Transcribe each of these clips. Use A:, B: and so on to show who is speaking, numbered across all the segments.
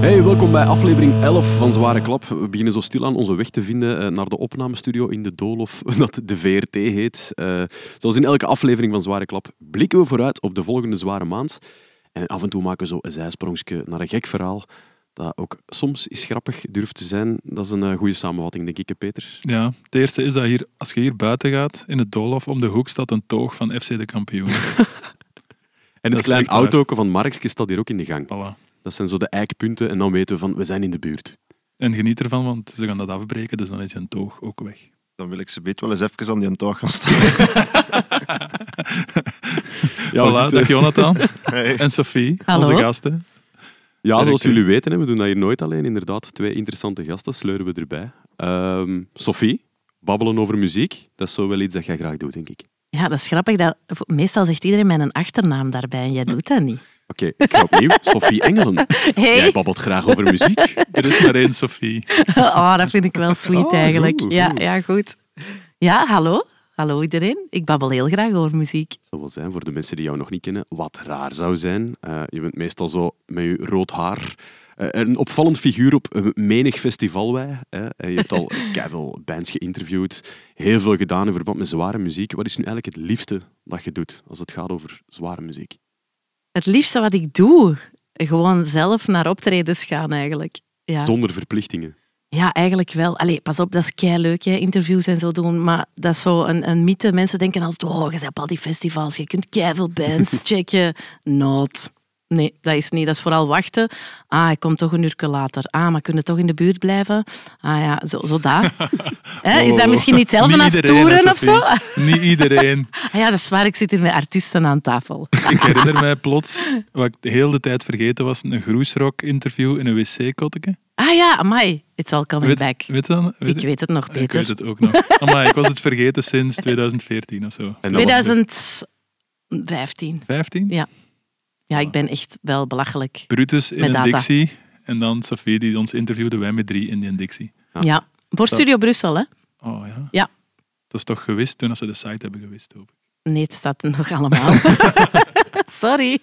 A: Hey, welkom bij aflevering 11 van Zware Klap. We beginnen zo stilaan onze weg te vinden eh, naar de opnamestudio in de Doolhof, dat de VRT heet. Eh, zoals in elke aflevering van Zware Klap blikken we vooruit op de volgende zware maand. En af en toe maken we zo een zijsprongetje naar een gek verhaal, dat ook soms is grappig durft te zijn. Dat is een eh, goede samenvatting, denk ik, hè, Peter.
B: Ja, het eerste is dat hier, als je hier buiten gaat, in het doolhof, om de hoek staat een toog van FC de kampioen.
A: En
B: Dat
A: het
B: is
A: klein
B: echt waar.
A: autoken van Markske staat hier ook in de gang.
B: Voilà.
A: Dat zijn zo de eikpunten en dan weten we van, we zijn in de buurt.
B: En geniet ervan, want ze gaan dat afbreken, dus dan is je toog ook weg.
C: Dan wil ik ze beet wel eens even aan die toog gaan staan.
A: Ja, we
B: voilà,
A: zitten-
B: dag Jonathan
C: Hey.
B: en Sophie,
D: Hallo.
B: onze gasten.
A: Ja, zoals
B: Directeur.
A: jullie weten, hè, we doen dat hier nooit alleen. Inderdaad, twee interessante gasten sleuren we erbij. Ehm, Sophie, babbelen over muziek, dat is zo wel iets dat jij graag doet, denk ik.
D: Ja, dat is grappig. Dat, meestal zegt iedereen mijn achternaam daarbij en jij doet dat niet.
A: Oké, ik ga opnieuw. Sophie Engelen, jij
D: Hey.
A: babbelt graag over muziek.
B: Er is maar één Sophie.
D: Oh, dat vind ik wel sweet
A: Oh,
D: eigenlijk.
A: goed,
D: ja,
A: goed.
D: ja, goed. Ja, hallo. Hallo iedereen. Ik babbel heel graag over muziek.
A: Dat zal wel zijn voor de mensen die jou nog niet kennen, wat raar zou zijn. Eh, je bent meestal zo met je rood haar. eh, een opvallend figuur op eh, menig festival wij. Hè. En Je hebt al keiveel bands geïnterviewd, heel veel gedaan in verband met zware muziek. Wat is nu eigenlijk het liefste dat je doet als het gaat over zware muziek?
D: Het liefste wat ik doe, gewoon zelf naar optredens gaan eigenlijk. Ja,
A: Zonder verplichtingen.
D: ja eigenlijk wel. Allee, pas op, dat is keileuk, hè, interviews en zo doen. Maar dat is zo een, een mythe. Mensen denken altijd, oh, je bent op al die festivals, je kunt keiveel bands checken. Not. Nee, dat is niet. Dat is vooral wachten. Ah, ik kom toch een uur later. Ah, maar kunnen toch in de buurt blijven? Ah ja, zo, zo daar. Is dat
B: Oh.
D: misschien niet hetzelfde
B: Niet
D: als
B: iedereen, hè,
D: toeren of zo? Ah
B: Sophie. Niet iedereen.
D: ja, dat is waar. Ik zit hier met artiesten aan tafel.
B: Ik herinner mij plots, wat ik de hele tijd vergeten was, een groesrock-interview in een wc-kotteke.
D: Ah ja, amai. It's all coming back.
B: Weet, weet je dan? Weet
D: ik weet het nog,
B: Ik weet
D: Peter.
B: het ook nog. Amai, ik was het vergeten sinds 2014 of zo.
A: En dat was de-
D: 2015.
B: Vijftien?
D: Ja, ik ben echt wel belachelijk.
B: Brutus in
D: Met
B: een
D: data.
B: dictie. En dan Sophie die ons interviewde, wij met drie in die dictie.
A: Ja.
D: Ja. Voor
B: Zo.
D: Studio Brussel, hè?
B: Oh ja.
D: Ja.
B: Dat is toch gewist toen als ze de site hebben gewist, hoop ik.
D: Nee, het staat er nog allemaal. Sorry.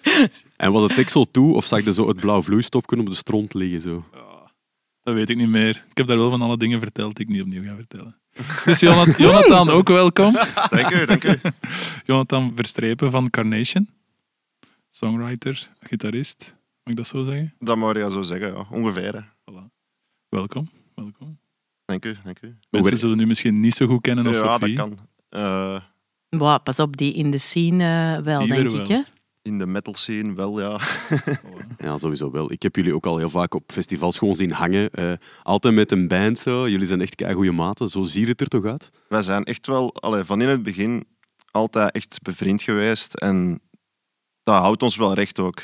A: En was het Texel toe of zag je zo het blauw vloeistofje op de stront liggen? Zo?
B: Dat weet ik niet meer. Ik heb daar wel van alle dingen verteld die ik niet opnieuw ga vertellen. Dus Jonat- Jonathan, ook welkom.
C: Dank u, dank u.
B: Jonathan Verstrepen van Carnation. Songwriter, gitarist. Mag ik dat zo zeggen?
C: Dat mag je zo zeggen, ja. ongeveer. hè.
B: Welkom. welkom.
C: Dank u, dank u.
B: Mensen
A: wer-
B: zullen nu misschien niet zo goed kennen als
C: ja, dat
B: Sophie.
C: kan. Eh,
D: Wow, pas op, die in de scene eh, wel,
B: Die
D: denk
B: weer
D: ik.
B: wel.
D: Hè?
C: in de metal scene wel, ja.
B: Voilà.
A: Ja, sowieso wel. Ik heb jullie ook al heel vaak op festivals gewoon zien hangen. Eh, altijd met een band zo. Jullie zijn echt goede maten. Zo ziet het er toch uit?
C: Wij zijn echt wel, allee, van in het begin, altijd echt bevriend geweest. En dat houdt ons wel recht ook.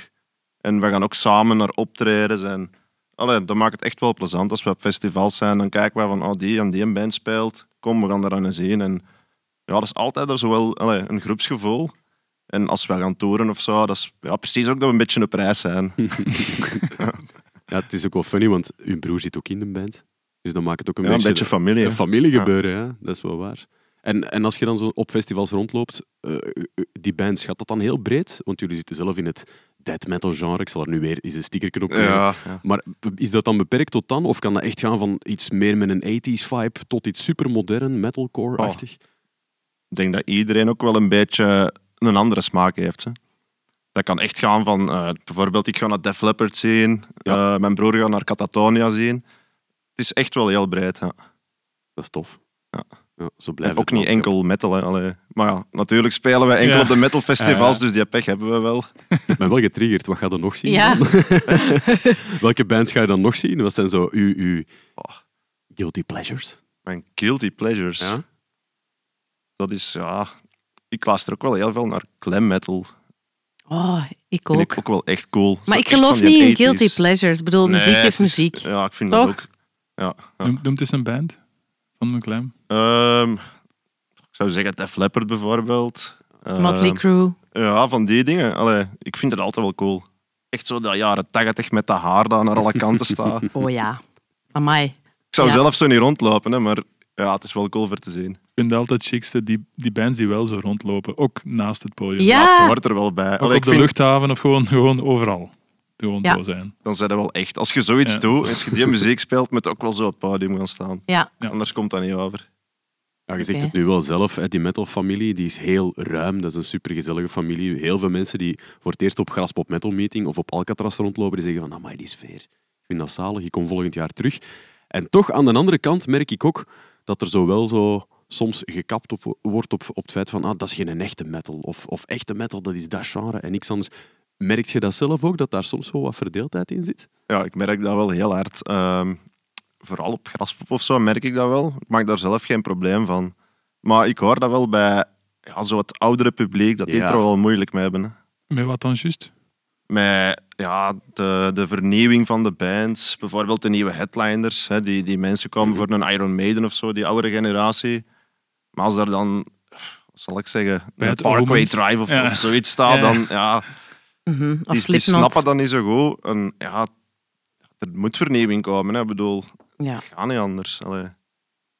C: En we gaan ook samen naar optredens. En, allee, dat maakt het echt wel plezant als we op festivals zijn. Dan kijken we van, oh, die en die een band speelt. Kom, we gaan daar aan eens heen. En ja, dat is altijd er zowel allee, een groepsgevoel. En als we gaan toeren of zo, dat is ja, precies ook dat we een beetje een prijs zijn.
A: Ja, het is ook wel funny, want uw broer zit ook in de band. Dus dan maakt het ook een
C: Ja, een
A: beetje,
C: beetje familie. hè.
A: een familie gebeuren. Ja. Dat is wel waar. En, en als je dan zo op festivals rondloopt, eh, die bands, gaat dat dan heel breed? Want jullie zitten zelf in het death metal genre. Ik zal er nu weer eens een stickerken op plakken.
C: Ja, ja.
A: Maar is dat dan beperkt tot dan? Of kan dat echt gaan van iets meer met een 80s vibe tot iets supermodern, metalcore-achtig?
C: Oh. ik denk dat iedereen ook wel een beetje een andere smaak heeft. Hè. Dat kan echt gaan van, eh, bijvoorbeeld ik ga naar Def Leppard zien,
A: Ja.
C: eh, mijn broer gaat naar Catatonia zien. Het is echt wel heel breed. Ja.
A: Dat is tof.
C: Ja.
A: Ja, zo
C: En
A: blijft
C: ook niet
A: enkel.
C: enkel metal. Hè. Allee. Maar ja, natuurlijk spelen we enkel
B: Ja.
C: op de metalfestivals,
B: Ja.
C: dus die pech hebben we wel.
A: Ik ben wel getriggerd. Wat ga je nog zien?
D: Ja.
A: dan? Welke bands ga je dan nog zien? Wat zijn zo uw, uw
C: Oh.
A: guilty pleasures?
C: Mijn guilty pleasures.
A: Ja?
C: Dat is, ja... Ik luister ook wel heel veel naar glam metal.
D: Oh, ik ook.
C: Vind ik ook wel echt cool.
D: maar
C: Zo
D: ik
C: echt
D: geloof
C: van die
D: niet in
C: 80s.
D: guilty pleasures. Ik bedoel,
C: Nee,
D: muziek
C: het eh,
D: is muziek.
C: Ja, ik vind
D: Toch?
C: dat ook. Ja, ja.
B: Noem, noem het eens een band van een klem.
C: Ehm, ik zou zeggen Def Leppard bijvoorbeeld. Ehm,
D: Motley Crue.
C: ja, van die dingen. Allee, ik vind het altijd wel cool. Echt zo dat jaren 80 met dat haar dat naar alle kanten staat. ik
D: Oh ja. Amai.
C: zou
D: Ja.
C: zelf zo niet rondlopen, hè, maar ja, het is wel cool voor te zien.
B: Ik vind altijd chicste die, die bands die wel zo rondlopen, ook naast het podium.
D: Ja.
C: Ja, het hoort er wel bij.
B: Ook
C: Allee,
B: op
C: ik
B: de
C: vind,
B: luchthaven of gewoon, gewoon overal. gewoon
D: Ja.
B: zo zijn.
C: Dan zijn dat wel echt. Als je zoiets
B: Ja.
C: doet, als je die muziek speelt, moet je ook wel zo op het podium gaan staan.
D: Ja,
B: Ja.
C: Anders komt dat niet over.
A: Ja, je zegt
D: Oké.
A: het nu wel zelf, hè, die metalfamilie die is heel ruim. Dat is een supergezellige familie. Heel veel mensen die voor het eerst op Graspop Metal Meeting of op Alcatraz rondlopen, die zeggen van, amai, die sfeer. Ik vind dat zalig, ik kom volgend jaar terug. En toch, aan de andere kant merk ik ook dat er zo wel zo soms gekapt op, wordt op, op het feit van, ah, dat is geen echte metal. Of, of echte metal, dat is dat genre en niks anders. Merk je dat zelf ook, dat daar soms wel wat verdeeldheid in zit?
C: Ja, ik merk dat wel heel hard. Ehm, vooral op Graspop of zo merk ik dat wel. Ik maak daar zelf geen probleem van. Maar ik hoor dat wel bij ja, zo het oudere publiek, dat die
A: Ja.
C: het er wel moeilijk mee hebben. hè.
B: Met wat dan juist?
C: Met ja, de, de vernieuwing van de bands, bijvoorbeeld de nieuwe headliners. Hè, die, die mensen komen
B: Mhm.
C: voor een Iron Maiden of zo, die oude generatie. Maar als daar dan, pff, wat zal ik zeggen,
B: Bij
C: een
B: het
C: Parkway
B: Omens.
C: Drive of,
B: Ja.
C: of zoiets staat,
B: Ja.
C: dan ja,
D: mhm. Of
C: die, die
D: Slipknot.
C: snappen dat niet zo goed. En, ja, er moet vernieuwing komen. Hè. Ik bedoel,
D: Ja.
C: ga niet anders. Allee.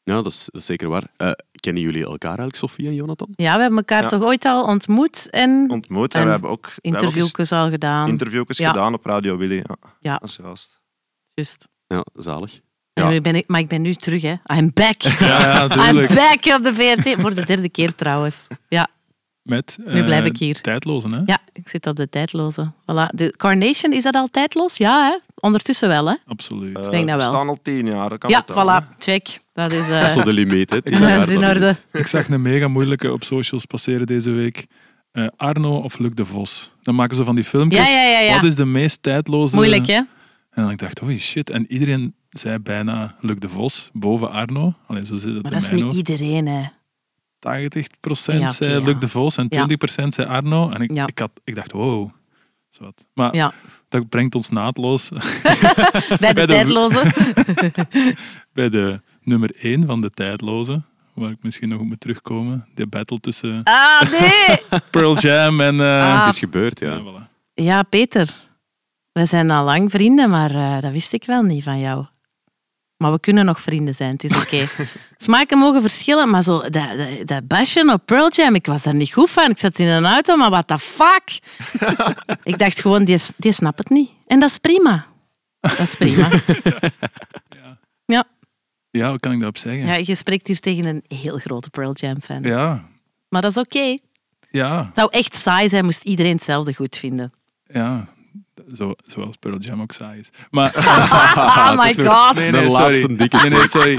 A: Ja, dat is, dat is zeker waar. Eh, kennen jullie elkaar eigenlijk, Sofie en Jonathan?
D: ja, we hebben elkaar
C: Ja.
D: toch ooit al ontmoet en
C: Ontmoet. En,
D: En
C: we hebben ook we hebben ook eens
D: interviewjes al gedaan.
C: interviewjes
D: Ja.
C: gedaan op Radio Willy. Ja,
D: Ja.
C: Dat is juist.
D: Juist.
A: Ja, zalig.
D: En
A: Ja.
D: nu ben ik, maar ik ben nu terug, hè. I'm back.
B: Ja,
D: I'm
B: natuurlijk.
D: back op de VRT. Voor de derde keer trouwens. Ja,
B: Met
D: Nu blijf
B: eh,
D: ik hier.
B: tijdlozen, hè?
D: ja ik zit op de tijdloze. Voilà. De Carnation, is dat al tijdloos? Ja, hè? Ondertussen wel, hè?
B: Absoluut.
C: Eh,
D: denk
C: we
D: dat wel.
C: staan al tien jaar. dat Kan
D: Ja,
C: het wel, hè.
D: voilà. Check. Dat is... eh,
A: Dat is zo de limiet, hè. Het is
D: dat
A: een jaar
D: is in
A: dat het-
D: orde.
B: Ik zag een mega moeilijke op socials passeren deze week. Eh, Arno of Luc de Vos. Dan maken ze van die filmpjes.
D: Ja, ja, ja, ja.
B: Wat is de meest tijdloze...
D: Moeilijk, hè?
B: En dan ik dacht, oh shit. En iedereen zei bijna Luc de Vos boven Arno. Alleen zo zit het
D: Maar
B: bij
D: dat is
B: mij
D: niet
B: nog.
D: iedereen, hè.
B: 80%
D: Ja, oké,
B: zei
D: ja.
B: Luc de Vos en
D: Ja.
B: 20% zei Arno. En ik,
D: Ja.
B: ik, had, ik dacht, wow. Zowat. Maar
D: Ja.
B: dat brengt ons naadloos
D: Bij de
B: de-
D: tijdloze.
B: bij de nummer 1 van de tijdloze. Waar ik misschien nog op moet terugkomen. De battle tussen
D: Ah, nee!
B: Pearl Jam en... eh,
D: Ah.
A: Het is gebeurd, ja.
B: ja, voilà.
D: Ja, Peter. We zijn al lang vrienden, maar eh, dat wist ik wel niet van jou. Maar we kunnen nog vrienden zijn, het is oké. Smaken mogen verschillen, maar zo, dat, dat, dat basje op Pearl Jam, ik was daar niet goed van. Ik zat in een auto, maar what the fuck? ik dacht gewoon, die, die snapt het niet. En dat is prima. Dat is prima. ja.
B: Ja, wat kan ik daarop zeggen?
D: Ja,
B: Ja.
D: je spreekt hier tegen een heel grote Pearl Jam fan.
B: Ja,
D: Maar dat is oké.
B: ja.
D: Het zou echt saai zijn, moest iedereen hetzelfde goed vinden.
B: Zo, zoals Pearl Jam ook saai is. Maar...
A: Ah,
D: oh my god.
B: Nee,
A: De
B: nee,
A: laatste
B: sorry.
A: dikke
B: Nee, nee, sorry.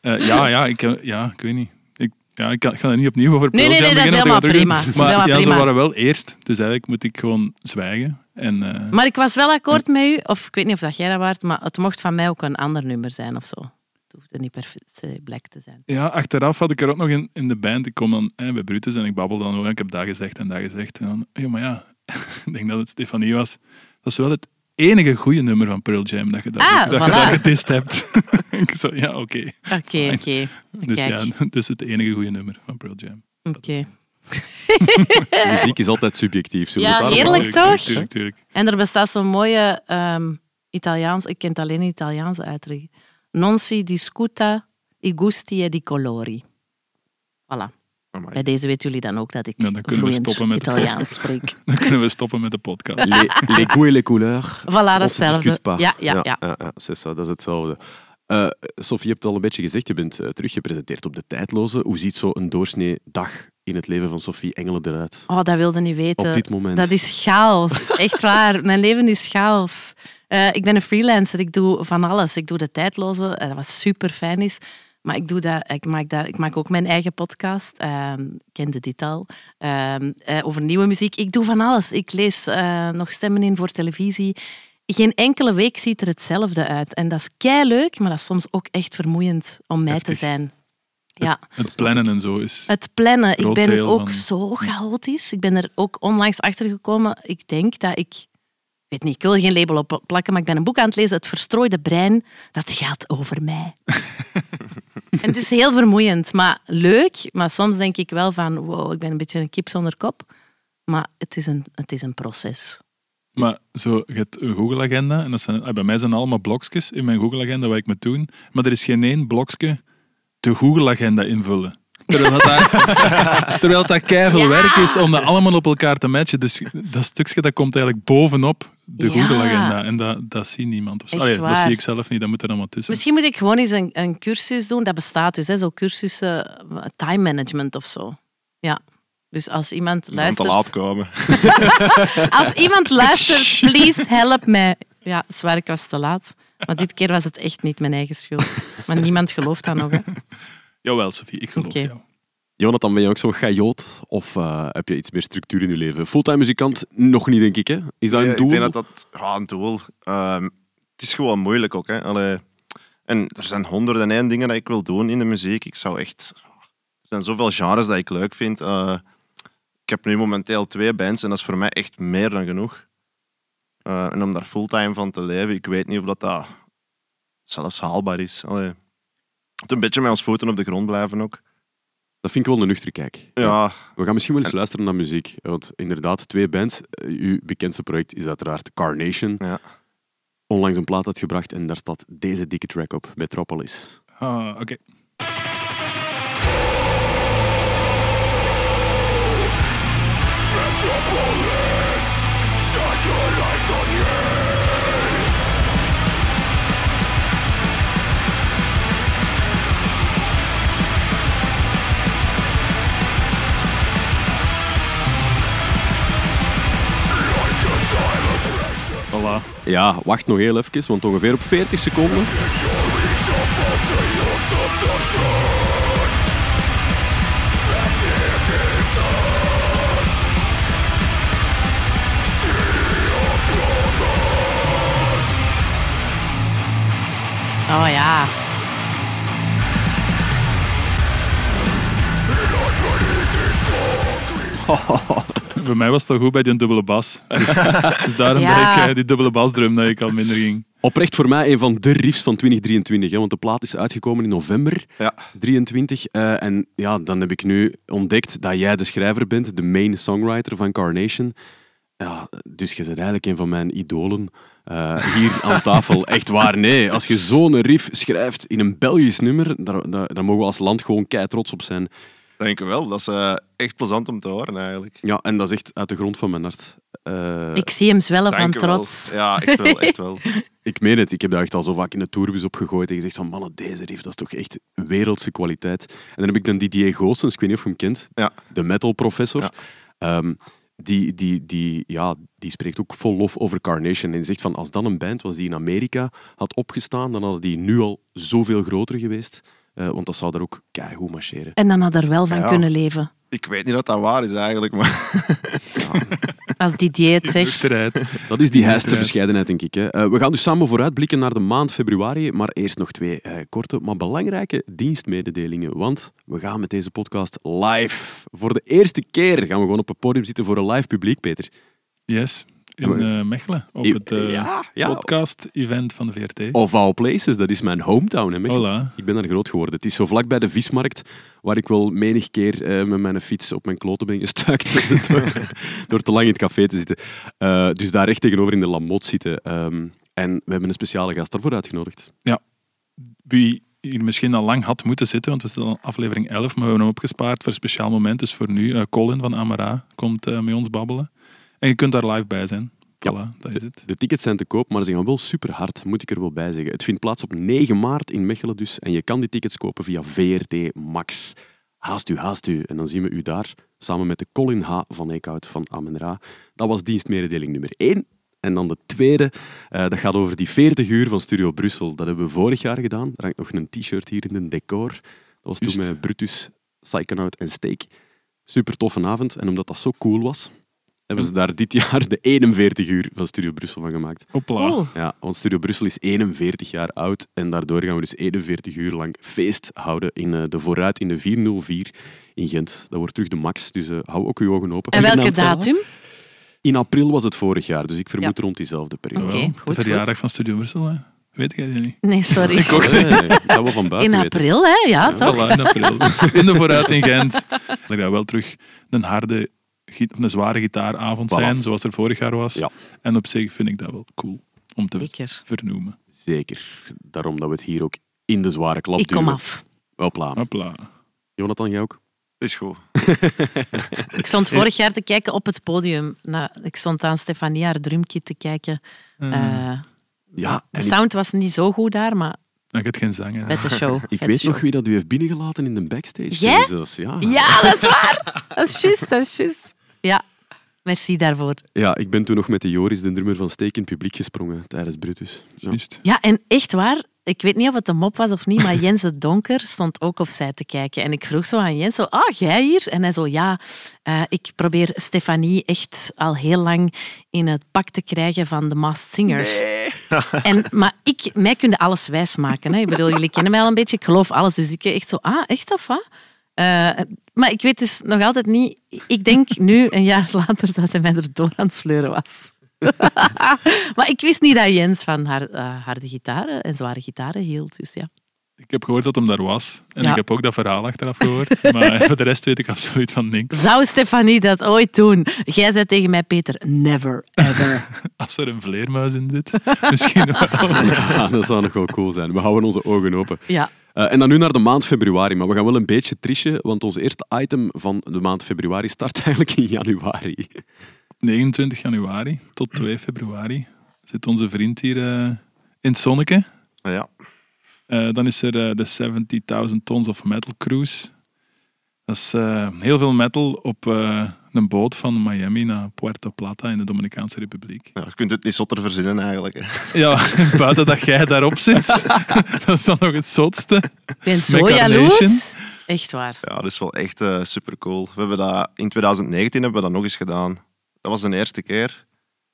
B: Eh, ja, ja ik, eh, ja, ik weet niet. Ik, ja, ik, kan- ik ga er niet opnieuw over
D: Nee,
B: Pearl
D: nee,
B: Jam
D: nee, dat is
B: beginnen, want ik
D: helemaal
B: ga terug-
D: prima. Dat is
B: Maar
D: helemaal
B: ja, ze
D: prima.
B: waren wel eerst. Dus eigenlijk moet ik gewoon zwijgen. En, eh,
D: Maar ik was wel akkoord met u, of ik weet niet of dat jij dat waart, maar het mocht van mij ook een ander nummer zijn of zo. Het hoefde niet per se black te zijn.
B: ja, achteraf had ik er ook nog in, in de band. Ik kom dan eh, bij Brutus en ik babbel dan over. Ik heb daar gezegd en daar gezegd. En dan, ja, maar ja, ik denk dat het Stefanie was. Dat is wel het enige goede nummer van Pearl Jam dat je daar,
D: Ah,
B: dat
D: voilà.
B: je daar gedist hebt. ik zo, ja, oké.
D: Oké,
B: Ah, Fijn.
D: oké.
B: Dus
D: Kijk.
B: ja, dus het enige goede nummer van Pearl Jam.
D: Oké.
A: Muziek is altijd subjectief. Zullen we
D: Ja,
A: het daarop
D: Ah, heerlijk
A: houden?
D: toch?
B: Tuurlijk, tuurlijk, tuurlijk.
D: En er bestaat zo'n mooie ehm Italiaans, ik ken het alleen in Italiaanse uitdrukking. Non si discuta i gusti e di
B: Ah,
D: colori. Voilà.
C: Amai.
D: Bij deze weten jullie dan ook dat ik
B: Ja, dan kunnen we
D: vloeiend
B: stoppen met de
D: Italiaans spreek.
B: Dan kunnen we stoppen met de podcast.
A: Les, les goûts et les couleurs.
D: Voilà,
A: On se
D: datzelfde.
A: discute pas.
D: Ja, ja, ja.
A: c'est ça, dat is hetzelfde. Eh Sophie, je hebt het al een beetje gezegd, je bent eh, terug gepresenteerd op de tijdloze. Hoe ziet zo'n doorsnee dag in het leven van Sophie Engelen eruit?
D: Oh, dat wilde niet weten.
A: Op dit moment.
D: Dat is chaos. Echt waar. Mijn leven is chaos. Eh, ik ben een freelancer. Ik doe van alles. Ik doe de tijdloze. eh, dat was super fijn is. Maar ik, doe dat, ik, maak daar, ik maak ook mijn eigen podcast. ehm kende dit al. ehm, eh, over nieuwe muziek. Ik doe van alles. Ik lees eh, nog stemmen in voor televisie. Geen enkele week ziet er hetzelfde uit. En dat is kei leuk, maar dat is soms ook echt vermoeiend om mij
A: Heftig.
D: te zijn. Ja.
B: Het plannen en zo is.
D: Het plannen. Ik
B: Groot
D: ben
B: deel
D: ook
B: van-
D: zo chaotisch. Ik ben er ook onlangs achter gekomen. Ik denk dat ik. Ik weet niet, ik wil er geen label op plakken, maar ik ben een boek aan het lezen. Het verstrooide brein, dat gaat over mij. en het is heel vermoeiend, maar leuk. Maar soms denk ik wel van, wow, ik ben een beetje een kip zonder kop. Maar het is een, het is een proces.
B: Maar zo, je hebt een Google-agenda. En dat zijn, ah, bij mij zijn dat allemaal blokjes in mijn Google-agenda waar ik moet doen. Maar er is geen één blokje de Google-agenda invullen. Terwijl dat, daar- terwijl dat keiveel werk is om dat allemaal op elkaar te matchen. Dus dat stukje dat komt eigenlijk bovenop de
D: Ja.
B: Google-agenda. En dat, dat zie niemand. Of zo.
D: Echt
B: Allee, dat
D: waar.
B: zie ik zelf niet, dat moet er allemaal tussen.
D: Misschien moet ik gewoon eens een, een cursus doen. Dat bestaat dus, hè, zo cursussen eh, time management of zo. Ja. Dus als iemand
C: Om te laat
D: luistert,
C: komen.
D: als iemand luistert, please help mij. Ja, zwaar, ik was te laat. Maar dit keer was het echt niet mijn eigen schuld. Maar niemand gelooft dat nog. Hè.
B: Jawel, Sophie, ik geloof
D: Oké.
B: jou.
A: Jonathan, ben je ook zo'n gajoot? Of eh, heb je iets meer structuur in je leven? Fulltime muzikant? Nog niet, denk ik. Hè? Is dat
C: Ja,
A: een doel?
C: Ik denk dat dat ja, een doel. ehm, het is gewoon moeilijk ook. Hè. Allee, en er zijn honderden en één dingen dat ik wil doen in de muziek. Ik zou echt. Er zijn zoveel genres dat ik leuk vind. Eh, ik heb nu momenteel twee bands en dat is voor mij echt meer dan genoeg. Eh, en om daar fulltime van te leven, ik weet niet of dat, dat zelfs haalbaar is. Allee, je moet een beetje met ons voeten op de grond blijven ook.
A: Dat vind ik wel een nuchtere kijk.
C: Ja,
A: We gaan misschien wel eens luisteren naar muziek. Want inderdaad, twee bands. Eh, Uw bekendste project is uiteraard Carnation.
C: Ja.
A: Onlangs een plaat uitgebracht en daar staat deze dikke track op, Metropolis.
B: Ah, oké. Voilà.
A: Ja, wacht nog heel even, want ongeveer op 40 seconden.
D: Oh ja.
B: Bij mij was het al goed bij die dubbele bas. Dus, dus daarom
D: Ja.
B: dat ik eh, die dubbele basdrum dat ik al minder ging.
A: Oprecht voor mij een van de riffs van 2023, hè, want de plaat is uitgekomen in november
C: ja.
A: 23. eh, en ja, dan heb ik nu ontdekt dat jij de schrijver bent, de main songwriter van Carnation. Ja, dus je bent eigenlijk een van mijn idolen eh, hier aan tafel. Echt waar, nee. Als je zo'n riff schrijft in een Belgisch nummer, daar, daar, daar mogen we als land gewoon kei trots op zijn.
C: Dank u wel. Dat is eh, echt plezant om te horen eigenlijk.
A: Ja, en dat is echt uit de grond van mijn hart. Eh,
D: Ik zie hem zwellen van
C: Dank u wel.
D: trots.
C: Ja, echt wel, echt wel.
A: Ik meen het, ik heb daar echt al zo vaak in de tourbus op gegooid en gezegd van mannen, deze riff, dat is toch echt wereldse kwaliteit. En dan heb ik dan Didier Goossens, ik weet niet of je hem kent,
C: Ja.
A: de metal professor, ehm,
C: Ja.
A: die, die, die, ja, die spreekt ook vol lof over Carnation en zegt van als dan een band was die in Amerika had opgestaan, dan hadden die nu al zoveel groter geweest, eh, want dat zou daar ook keigoed marcheren.
D: En dan had er wel van
C: Ja.
D: kunnen leven.
C: Ik weet niet dat dat waar is eigenlijk, maar
D: Als Didier het zegt.
B: Strijd.
A: Dat is die heiste
B: Inderdaad.
A: bescheidenheid, denk ik. Hè. Eh, we gaan dus samen vooruitblikken naar de maand februari, maar eerst nog twee eh, korte, maar belangrijke dienstmededelingen. Want we gaan met deze podcast live. Voor de eerste keer gaan we gewoon op het podium zitten voor een live publiek, Peter.
B: Yes. In
A: Ja.
B: eh, Mechelen. Op
A: I-
B: het eh,
A: ja, ja. Oh,
B: podcast-event van de VRT.
A: Of all places, dat is mijn hometown. Hè, Michiel.
B: Hola.
A: Ik ben daar groot geworden. Het is zo vlak bij de vismarkt, waar ik wel menig keer eh, met mijn fiets op mijn kloten ben gestuikt door, door te lang in het café te zitten. Eh, dus daar recht tegenover in de Lamot zitten. Ehm, en we hebben een speciale gast daarvoor uitgenodigd.
B: Wie hier misschien al lang had moeten zitten, want we zitten al in aflevering 11, maar we hebben hem opgespaard voor een speciaal moment. Dus voor nu, eh, Colin van Amara komt eh, met ons babbelen. En je kunt daar live bij zijn. Voilà,
A: Ja.
B: dat is het.
A: De tickets zijn te koop, maar ze gaan wel super hard, moet ik er wel bij zeggen. Het vindt plaats op 9 maart in Mechelen dus. En je kan die tickets kopen via VRT Max. Haast u, haast u. En dan zien we u daar samen met de Colin H. van Eekhout van Amenra. Dat was dienstmededeling nummer 1. En dan de tweede, eh, dat gaat over die 40 uur van Studio Brussel. Dat hebben we vorig jaar gedaan. Er hangt nog een t-shirt hier in een decor. Dat was toen
B: Juist.
A: met Brutus, Psychonaut en Steak. Super toffe avond. En omdat dat zo cool was, hebben ze daar dit jaar de 41 uur van Studio Brussel van gemaakt.
B: Hopla.
D: Oeh.
A: Ja, want Studio Brussel is 41 jaar oud en daardoor gaan we dus 41 uur lang feest houden in eh, de Vooruit in de 404 in Gent. Dat wordt terug de max, dus eh, hou ook uw ogen open. eh,
D: En welke
B: Genaamd, hè?
D: datum?
A: In april was het vorig jaar, dus ik vermoed rond diezelfde periode.
D: Oké,
B: Jawel.
D: goed, goed.
B: de verjaardag van Studio Brussel, hè. weet jij die niet?
D: Nee, sorry.
A: Kort, hè? dat we van buiten
D: In
A: weten.
D: april, hè? Ja, toch?
B: Voilà, in april. In de vooruit in Gent. Er gaat wel terug een harde, gi- of een zware gitaaravond
A: Voilà.
B: zijn, zoals er vorig jaar was.
A: Ja.
B: En op zich vind ik dat wel cool om te
D: Zeker.
B: vernoemen.
A: Zeker, daarom dat we het hier ook in de zware klap
D: Ik kom
A: duwen.
D: af.
A: Hopla.
B: Hopla.
A: Jonathan, jij ook?
C: Is goed.
D: Ik stond vorig jaar te kijken op het podium. Nou, ik stond aan Stefania haar drumkit te kijken. Eh,
A: Ja,
D: de
A: Hmm. en ik-
D: sound was niet zo goed daar, maar
B: Dan gaat geen zang. hè.
D: vette show.
A: Ik
D: vette
A: weet
D: show.
A: nog wie dat u heeft binnengelaten in de backstage.
D: Jij?
A: zelfs, Ja?
D: Ja, dat is waar. Dat is juist, dat is juist. Ja, merci daarvoor.
A: ja, ik ben toen nog met de Joris, de drummer van Steek, in het publiek gesprongen tijdens Brutus. Ja.
B: Juist.
D: Ja, en echt waar. Ik weet niet of het een mop was of niet, maar Jens de Donker stond ook opzij te kijken. En ik vroeg zo aan Jens, zo, ah, jij hier? En hij zo, ja, eh, ik probeer Stefanie echt al heel lang in het pak te krijgen van de Masked Singer. En, maar ik, mij kunnen alles wijsmaken. Hè. Ik bedoel, jullie kennen mij al een beetje, ik geloof alles. Dus ik echt zo, ah, echt of wat? Eh, maar ik weet dus nog altijd niet... Ik denk nu, een jaar later, dat hij mij erdoor aan het sleuren was. Maar ik wist niet dat Jens van haar, eh, harde gitaren en zware gitaren hield. Dus ja.
B: Ik heb gehoord dat hem daar was. En
D: Ja.
B: ik heb ook dat verhaal achteraf gehoord. maar eh, voor de rest weet ik absoluut van niks.
D: Zou Stefanie dat ooit doen? Jij zei tegen mij, Peter, never, ever.
B: Als er een vleermuis in zit, misschien wel.
A: Ja, dat zou nog wel cool zijn. We houden onze ogen open.
D: Ja.
A: Eh, en dan nu naar de maand februari. Maar we gaan wel een beetje trischen, want ons eerste item van de maand februari start eigenlijk in januari.
B: 29 januari tot 2 februari zit onze vriend hier eh, in het zonneke.
C: Ja.
B: Eh, dan is er eh, de 70.000 Tons of Metal Cruise. Dat is eh, heel veel metal op eh, een boot van Miami naar Puerto Plata in de Dominicaanse Republiek.
C: Ja, je kunt het niet zotter verzinnen eigenlijk. hè.
B: Ja, buiten dat jij daarop zit, dat is dan nog het zotste.
D: Ik ben zo
B: Met
D: jaloers.
B: Carnation.
D: Echt waar.
C: Ja, dat is wel echt super cool. We hebben dat, in 2019 hebben we dat nog eens gedaan. Dat was de eerste keer.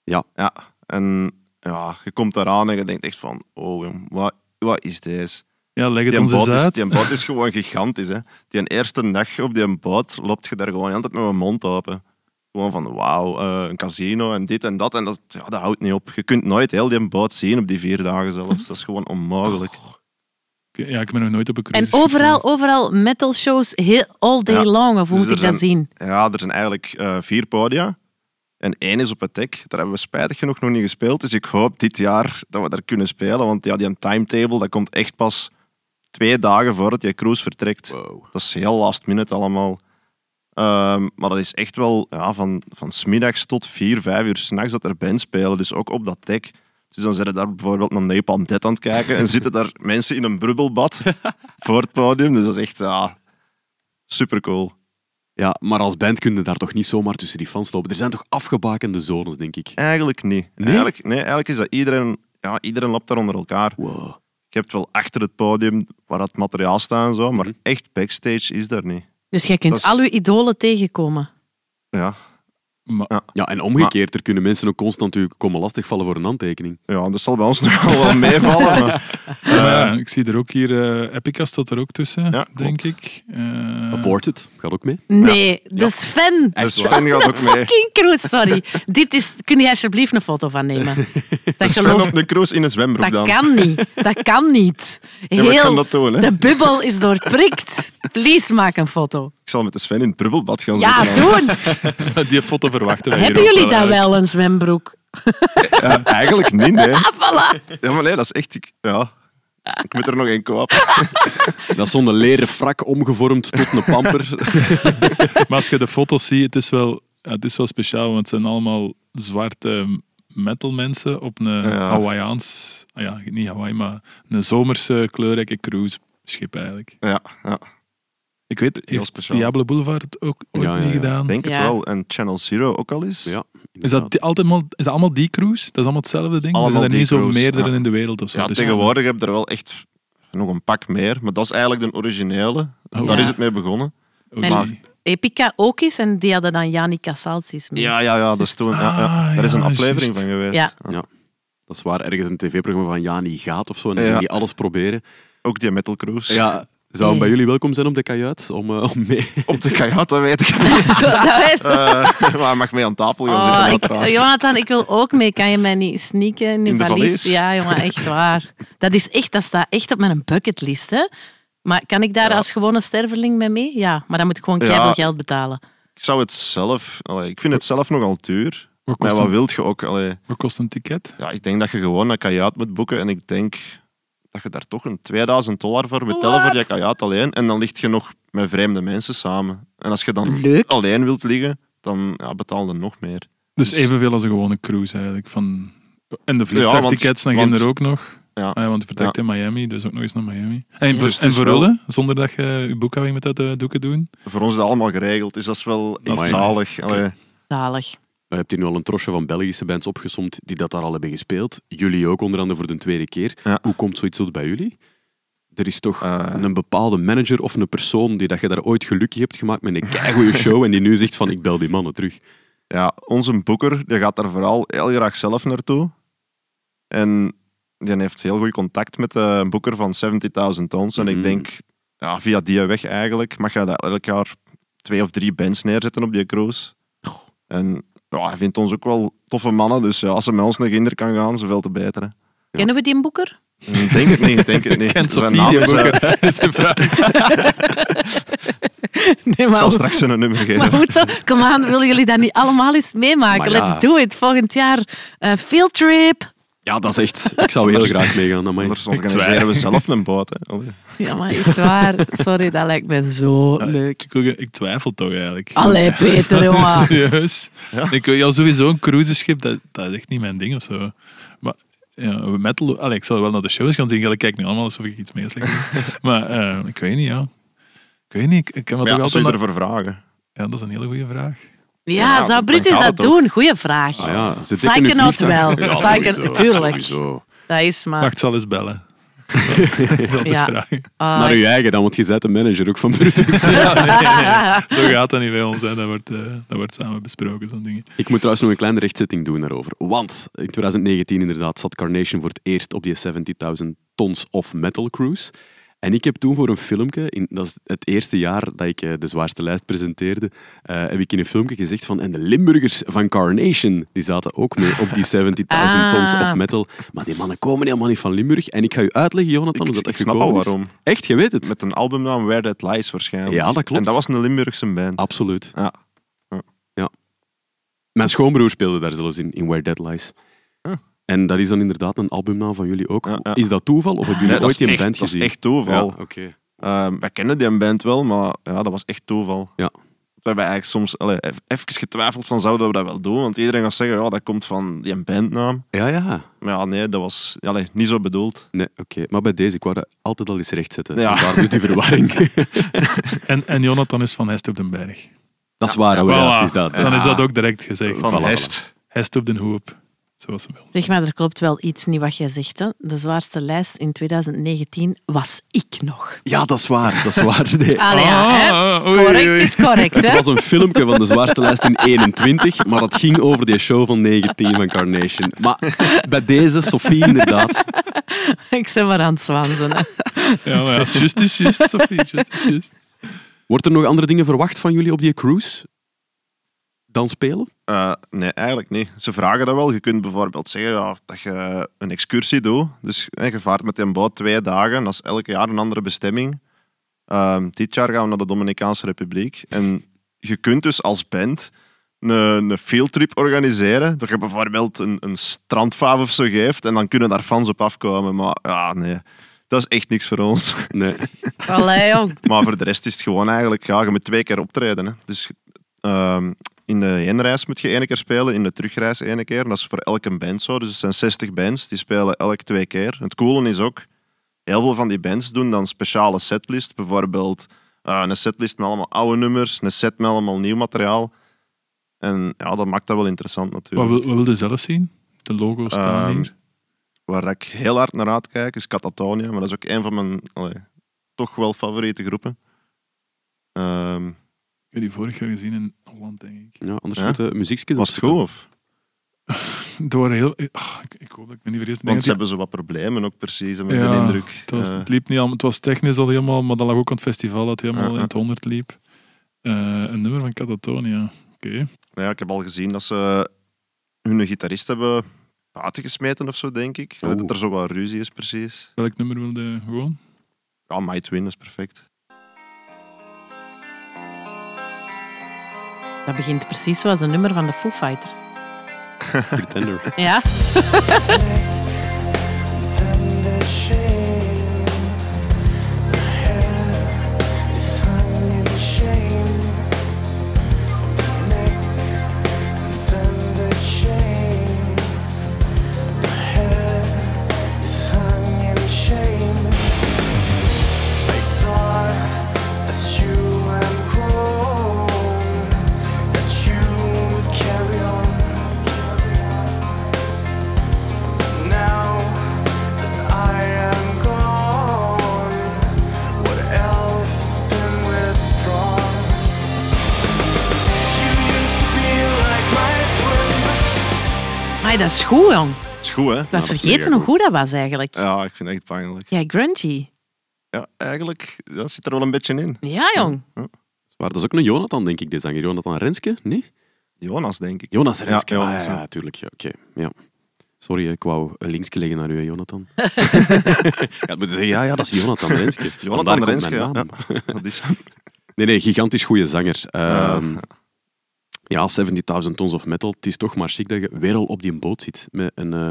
A: Ja.
C: Ja. En ja, je komt daaraan en je denkt echt van, oh, jong, wat, wat is deze?
B: Ja, leg het
C: Die
B: ons eens
C: boot, is,
B: uit.
C: die boot is gewoon gigantisch. Hè. Die eerste dag op die boot loopt je daar gewoon altijd met mijn mond open. Gewoon van, wauw, eh, een casino en dit en dat. En dat, ja, dat houdt niet op. Je kunt nooit heel die boot zien op die vier dagen zelfs. Dat is gewoon onmogelijk.
B: Ik- Ja, ik ben nog nooit op een
D: En
B: cruise
D: overal, overal metal shows, heel, all day
C: Ja.
D: long. Of hoe
C: Dus
D: moet ik
C: er
D: dat
C: zijn-
D: zien?
C: Ja, er zijn eigenlijk eh, vier podia. En één is op het dek. Daar hebben we spijtig genoeg nog niet gespeeld. Dus ik hoop dit jaar dat we daar kunnen spelen. Want ja, die timetable dat komt echt pas twee dagen voordat je cruise vertrekt.
A: Wow.
C: Dat is heel last minute allemaal. Ehm, maar dat is echt wel ja, van, van 's middags tot vier, vijf uur s'nachts dat er bands spelen. Dus ook op dat dek. Dus dan zitten daar bijvoorbeeld naar Napalm Dead aan het kijken. En zitten daar mensen in een brubbelbad voor het podium. Dus dat is echt ja, super cool.
A: Ja, maar als band kun je daar toch niet zomaar tussen die fans lopen. Er zijn toch afgebakende zones, denk ik.
C: Eigenlijk niet.
A: Nee?
C: Eigenlijk, nee, eigenlijk is dat iedereen, ja, iedereen loopt daar onder elkaar.
A: Wow.
C: Je hebt wel achter het podium waar het materiaal staat en zo, maar echt backstage is daar niet.
D: Dus jij kunt
C: Dat is-
D: al uw idolen tegenkomen.
C: Ja,
B: Maar,
A: Ja, en omgekeerd, er kunnen mensen ook constant u komen lastigvallen voor een handtekening.
C: ja dat zal bij ons nog wel meevallen. Maar,
B: eh, maar ja, ik zie er ook hier, eh Epica staat er ook tussen,
C: Ja,
B: denk
C: klopt.
B: ik. Eh,
A: Aborted, gaat ook mee.
D: Nee, dat is fan.
C: dus Sven gaat ook mee.
D: Fucking cruise, sorry. Dit is, kun je alsjeblieft een foto van nemen? Dat
C: Sven
D: geloof
C: op de cruise in een zwembroek dan.
D: Dat kan niet. Dat kan niet.
C: Ja, maar ik kan
D: Heel,
C: dat doen, hè.
D: de bubbel is doorprikt. Please, maak een foto.
C: Ik zal met de Sven in het brubbelbad gaan
D: Ja,
C: zitten. dan.
D: doen.
B: Die foto verwachten we hier
D: Hebben
B: ook
D: jullie
C: eh,
D: daar
B: eigenlijk.
D: wel een zwembroek?
C: Ja, eigenlijk niet, nee.
D: Ah, voilà.
C: Ja, maar nee, dat is echt... Ik, ja. ik moet er nog één kopen.
A: Dat is zo'n leren frak omgevormd tot een pamper.
B: Maar als je de foto's ziet, het is wel, ja, het is wel speciaal, want het zijn allemaal zwarte metal mensen op een
C: Ja.
B: Hawaiiaans, ah ja, niet Hawaii, maar een zomerse kleurrijke cruise schip eigenlijk.
C: Ja, ja.
B: Ik weet,
C: Heel
B: heeft
C: speciaal. Oh
B: Diablo Boulevard ook ooit
A: Ja, ja,
B: niet
A: ja.
B: gedaan?
C: denk
D: Ja.
C: het wel. En Channel Zero ook al eens.
A: Ja,
B: Is dat, die- altijd, allemaal- is dat allemaal die cruise? Dat is allemaal hetzelfde ding?
C: Allemaal
B: er zijn er
C: die
B: niet zo
C: cruise,
B: meerdere
C: ja.
B: in de wereld of zo.
C: Ja,
B: Dus-
C: tegenwoordig heb je er wel echt nog een pak meer. Maar dat is eigenlijk de originele.
B: Oh,
C: Daar
D: Ja.
C: is het mee begonnen.
B: ook
D: En-
B: niet.
D: Epica ook is en die hadden dan Jani Casaltis mee.
C: Ja, ja, ja, dat is toen. Ja, ja.
B: Ah,
C: Daar is een
B: ja,
C: aflevering
B: juist.
C: van geweest.
D: Ja.
A: dat is waar. Ergens een tv-programma van Jani gaat of zo. En dan
C: Ja.
A: gaan die alles proberen.
C: Ook die Metal Cruise.
A: Ja, zou hem bij jullie welkom zijn op de kajuit? Om, eh, om mee.
C: Op de kajuit, dat weet ik niet.
D: Dat weet-
C: Eh, maar hij mag mee aan tafel gaan zitten,
D: Oh, ik,
C: uiteraard.
D: Jonathan, ik wil ook mee. Kan je mij niet sneaken in,
C: In de
D: valies?
C: valies?
D: Ja, jongen, echt waar. Dat, is echt, dat staat echt op mijn bucketlist. Hè. Maar kan ik daar als gewone sterveling mee mee? Ja, maar dan moet ik gewoon
C: Ja.
D: keihard geld betalen.
C: Ik zou het zelf... allee, ik vind het zelf nogal duur.
B: Wat
C: Maar
B: kost,
C: wat
B: een,
C: wilt je ook? Allee,
B: wat kost een ticket?
C: ja, ik denk dat je gewoon een kajuit moet boeken. En ik denk dat dat je daar toch een 2000 dollar voor moet tellen
D: Wat?
C: voor je kajuit alleen. En dan ligt je nog met vreemde mensen samen. En als je dan
D: Leuk.
C: alleen wilt liggen, dan ja, betaal je nog meer.
B: Dus evenveel als een gewone cruise eigenlijk. Van... En de
C: Ja,
B: vliegtuigtickets,
C: want-
B: dan gaan
C: want-
B: er ook nog.
C: Ja.
B: Ah ja, want het vertrekt in Miami, dus ook nog eens naar Miami. En,
C: Dus het
B: en
C: is wel-
B: verrullen, zonder dat je je boekhouding met uit de doeken doen.
C: Voor ons is dat allemaal geregeld, dus dat is wel
A: Amai.
C: echt zalig. Allee,
D: Zalig.
A: Je Eh, hebt hier nu al een trosje van Belgische bands opgesomd die dat daar al hebben gespeeld. Jullie ook, onder andere voor de tweede keer.
C: Ja.
A: Hoe komt zoiets tot bij jullie? Er is toch
C: Eh.
A: een bepaalde manager of een persoon die dat je daar ooit gelukkig hebt gemaakt met een keigoede show en die nu zegt van ik bel die mannen terug.
C: ja, onze boeker die gaat daar vooral heel graag zelf naartoe. En die heeft heel goed contact met de boeker van 70.000 Tons. En
A: Mhm.
C: ik denk, ja, via die weg eigenlijk, mag je daar elk jaar twee of drie bands neerzetten op die cruise. En ja, hij vindt ons ook wel toffe mannen, dus ja, als ze met ons naar Ginder kan gaan, zoveel te beter. hè.
D: Kennen we die boeker?
C: Ik denk het niet, ik denk het niet.
B: Kent
C: Zijn
B: Sophie
C: naam
B: die
C: is, eh,
B: boeken? Dat is de vraag.
D: Nee,
C: Ik
B: Nou.
C: zal
D: maar,
C: straks een nummer geven.
D: maar hoe toch? Kom aan, willen jullie dat niet allemaal eens meemaken?
A: Maar ja.
D: Let's do it. Volgend jaar eh field trip.
A: Ja, dat is echt... Ik zou heel graag meegaan. Amai.
C: Anders organiseren we zelf een boot. Hè. Allee.
D: Ja, maar echt waar. Sorry, dat lijkt me zo leuk.
B: Ik, ik twijfel toch eigenlijk.
D: Allee, Peter, jongen.
B: Serieus.
C: Ah. Ja.
B: Ik, ja, sowieso een cruiseschip, dat, dat is echt niet mijn ding of zo. Maar ja, metal, allee, ik zou wel naar de shows gaan zien. Ik kijk nu allemaal alsof ik iets meeslik. heb. maar eh, ik weet niet, ja. Ik weet niet, ik, ik kan me
C: Maar
B: toch
C: ja,
B: altijd...
C: zou je
B: naar-
C: ervoor vragen?
B: Ja, dat is een hele goede vraag.
D: Ja,
C: Ja,
D: zou
C: dan
D: Brutus
C: gaat
D: dat
C: het ook.
D: doen? Goeie vraag.
A: Ah ja, ze
D: Psychonaut
A: tikken nu vliegtuig.
D: wel.
A: Ja,
D: Psycho-
A: sowieso,
D: tuurlijk.
A: sowieso.
D: Dat is
C: Ah.
D: maar...
B: Wacht, ik zal eens bellen. ik zal het eens
D: Ja.
B: vragen.
D: Ah,
A: Naar uw eigen dan, want je bent de manager ook van Brutus.
B: Ja, nee, nee, zo gaat dat niet bij ons. Hè. Dat, wordt, eh, dat wordt samen besproken, zo'n dingen.
A: Ik moet trouwens nog een kleine rechtzetting doen daarover. Want in 2019 inderdaad zat Carnation voor het eerst op die 70.000 tons of metal cruise. En ik heb toen voor een filmpje, in, dat is het eerste jaar dat ik eh, de zwaarste lijst presenteerde, eh, heb ik in een filmpje gezegd van, en de Limburgers van Carnation, die zaten ook mee op die 70.000 tons
D: Ah.
A: of metal. Maar die mannen komen helemaal niet van Limburg. En ik ga u uitleggen, Jonathan,
C: Ik,
A: dat
C: ik
A: dat
C: snap
A: gekomen
C: al
A: is.
C: waarom.
A: Echt, je weet het.
C: Met een albumnaam Where That Lies waarschijnlijk.
A: Ja, dat klopt.
C: En dat was een Limburgse band.
A: Absoluut.
C: Ja.
A: Mijn schoonbroer speelde daar zelfs in, in Where Dead Lies.
C: Ah.
A: En dat is dan inderdaad een albumnaam van jullie ook.
C: Ja, ja.
A: Is dat toeval of hebben jullie
C: Nee, dat,
A: ooit
C: is
A: die
C: echt,
A: band
C: dat is
A: gezien?
C: echt toeval.
A: Ja, oké.
C: Ehm, wij kennen die band wel, maar ja, dat was echt toeval.
A: Ja.
C: We hebben eigenlijk soms allee, ev- even getwijfeld van zouden we dat wel doen, want iedereen gaat zeggen ja, dat komt van die bandnaam.
A: Ja, ja.
C: Maar ja, nee, dat was allee, niet zo bedoeld.
A: Nee, oké. Maar bij deze, ik wou dat altijd al eens rechtzetten.
C: Ja.
A: Daar dus die verwarring.
B: En, en Jonathan is van Hest op den Berg.
A: dat is waar, ja,
B: Voilà.
A: is dat.
B: Dan
A: Dat
B: is dat ook direct gezegd.
C: Ah. Van
A: Voilà,
C: Hest.
B: Hest op den Hoop. Zoals ze wel.
D: Zeg maar, er klopt wel iets niet wat jij zegt. Hè? De zwaarste lijst in 2019 was ik nog.
A: Ja, dat is waar. Dat is waar. Nee.
D: Allee, ja, hè?
B: Ah, oei, oei,
D: Correct
B: oei.
D: is correct,
A: Het
D: hè?
A: was een filmpje van de zwaarste lijst in 21, maar dat ging over die show van 19 van Carnation. Maar bij deze, Sophie inderdaad.
D: Ik ben maar aan het zwanzen. Hè?
B: Ja, maar ja, het is juist, het is juist, Sophie. het is Juist, het is juist.
A: Wordt er nog andere dingen verwacht van jullie op die cruise? Dan spelen?
C: Eh, nee, eigenlijk niet. Ze vragen dat wel. Je kunt bijvoorbeeld zeggen ja, dat je een excursie doet. Dus hè, je vaart met een boot twee dagen. Dat is elk jaar een andere bestemming. Ehm, dit jaar gaan we naar de Dominicaanse Republiek. En je kunt dus als band een, een fieldtrip organiseren. Dat je bijvoorbeeld een, een strandvaaf of zo geeft. En dan kunnen daar fans op afkomen. Maar ja, nee. Dat is echt niks voor ons.
A: Nee.
D: Allee, jong.
C: Maar voor de rest is het gewoon eigenlijk, ja, je moet twee keer optreden. Hè. Dus ehm, in de heenreis moet je één keer spelen, in de terugreis één keer. En dat is voor elke band zo. Dus het zijn 60 bands, die spelen elk twee keer. Het coole is ook, heel veel van die bands doen dan speciale setlist. Bijvoorbeeld eh, een setlist met allemaal oude nummers, een set met allemaal nieuw materiaal. En ja, dat maakt dat wel interessant
B: Wat
C: natuurlijk.
B: wil, wat wil je zelf zien? De logo's staan
C: Ehm,
B: hier.
C: Waar ik heel hard naar uitkijk is Catatonia, maar dat is ook een van mijn allee, toch wel favoriete groepen. Ehm,
B: Ik heb die vorig jaar gezien in Holland, denk ik.
A: Ja, anders
C: Ja?
A: moet de muziekje
C: was het goed of?
B: Het waren heel... ah, ik, ik hoop dat ik me niet vergis. Ik denk
C: Want
B: dat
C: ze
B: die-
C: hebben zo wat problemen ook precies, met
B: Ja,
C: de indruk.
B: Het, was,
C: Eh,
B: het liep niet allemaal... Het was technisch al helemaal, maar dat lag ook aan het festival dat helemaal
C: Ja,
B: in
C: ja.
B: het 100 liep. Eh, een nummer van Catatonia. Oké.
C: nou ja, ik heb al gezien dat ze hun gitarist hebben buiten gesmeten of zo, denk ik.
A: Oeh.
C: Dat er zo wat ruzie is precies.
B: Welk nummer wilde je gewoon?
C: Ja, Might Win is perfect.
D: Dat begint precies zoals een nummer van de Foo Fighters.
A: Pretender.
D: Ja?
E: thunder shame.
D: Amai, dat is goed, jong.
C: Het Nou, is goed, hè?
D: Ik was
A: dat is
D: vergeten
A: mega
D: hoe goed dat was eigenlijk. Ja,
C: Ja, ik vind het echt pijnlijk.
D: grungy.
C: Ja, eigenlijk, dat zit er wel een beetje in.
D: Ja, jong.
A: Maar dat is ook een Jonathan, denk ik, dit zanger. Jonathan Renske? Nee?
C: Jonas, denk ik.
A: Jonas Renske. ah,
C: Ja,
A: Ja,
C: Jonas,
A: ja,
C: ja.
A: tuurlijk. Ja, Oké, ja. Sorry, hè, ik wou een linkje leggen naar u, hè, Jonathan. ja, het moet zeggen, ja, ja, dat is Jonathan Renske. Vandaar
C: Jonathan
A: komt mijn
C: Renske, ja.
A: naam.
C: ja. Dat is
A: Nee, nee, gigantisch goede zanger.
C: Ah.
A: Ehm,
C: Ja.
A: ja, 70.000 Tons of Metal. Het is toch maar chic dat je weer al op die boot zit. Met een, eh,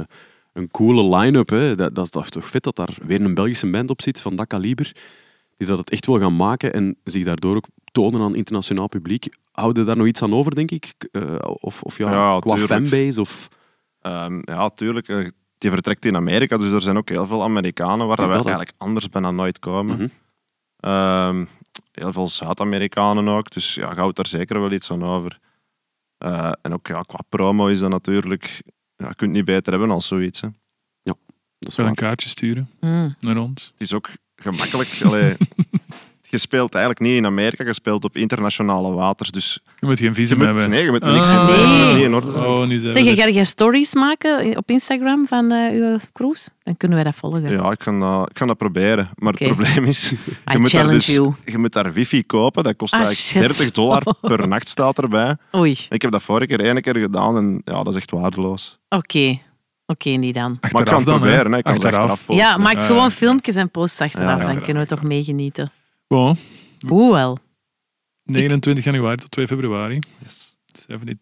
A: een coole line-up. Hè. Dat, dat, is, dat is toch vet dat daar weer een Belgische band op zit van dat kaliber. Die dat het echt wil gaan maken en zich daardoor ook tonen aan internationaal publiek. Houden daar nog iets aan over, denk ik? Eh, of of ja,
C: Ja,
A: qua
C: tuurlijk.
A: fanbase? Of,
C: Ehm, ja, tuurlijk. eh, Die vertrekt in Amerika, dus er zijn ook heel veel Amerikanen waar
A: Is
C: wij
A: dat het?
C: eigenlijk anders bijna nooit komen.
A: Mhm.
C: Ehm, heel veel Zuid-Amerikanen ook, dus ja, je houdt daar zeker wel iets aan over. Eh, en ook ja, qua promo is dat natuurlijk... Ja, je kunt het niet beter hebben als zoiets. Hè.
A: dat is
B: Wel een
A: waar.
B: kaartje sturen
D: Mm.
B: naar ons.
C: Het is ook gemakkelijk. allee, je speelt eigenlijk niet in Amerika, je speelt op internationale waters. Dus
B: Je moet geen
C: je
B: visum
C: moet,
B: hebben.
C: nee, je moet niks
B: Ah.
C: hebben. Je moet
D: Nee.
C: niet in orde zijn.
B: Oh, nu zijn we
D: Zeg,
B: er.
D: ga jij stories maken op Instagram van eh, uw cruise? Dan kunnen wij dat volgen.
C: Ja, ik ga, dat, ik ga dat proberen. Maar
D: Oké.
C: het probleem is...
D: I
C: moet daar
D: challenge
C: dus-
D: you.
C: Je moet daar wifi kopen, dat kost
D: Ah,
C: eigenlijk
D: shit.
C: 30 dollar per nacht staat erbij.
D: Oei,
C: Ik heb dat vorige keer één keer gedaan en ja, dat is echt waardeloos.
D: oké. Oké, niet dan.
C: Maar ik kan
B: Achteraf
C: het
B: dan, hè.
C: proberen, hè. ik kan het achteraf posten.
D: Ja, maak
B: Ja,
D: gewoon
B: ja.
D: filmpjes en posts achteraf.
C: Ja, ja.
D: Dan kunnen we toch meegenieten.
B: Bon,
D: Hoewel.
B: 29 januari tot 2 februari.
C: Yes.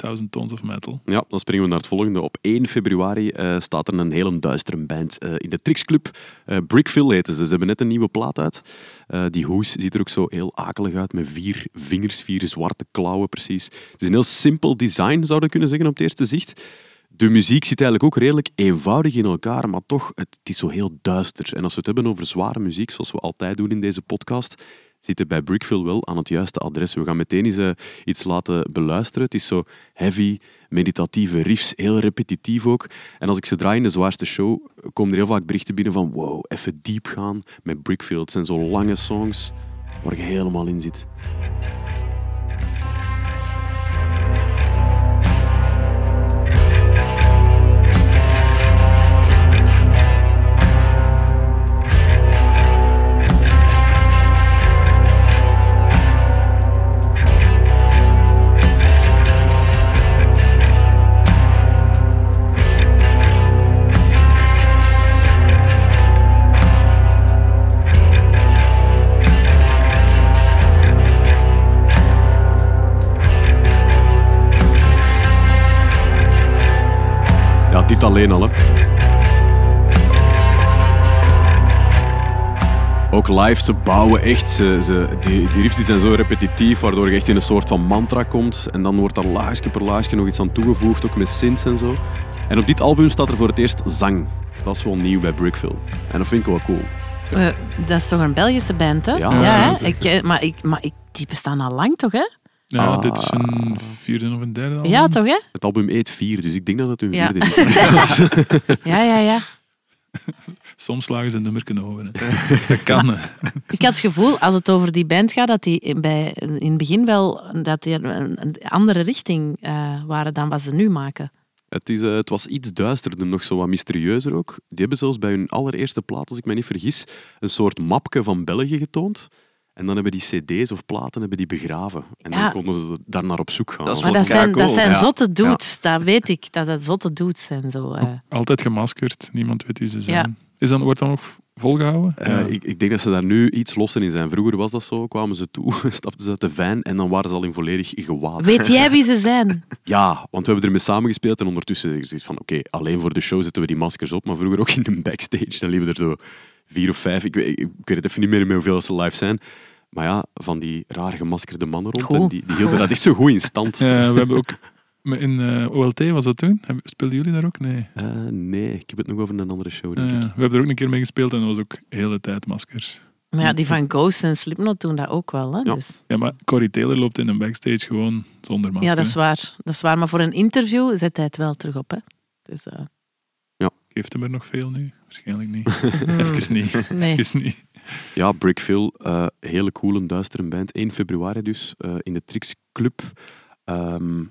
B: 70.000 tons of metal.
A: Ja, dan springen we naar het volgende. Op 1 februari eh, staat er een hele duistere band eh, in de Trixclub. Eh Brickville heten ze. Ze hebben net een nieuwe plaat uit. Eh, die hoes ziet er ook zo heel akelig uit, met vier vingers, vier zwarte klauwen precies. Het is een heel simpel design, zouden we kunnen zeggen op het eerste zicht. De muziek zit eigenlijk ook redelijk eenvoudig in elkaar, maar toch, het, het is zo heel duister. En als we het hebben over zware muziek, zoals we altijd doen in deze podcast, zitten bij Brickville wel aan het juiste adres. We gaan meteen eens eh, iets laten beluisteren. Het is zo heavy, meditatieve riffs, heel repetitief ook. En als ik ze draai in de zwaarste show, komen er heel vaak berichten binnen van wow, even diep gaan met Brickville. Het zijn zo lange songs waar je helemaal in zit. Ja, dit alleen al, hè. Ook live, ze bouwen echt. Ze, ze, die, die riffs die zijn zo repetitief, waardoor je echt in een soort van mantra komt. En dan wordt daar laagje per laagje nog iets aan toegevoegd, ook met synths en zo. En op dit album staat er voor het eerst zang. Dat is wel nieuw bij Brickville. En dat vind ik wel cool.
D: Eh, dat is toch een Belgische band, hè?
A: Ja,
D: hè?
B: zeker.
D: Ik, eh, maar ik, maar ik, die bestaan al lang, toch, hè?
B: Ja,
A: Ah.
B: dit is een vierde of een derde album.
D: Ja, toch, hè?
A: Het album eet vier, dus ik denk dat het hun
D: Ja.
A: vierde is.
D: Ja, ja, ja.
B: Soms slagen ze een nummer kunnen over. hè. Dat kan. hè.
D: Ik had het gevoel, als het over die band gaat, dat die in- bij, in het begin wel dat die een, een andere richting eh, waren dan wat ze nu maken.
A: Het, is, eh, het was iets duisterder, nog zo wat mysterieuzer ook. Die hebben zelfs bij hun allereerste plaat, als ik me niet vergis, een soort mapje van België getoond. En dan hebben die cd's of platen hebben die begraven. En
D: Ja.
A: dan konden ze daar naar op zoek gaan.
C: Dat is
D: Maar
C: wel
D: dat zijn, dat
C: keicool.
D: zijn
A: Ja.
D: zotte dudes, dat weet ik, dat dat zotte dudes zijn. Zo, eh.
B: Altijd gemaskerd. Niemand weet wie ze zijn.
D: Ja.
B: Is dan, wordt dan nog volgehouden?
A: Eh, ik, ik denk dat ze daar nu iets losser in zijn. Vroeger was dat zo, kwamen ze toe, stapten ze uit de van en dan waren ze al in volledig gewaad.
D: Weet jij wie ze zijn?
A: Ja, want we hebben ermee samengespeeld en ondertussen zeg ik zoiets van oké, alleen voor de show zetten we die maskers op, maar vroeger ook in de backstage, dan liepen er zo vier of vijf, ik weet, ik weet het even niet meer met hoeveel ze live zijn, maar ja, van die raar gemaskerde mannen rond,
D: Goh.
A: en die, die hielden dat echt zo goed in stand.
B: Ja, Eh, we hebben ook maar in eh, OLT was dat toen. Hebben- Speelden jullie daar ook? Nee.
A: Eh, nee, ik heb het nog over een andere show,
B: Eh,
A: denk
B: we
A: ik.
B: hebben er ook een keer mee gespeeld en dat was ook de hele tijd maskers.
D: Maar ja, die van Ghost en Slipknot doen dat ook wel. Hè?
A: Ja.
D: Dus,
B: Ja, maar Corey Taylor loopt in een backstage gewoon zonder masker.
D: ja, dat is waar. Dat is waar. Maar voor een interview zet hij het wel terug op. Hè? Dus, eh,
B: Geeft hem er nog veel nu? Waarschijnlijk niet.
D: hmm,
B: Even niet.
D: nee.
B: Even niet.
A: Ja, Brickville, eh hele coole, duistere band. 1 februari dus, eh, in de Trix Club. Ehm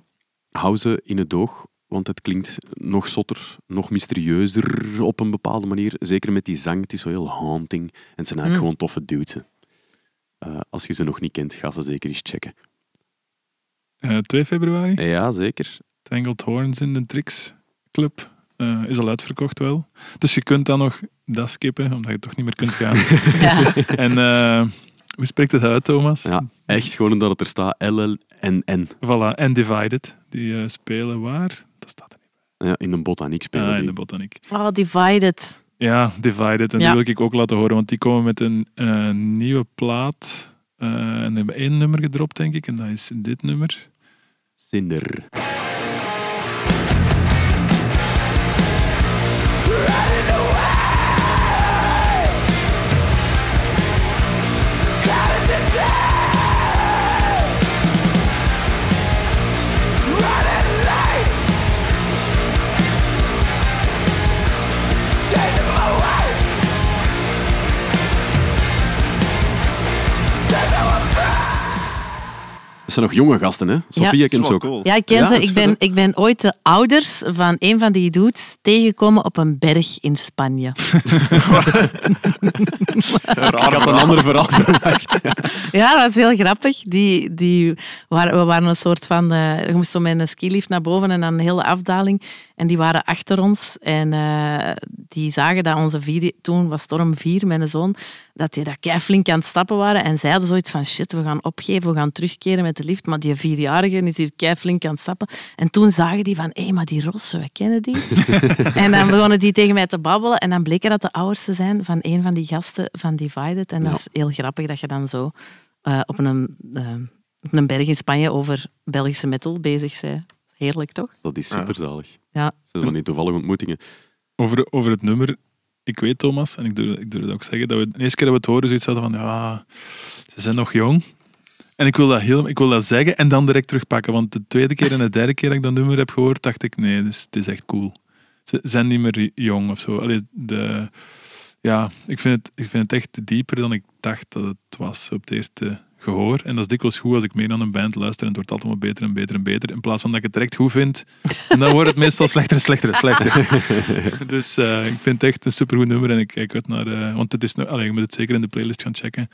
A: hou ze in het oog want het klinkt nog zotter, nog mysterieuzer op een bepaalde manier. Zeker met die zang, het is zo heel haunting. En het zijn eigenlijk
D: Mm.
A: gewoon toffe dudes. hè. Eh, als je ze nog niet kent, ga ze zeker eens checken.
B: Eh, 2 februari.
A: Ja, zeker.
B: Tangled Horns in de Tricks Club. eh, is al uitverkocht wel. Dus je kunt dan nog dat skippen, omdat je toch niet meer kunt gaan.
D: Ja.
B: en eh, hoe spreekt het uit, Thomas?
A: Ja, echt gewoon omdat het er staat LLNN.
B: Voilà, en Divided. Die eh, spelen waar? Dat staat er niet.
A: Ja, in de botaniek spelen
B: Ah, in
A: die.
B: de botaniek.
D: Oh, divided.
B: Ja, Divided. En
D: Ja.
B: die wil ik ook laten horen, want die komen met een eh, nieuwe plaat. Eh, en die hebben één nummer gedropt, denk ik. En dat is dit nummer.
A: Cinder. Dat zijn nog jonge gasten, hè? Sofia
C: Dat
A: kent
C: is
A: ze
C: wel
A: ook.
C: cool.
D: Ja, ik ken
A: Ja,
D: ze.
A: dat is
D: Ik ben,
A: vet,
D: ik ben ooit de ouders van een van die dudes tegengekomen op een berg in Spanje.
A: Ik had een ander verhaal verwacht.
D: Ja, dat was heel grappig. Die, die waren, we waren een soort van... eh je moest zo met een skilift naar boven en dan een hele afdaling. En die waren achter ons. En eh, die zagen dat onze vier... Toen was Storm 4, mijn zoon. Dat die dat keiflink aan het stappen waren. En zij hadden zoiets van... Shit, we gaan opgeven, we gaan terugkeren met de lift. Maar die vierjarige is hier keiflink aan het stappen. En toen zagen die van... Hé, maar die rossen, we kennen die. en dan begonnen die tegen mij te babbelen. En dan bleken dat de ouders te zijn van een van die gasten van Divided. En dat
A: Ja.
D: is heel grappig dat je dan zo eh, op, een, eh, op een berg in Spanje over Belgische metal bezig zijn. Heerlijk, toch?
A: Dat is
C: Ja.
A: superzalig.
D: Ja.
A: Dat zijn van die toevallige ontmoetingen.
B: Over, over het nummer. Ik weet, Thomas, en ik durf, ik durf het ook zeggen, dat we de eerste keer dat we het horen zoiets hadden van, ja, ze zijn nog jong. En ik wil dat, heel, ik wil dat zeggen en dan direct terugpakken. Want de tweede keer en de derde keer dat ik dat nummer heb gehoord, dacht ik, nee, dit is, het is echt cool. Ze zijn niet meer jong of zo. Allee, de, ja, ik vind, het, ik vind het echt dieper dan ik dacht dat het was op het eerste gehoor. En dat is dikwijls goed als ik meer aan een band luister en het wordt altijd maar beter en beter en beter. In plaats van dat ik het direct goed vind, en dan wordt het meestal slechter en slechter en slechter. dus eh, ik vind het echt een supergoed nummer en ik kijk uit naar... eh, want het is nog, allee, je moet het zeker in de playlist gaan checken.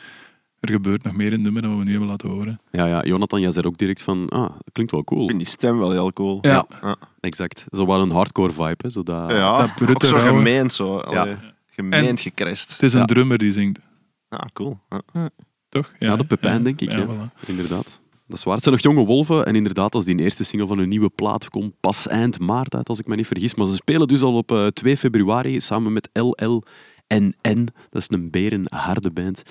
B: Er gebeurt nog meer in het nummer dan wat we nu hebben laten horen.
A: Ja, ja, Jonathan, jij zei ook direct van, ah, dat klinkt wel
C: Ik
A: cool.
C: vind die stem wel heel cool.
B: Ja.
A: Exact. Zo wel een hardcore vibe, hè. Zo dat...
C: Ja,
B: dat brute
C: ook zo
B: rauwe.
C: gemeend zo. Allee,
B: En-
C: Gemeend gekrest.
B: Het is een
A: Ja.
B: drummer die zingt,
C: Ah, cool. Ja.
B: toch?
A: Ja, de Pepijn, denk ik, ja.
B: voilà.
A: Inderdaad. Dat is waar. Het zijn nog jonge wolven. En inderdaad, als die eerste single van hun nieuwe plaat komt pas eind maart uit, als ik me niet vergis. Maar ze spelen dus al op eh, 2 februari samen met LLNN. Dat is een berenharde band.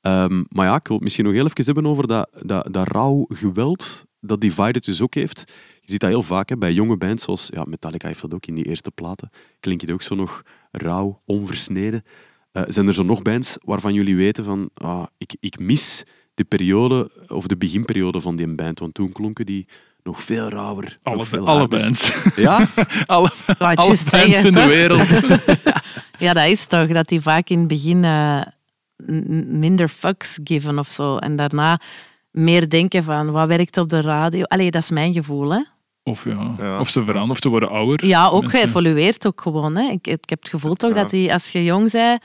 A: Ehm, maar ja, ik wil het misschien nog heel even hebben over dat, dat, dat rauw geweld dat Divided dus ook heeft. Je ziet dat heel vaak hè, bij jonge bands, zoals ja, Metallica heeft dat ook in die eerste platen. Klinkt het ook zo nog rauw, onversneden. Eh, zijn er zo nog bands waarvan jullie weten van, ah, ik, ik mis de periode, of de beginperiode van die band, want toen klonken die nog veel rauwer. nog
B: Alle,
A: veel
B: alle
A: harder.
B: bands.
A: Ja?
B: alle
D: Wou het
B: alle
D: juist
B: bands
D: zeggen,
B: in de
D: toch?
B: wereld.
D: Ja, dat is toch. Dat die vaak in het begin eh, m- m- minder fucks geven of zo. En daarna meer denken van, wat werkt op de radio? Allee, dat is mijn gevoel, hè?
B: Of, ja.
C: Ja.
B: of ze veranderen, of ze worden ouder.
D: Ja, ook
B: Mensen-
D: geëvolueerd ook gewoon, hè? Ik, ik heb het gevoel toch
C: Ja.
D: dat die, als je jong bent...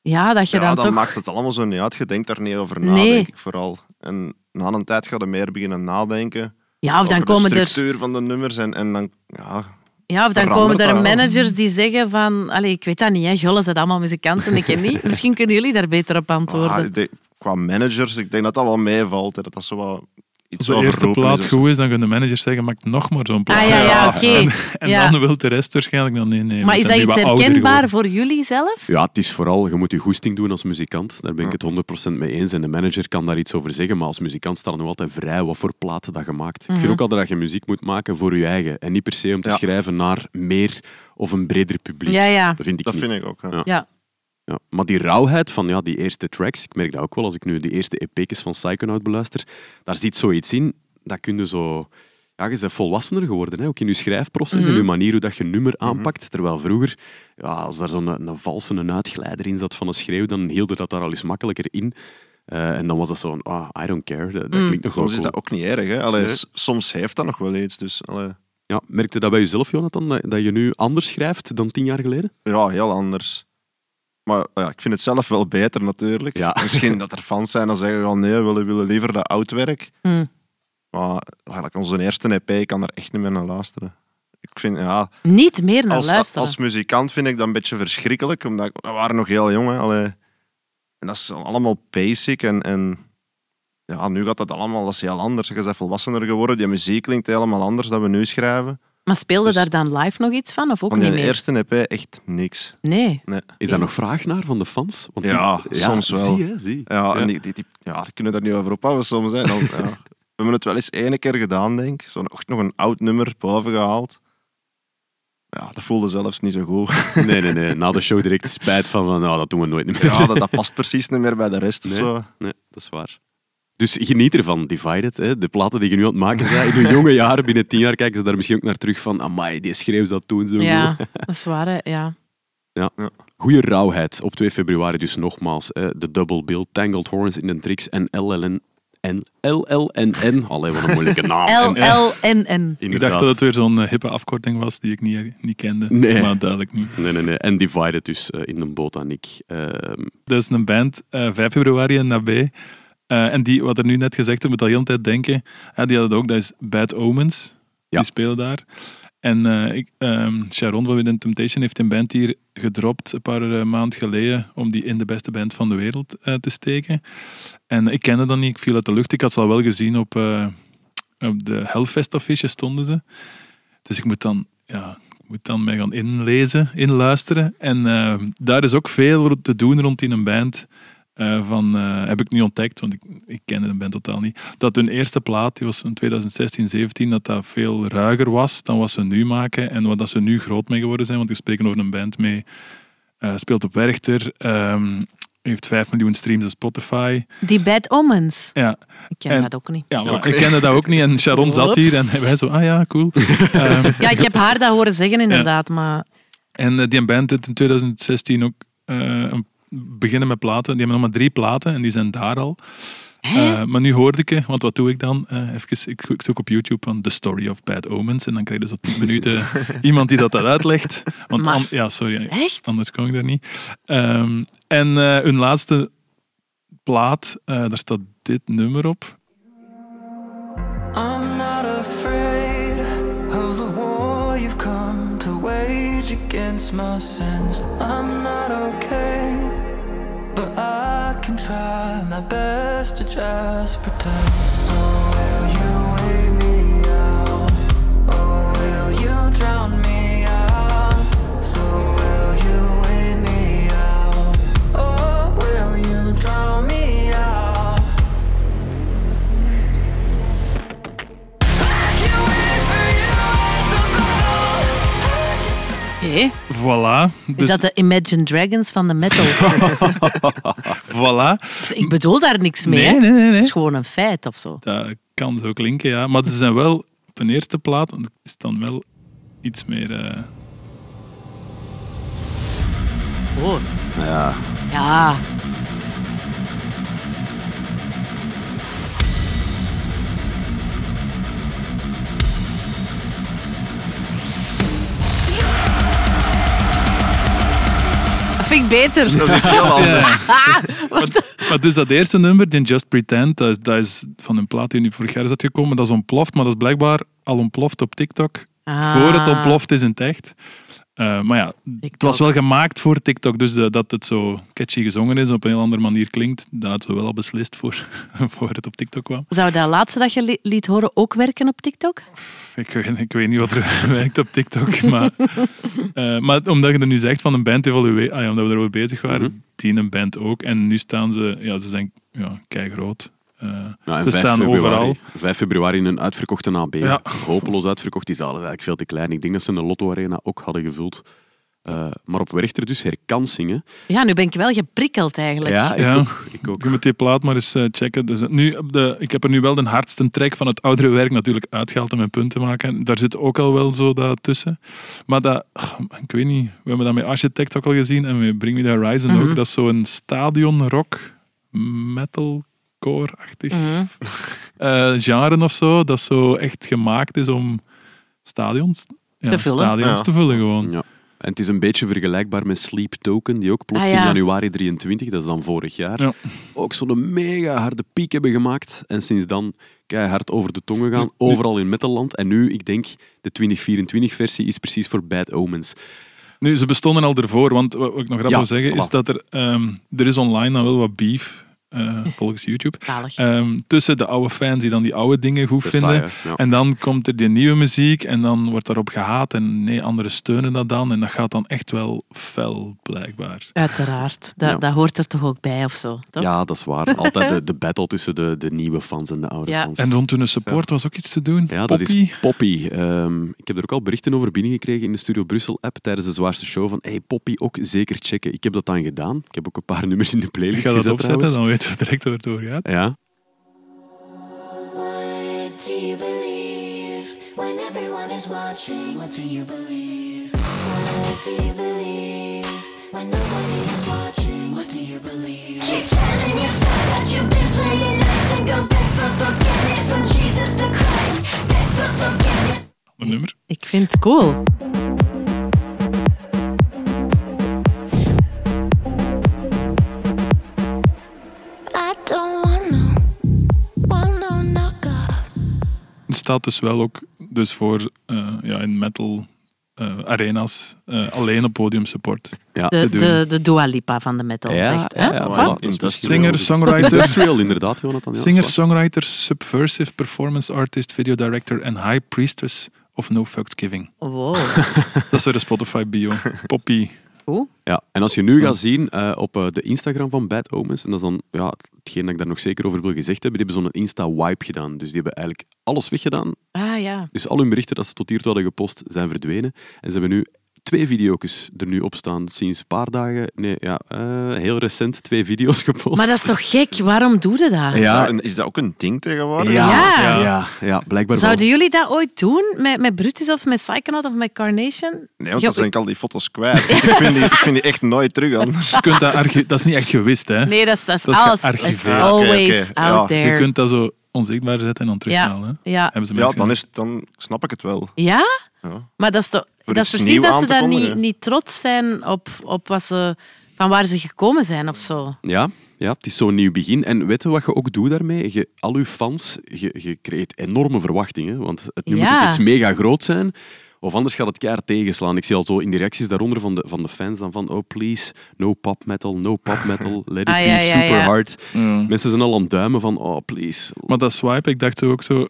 D: Ja, dat je
C: Ja,
D: dan,
C: dan
D: toch...
C: maakt het allemaal zo niet uit. Je denkt daar niet over na,
D: Nee.
C: denk ik vooral. En na een tijd ga je meer beginnen nadenken.
D: Ja, of dan
C: over
D: komen
C: de
D: er...
C: structuur van de nummers en, en dan... Ja,
D: Ja, of dan
C: Verandert
D: komen er
C: dat wel?
D: managers die zeggen van... Allee, ik weet dat niet, hè. Gullen zijn allemaal muzikanten, ik ken niet. Misschien kunnen jullie daar beter op
C: ah,
D: antwoorden.
C: ik denk- qua managers, ik denk dat dat wel meevalt. Hè, dat dat zo wat iets
B: Als de eerste
C: overroepen
B: plaat
C: is. of zo.
B: goed is, dan kunnen de managers zeggen, maak nog maar zo'n
D: Ah,
B: plaat.
D: ja, ja,
C: Ja,
D: oké.
B: En
D: Ja.
B: dan wil de rest waarschijnlijk dan nee, nee.
D: Maar
B: we
D: is dat
B: zijn nu
D: iets
B: wat ouder
D: herkenbaar
B: geworden.
D: voor jullie zelf?
A: Ja, het is vooral, je moet je goesting doen als muzikant. Daar ben ik het 100% mee eens. En de manager kan daar iets over zeggen. Maar als muzikant staat nog altijd vrij wat voor platen dat je maakt. Ik
D: Mhm.
A: vind ook altijd dat je muziek moet maken voor je eigen. En niet per se om te
C: Ja.
A: schrijven naar meer of een breder publiek.
D: Ja, ja.
A: Dat vind ik
C: Dat
A: niet.
C: vind ik ook. Ja.
A: Ja.
D: Ja,
A: Ja, maar die rauwheid van ja, die eerste tracks, ik merk dat ook wel als ik nu de eerste EP's van Psychonaut beluister, daar zit zoiets in, dat kun je zo... Ja, je bent volwassener geworden, hè? ook in je schrijfproces,
C: Mhm.
A: in je manier hoe dat je nummer aanpakt. Terwijl vroeger, ja, als daar zo'n een, valse een uitglijder in zat van een schreeuw, dan hield je dat daar al eens makkelijker in. Eh, en dan was dat zo'n, ah, I don't care, dat, dat klinkt nog wel
C: Mm, Soms is
A: cool.
C: dat ook niet erg. Hè. Allee,
A: Nee.
C: s- Soms heeft dat nog wel iets. Dus, allee.
A: Ja, merkte dat bij jezelf, Jonathan, dat dat je nu anders schrijft dan tien jaar geleden?
C: Ja, heel anders. Maar ja, ik vind het zelf wel beter natuurlijk.
A: Ja.
C: Misschien dat er fans zijn dan zeggen van nee, we willen, willen liever dat oud werk.
D: Hm.
C: Maar eigenlijk onze eerste EP, ik kan er echt niet meer naar luisteren. Ik vind, ja,
D: Niet meer naar
C: als,
D: luisteren.
C: als muzikant vind ik dat een beetje verschrikkelijk, omdat ik- we waren nog heel jong. Hè, allee. En dat is allemaal basic en, en ja, nu gaat dat allemaal, dat is heel anders. Je bent volwassener geworden, je muziek klinkt helemaal anders dan we nu schrijven.
D: Maar speelde
C: dus-
D: daar dan live nog iets van of ook
C: Van
D: niet
C: die
D: meer?
C: eerste EP echt niks.
D: Nee.
C: Nee.
A: Is daar nog vraag naar van de fans? Want
C: Ja, soms wel.
A: Zie, hè, zie.
C: Ja, en
A: Ja.
C: Die, die, die- ja, die kunnen daar niet over ophouden soms. Hè. Dan, ja. We hebben het wel eens ene keer gedaan, denk ik. Zo nog, nog een oud nummer boven gehaald. Ja, dat voelde zelfs niet zo goed.
A: Nee, nee, nee. Na de show direct spijt van, van nou, dat doen we nooit meer.
C: Ja, dat, dat past precies niet meer bij de rest
A: Nee.
C: of zo.
A: Nee, dat is waar. Dus geniet ervan, Divided. Hè. De platen die je nu aan het maken bent, in je jonge jaren, binnen tien jaar, kijken ze daar misschien ook naar terug van amai, die schreeuw dat toen zo
D: Ja,
A: goed.
D: dat is waar. hè. Ja.
A: Goeie rauwheid. Op 2 februari dus nogmaals. Hè. De Double Bill, Tangled Horns in den Tricks en LLN. En LLNN. Allee, wat een moeilijke
B: Ah,
A: naam.
D: L,
A: En-
D: L, N, N.
B: Ik
A: Inderdaad.
B: dacht dat het weer zo'n eh, hippe afkorting was die ik niet, niet kende.
A: Nee.
B: Maar duidelijk niet.
A: Nee, nee, nee. En Divided dus eh, in de botaniek. Ehm
B: Dat is een band, eh 5 februari in Nabé. Eh, en die, wat er nu net gezegd is, moet al heel de tijd denken. Ah, die hadden ook, dat is Bad Omens.
A: Ja.
B: Die spelen daar. En eh, ik, ehm, Sharon van Within Temptation heeft een band hier gedropt een paar eh, maanden geleden om die in de beste band van de wereld eh, te steken. En ik kende dat niet, ik viel uit de lucht. Ik had ze al wel gezien op, eh, op de Hellfest affiche stonden ze. Dus ik moet dan, ja, ik moet dan mij gaan inlezen, inluisteren. En eh, daar is ook veel te doen rond in een band. eh, van, eh, heb ik nu ontdekt, want ik, ik kende de band totaal niet. Dat hun eerste plaat, die was in 2016, 17, dat dat veel ruiger was dan wat ze nu maken. En wat dat ze nu groot mee geworden zijn. Want we spreken over een band mee. eh, speelt op Werchter. ehm, heeft 5 miljoen streams op Spotify.
D: Die Bad Omens.
B: Ja,
D: Ik ken
B: En-
D: dat ook niet.
B: ja maar ik kende dat ook niet. En Sharon zat hier en
D: Oeps.
B: wij zo, ah ja, cool. Ehm,
D: Ja, ik heb haar dat horen zeggen inderdaad, maar
B: En eh, die band heeft in 2016 ook eh, een- beginnen met platen. Die hebben nog maar drie platen en die zijn daar al. Eh, maar nu hoorde ik, eh, want wat doe ik dan? Eh, even, ik, ik zoek op YouTube van The Story of Bad Omens. En dan krijg je zo 10 minuten iemand die dat, dat uitlegt. Want
D: Maar-
B: an- ja, sorry,
D: echt?
B: anders kon ik daar niet. Ehm, en eh, hun laatste plaat, eh, daar staat dit nummer op.
E: I'm not afraid of the war you've come to wage against my sins. I'm not okay, but I can try my best to just pretend. So will you wait me out? Oh, will you drown me out? So will you wait me out? Oh, will you drown me out? I can wait for you at the bottom.
D: Hé?
B: Voilà. Dus
D: Is dat de Imagine Dragons van de metal?
B: voilà.
D: Dus ik bedoel daar niks mee. hè.
B: Nee, nee, nee, nee.
D: Het is gewoon een feit of zo.
B: Dat kan zo klinken, ja. Maar ze zijn wel op een eerste plaat, want het is dan wel iets meer. eh,
D: Oh.
A: ja,
D: Ja. Dat vind ik beter.
C: Dat is echt heel anders.
D: Ah,
B: Maar dus dat eerste nummer, die Just Pretend, dat is, dat is van een plaat die nu vorig jaar is uitgekomen. Dat is ontploft, maar dat is blijkbaar al ontploft op TikTok.
D: Ah.
B: Voor het ontploft is in het echt. Eh, maar ja, het was wel gemaakt voor TikTok, dus de- dat het zo catchy gezongen is en op een heel andere manier klinkt, dat had ze wel al beslist voor, voor het op TikTok kwam.
D: Zou dat laatste dat je li- liet horen ook werken op TikTok?
B: Ik, weet- ik weet niet wat er werkt op TikTok, maar, eh, maar omdat je er nu zegt van een band evolueert, ah ja, omdat we erover bezig waren, die een band ook. En nu staan ze, ja, ze zijn ja, Eh, kei groot.
A: Nou, en
B: ze
A: 5
B: staan
A: februari,
B: overal.
A: 5 februari in een uitverkochte AB.
B: Ja.
A: Hopeloos uitverkocht. Die zaal is eigenlijk veel te klein. Ik denk dat ze een Lotto Arena ook hadden gevuld. Eh, maar op Werchter dus herkansingen.
D: Ja, nu ben ik wel geprikkeld eigenlijk.
A: Ja, ik
B: Ja.
A: ook. Ik ook.
B: Je moet die plaat maar eens eh, checken. Dus, eh, nu, op de, ik heb er nu wel de hardste track van het oudere werk natuurlijk uitgehaald om mijn punt te maken. Daar zit ook al wel zo dat tussen. Maar dat, ach, ik weet niet, we hebben dat met Architect ook al gezien en met Bring Me The Horizon ook. Dat is zo'n stadionrock, metalcore-achtig eh, genre of zo. Dat zo echt gemaakt is om stadions, ja,
D: Te vullen.
B: stadions
C: Ja.
B: te vullen gewoon.
A: Ja. En het is een beetje vergelijkbaar met Sleep Token, die ook plots
D: Ah, ja.
A: in januari 23, dat is dan vorig jaar,
B: Ja.
A: ook zo'n mega harde piek hebben gemaakt. En sinds dan keihard over de tongen gaan, overal in Metalland. En nu, ik denk, de 2024-versie is precies voor Bad Omens.
B: Nu, ze bestonden al ervoor, want wat wat ik nog grappig
A: Ja,
B: wil zeggen, is
A: voilà.
B: dat er, ehm, er is online dan wel wat beef, eh, volgens YouTube,
D: Zalig.
B: ehm, tussen de oude fans die dan die oude dingen goed
A: Dat is
B: vinden,
A: saai, hè? Ja.
B: en dan komt er die nieuwe muziek en dan wordt daarop gehaat en nee, anderen steunen dat dan en dat gaat dan echt wel fel, blijkbaar.
D: Uiteraard. Dat,
A: Ja.
D: dat hoort er toch ook bij of zo, toch?
A: Ja, dat is waar. Altijd de, de battle tussen de, de nieuwe fans en de oude
D: Ja.
A: fans.
B: En rond hun support was ook iets te doen.
A: ja, dat
B: Poppy.
A: is Poppy. Ehm, ik heb er ook al berichten over binnengekregen in de Studio Brussel-app tijdens de zwaarste show. Van, hey, Poppy ook zeker checken. Ik heb dat dan gedaan. Ik heb ook een paar nummers in de
B: Ik
A: playlist
B: ga dat
A: gezet
B: opzetten,
A: trouwens.
B: dan weten we direct waar het over gaat.
A: Ja.
F: What do you believe when everyone is watching? What do you believe? What do you believe when nobody is watching? What do you believe?
G: Keep telling yourself that you've been playing nice and go back for forgiveness from Jesus to Christ. Back for forgiveness.
B: Een nummer.
D: Ik vind het cool.
G: I don't want no, want no knockoff.
B: Het staat dus wel ook dus voor eh, ja, in metal eh, arenas eh, alleen op podium support.
A: ja
C: Ah,
A: te
D: De,
A: doen.
D: de, de Dua Lipa van de metal,
A: ja,
D: zegt.
A: ja,
D: hè?
A: ja,
D: Wat?
A: voilà, dat is
C: Industrial.
A: misschien wel-
B: Singer, songwriter,
A: Industrial, inderdaad, Jonathan. Ja, dat is
B: singer,
A: waar.
B: songwriter, subversive performance artist, video director en high priestess of no fucks giving.
D: Wow.
B: Dat is de Spotify bio. Poppy.
D: Cool.
A: Ja, en als je nu gaat zien eh, op eh, de Instagram van Bad Omens, en dat is dan ja, hetgeen dat ik daar nog zeker over wil gezegd hebben, die hebben zo'n Insta-wipe gedaan. Dus die hebben eigenlijk alles weggedaan.
D: Ah ja.
A: Dus al hun berichten dat ze tot hiertoe hadden gepost zijn verdwenen. En ze hebben nu twee video's er nu op staan sinds een paar dagen. Nee, ja, eh, heel recent twee video's gepost.
D: Maar dat is toch gek? Waarom doe je dat?
C: Is,
A: ja,
C: dat een- is dat ook een ding tegenwoordig?
D: Ja.
A: ja, ja, ja, blijkbaar wel.
D: Zouden jullie dat ooit doen? Met, met Brutus of met Psychonaut of met Carnation?
C: Nee, want
D: Jo-
C: dan zijn ik al die foto's kwijt. ik, vind die, ik vind die echt nooit terug anders.
B: Je kunt dat, archi- dat is niet echt gewist, hè?
D: Nee, dat is, dat is
B: Dat is
D: alles.
B: gearchiveerd.
D: It's
C: Ah, oké,
D: always
C: oké. Ja.
D: out
C: Je
D: there.
B: Je kunt dat zo onzichtbaar zetten en dan terughalen.
D: ja.
B: hè?
D: Ja.
B: Hebben ze
C: Ja,
B: mensen
C: dan, is, dan snap ik het wel.
D: ja?
C: Ja.
D: Maar dat is, toch, dat is
C: iets
D: precies
C: nieuw
D: dat
C: aan
D: ze
C: te
D: dan niet,
C: kondigen.
D: niet trots zijn op, op wat ze, van waar ze gekomen zijn of zo.
A: Ja, ja, het is zo'n nieuw begin. En weet je wat je ook doet daarmee? Je, al je fans, je, je creëert enorme verwachtingen. Want het, nu moet
D: Ja.
A: het iets mega groot zijn. Of anders gaat het keihard tegenslaan. Ik zie al zo in de reacties daaronder van de, van de fans dan van oh please, no pop metal, no pop metal, let it
D: Ah,
A: be
D: ja, ja,
A: super
D: ja.
A: hard.
B: Ja.
A: Mensen zijn al aan het duimen van oh please.
B: Mm. Maar dat swipe, ik dacht ook zo...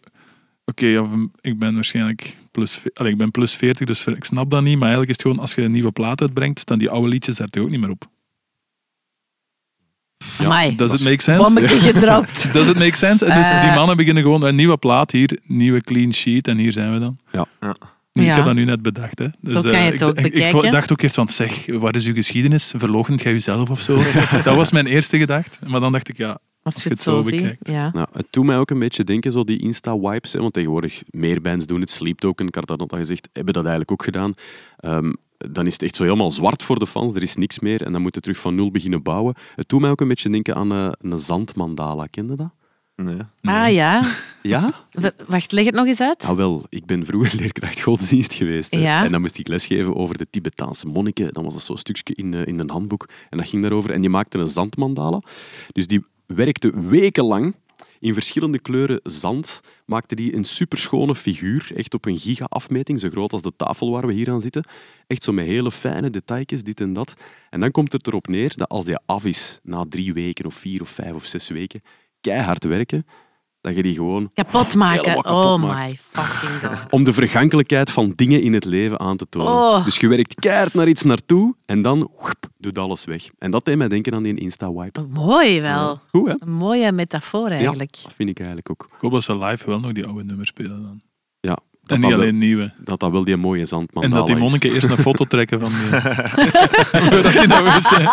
B: Oké, ja, ik ben waarschijnlijk plus, ve- allee, ik ben plus 40, dus ik snap dat niet. Maar eigenlijk is het gewoon, als je een nieuwe plaat uitbrengt, staan die oude liedjes daar toch ook niet meer op.
D: Ja, Amai,
B: Does it make sense?
D: bommetje gedropt.
B: Does it make sense? Dus
D: Eh.
B: die mannen beginnen gewoon een nieuwe plaat hier, nieuwe clean sheet en hier zijn we dan.
A: Ja.
C: Ja.
B: Nu, Ik
D: Ja.
B: heb dat nu net bedacht. Hè. Dus,
D: Zo kan je
B: eh,
D: het
B: ik-
D: ook
B: ik, ik
D: bekijken.
B: dacht ook eerst van, zeg, wat is uw geschiedenis? Verlogend jij jezelf of zo? dat was mijn eerste gedachte. Maar dan dacht ik, ja,
D: Als je het zo ziet.
B: bekijkt.
D: Ja.
A: Nou, het doet mij ook een beetje denken, zo die Insta-wipes. hè, Want tegenwoordig, meer bands doen het. Sleep Token, Cardano had dat gezegd, hebben dat eigenlijk ook gedaan. Ehm, dan is het echt zo helemaal zwart voor de fans, er is niks meer. En dan moeten we terug van nul beginnen bouwen. Het doet mij ook een beetje denken aan eh, een zandmandala. Ken je dat?
C: Nee.
D: Ah ja.
A: Ja?
D: W- Wacht, leg het nog eens uit.
A: Ah wel, ik ben vroeger leerkracht godsdienst geweest. hè.
D: Ja.
A: En dan moest ik lesgeven over de Tibetaanse monniken. Dan was dat zo'n stukje in, eh, in een handboek. En dat ging daarover. En die maakte een zandmandala. Dus die werkte wekenlang in verschillende kleuren zand. Maakte die een superschone figuur. Echt op een giga-afmeting, zo groot als de tafel waar we hier aan zitten. Echt zo met hele fijne details, dit en dat. En dan komt het erop neer dat als die af is, na drie weken of vier of vijf of zes weken, keihard werken, dat je die gewoon
D: Kapot maken.
A: Helemaal kapot
D: oh
A: maakt.
D: my fucking god.
A: om de vergankelijkheid van dingen in het leven aan te tonen.
D: Oh.
A: Dus je werkt keihard naar iets naartoe en dan woep, doet alles weg. En dat deed mij denken aan die Insta-wipe.
D: Mooi wel.
A: Goed, hè?
D: Een mooie metafoor eigenlijk.
A: Ja, dat vind ik eigenlijk ook.
B: ik hoop dat ze live wel nog die oude nummers spelen dan.
A: Ja,
B: En
A: dat,
B: niet
A: dat,
B: alleen nieuwe.
A: wel, dat dat wel die mooie
B: En
A: zandmandala
B: dat die
A: is.
B: monniken eerst een foto trekken van die... dat die dat wisten.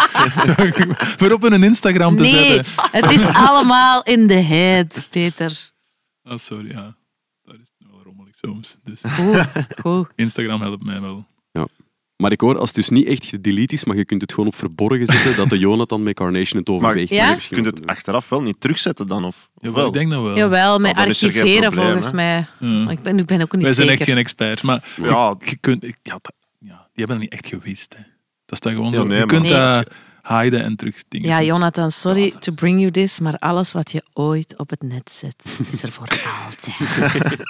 B: Voor op hun Instagram te
D: Nee,
B: zetten.
D: het is allemaal in de head, Peter.
B: Ah, sorry, ja. Dat is wel rommelig soms. Dus
D: Goed, goed.
B: Instagram helpt mij wel.
A: Maar ik hoor, als het dus niet echt gedelete is, maar je kunt het gewoon op verborgen zetten, dat de Jonathan met Carnation het overweegt.
D: Ja?
A: Maar
C: Je kunt het achteraf wel niet terugzetten dan, of? of
B: Jawel,
C: wel?
B: ik denk dat wel.
D: Jawel, met
C: Oh, dan is er geen
D: archiveren
C: probleem,
D: volgens
C: hè?
D: mij.
B: Ja.
D: Maar ik ben, ik ben ook niet
B: Wij zijn
D: zeker.
B: echt geen experts, maar
C: Ja,
B: je kunt... ik- Ja, dat- ja, die hebben dat niet echt gewist. Hè. Dat is dan gewoon
C: Ja,
B: zo.
C: nee,
B: je
C: maar-
B: kunt
D: Nee.
B: dat hiden en terug dingen
D: ja,
B: zetten.
D: Jonathan, sorry to bring you this, maar alles wat je ooit op het net zet, is er voor altijd.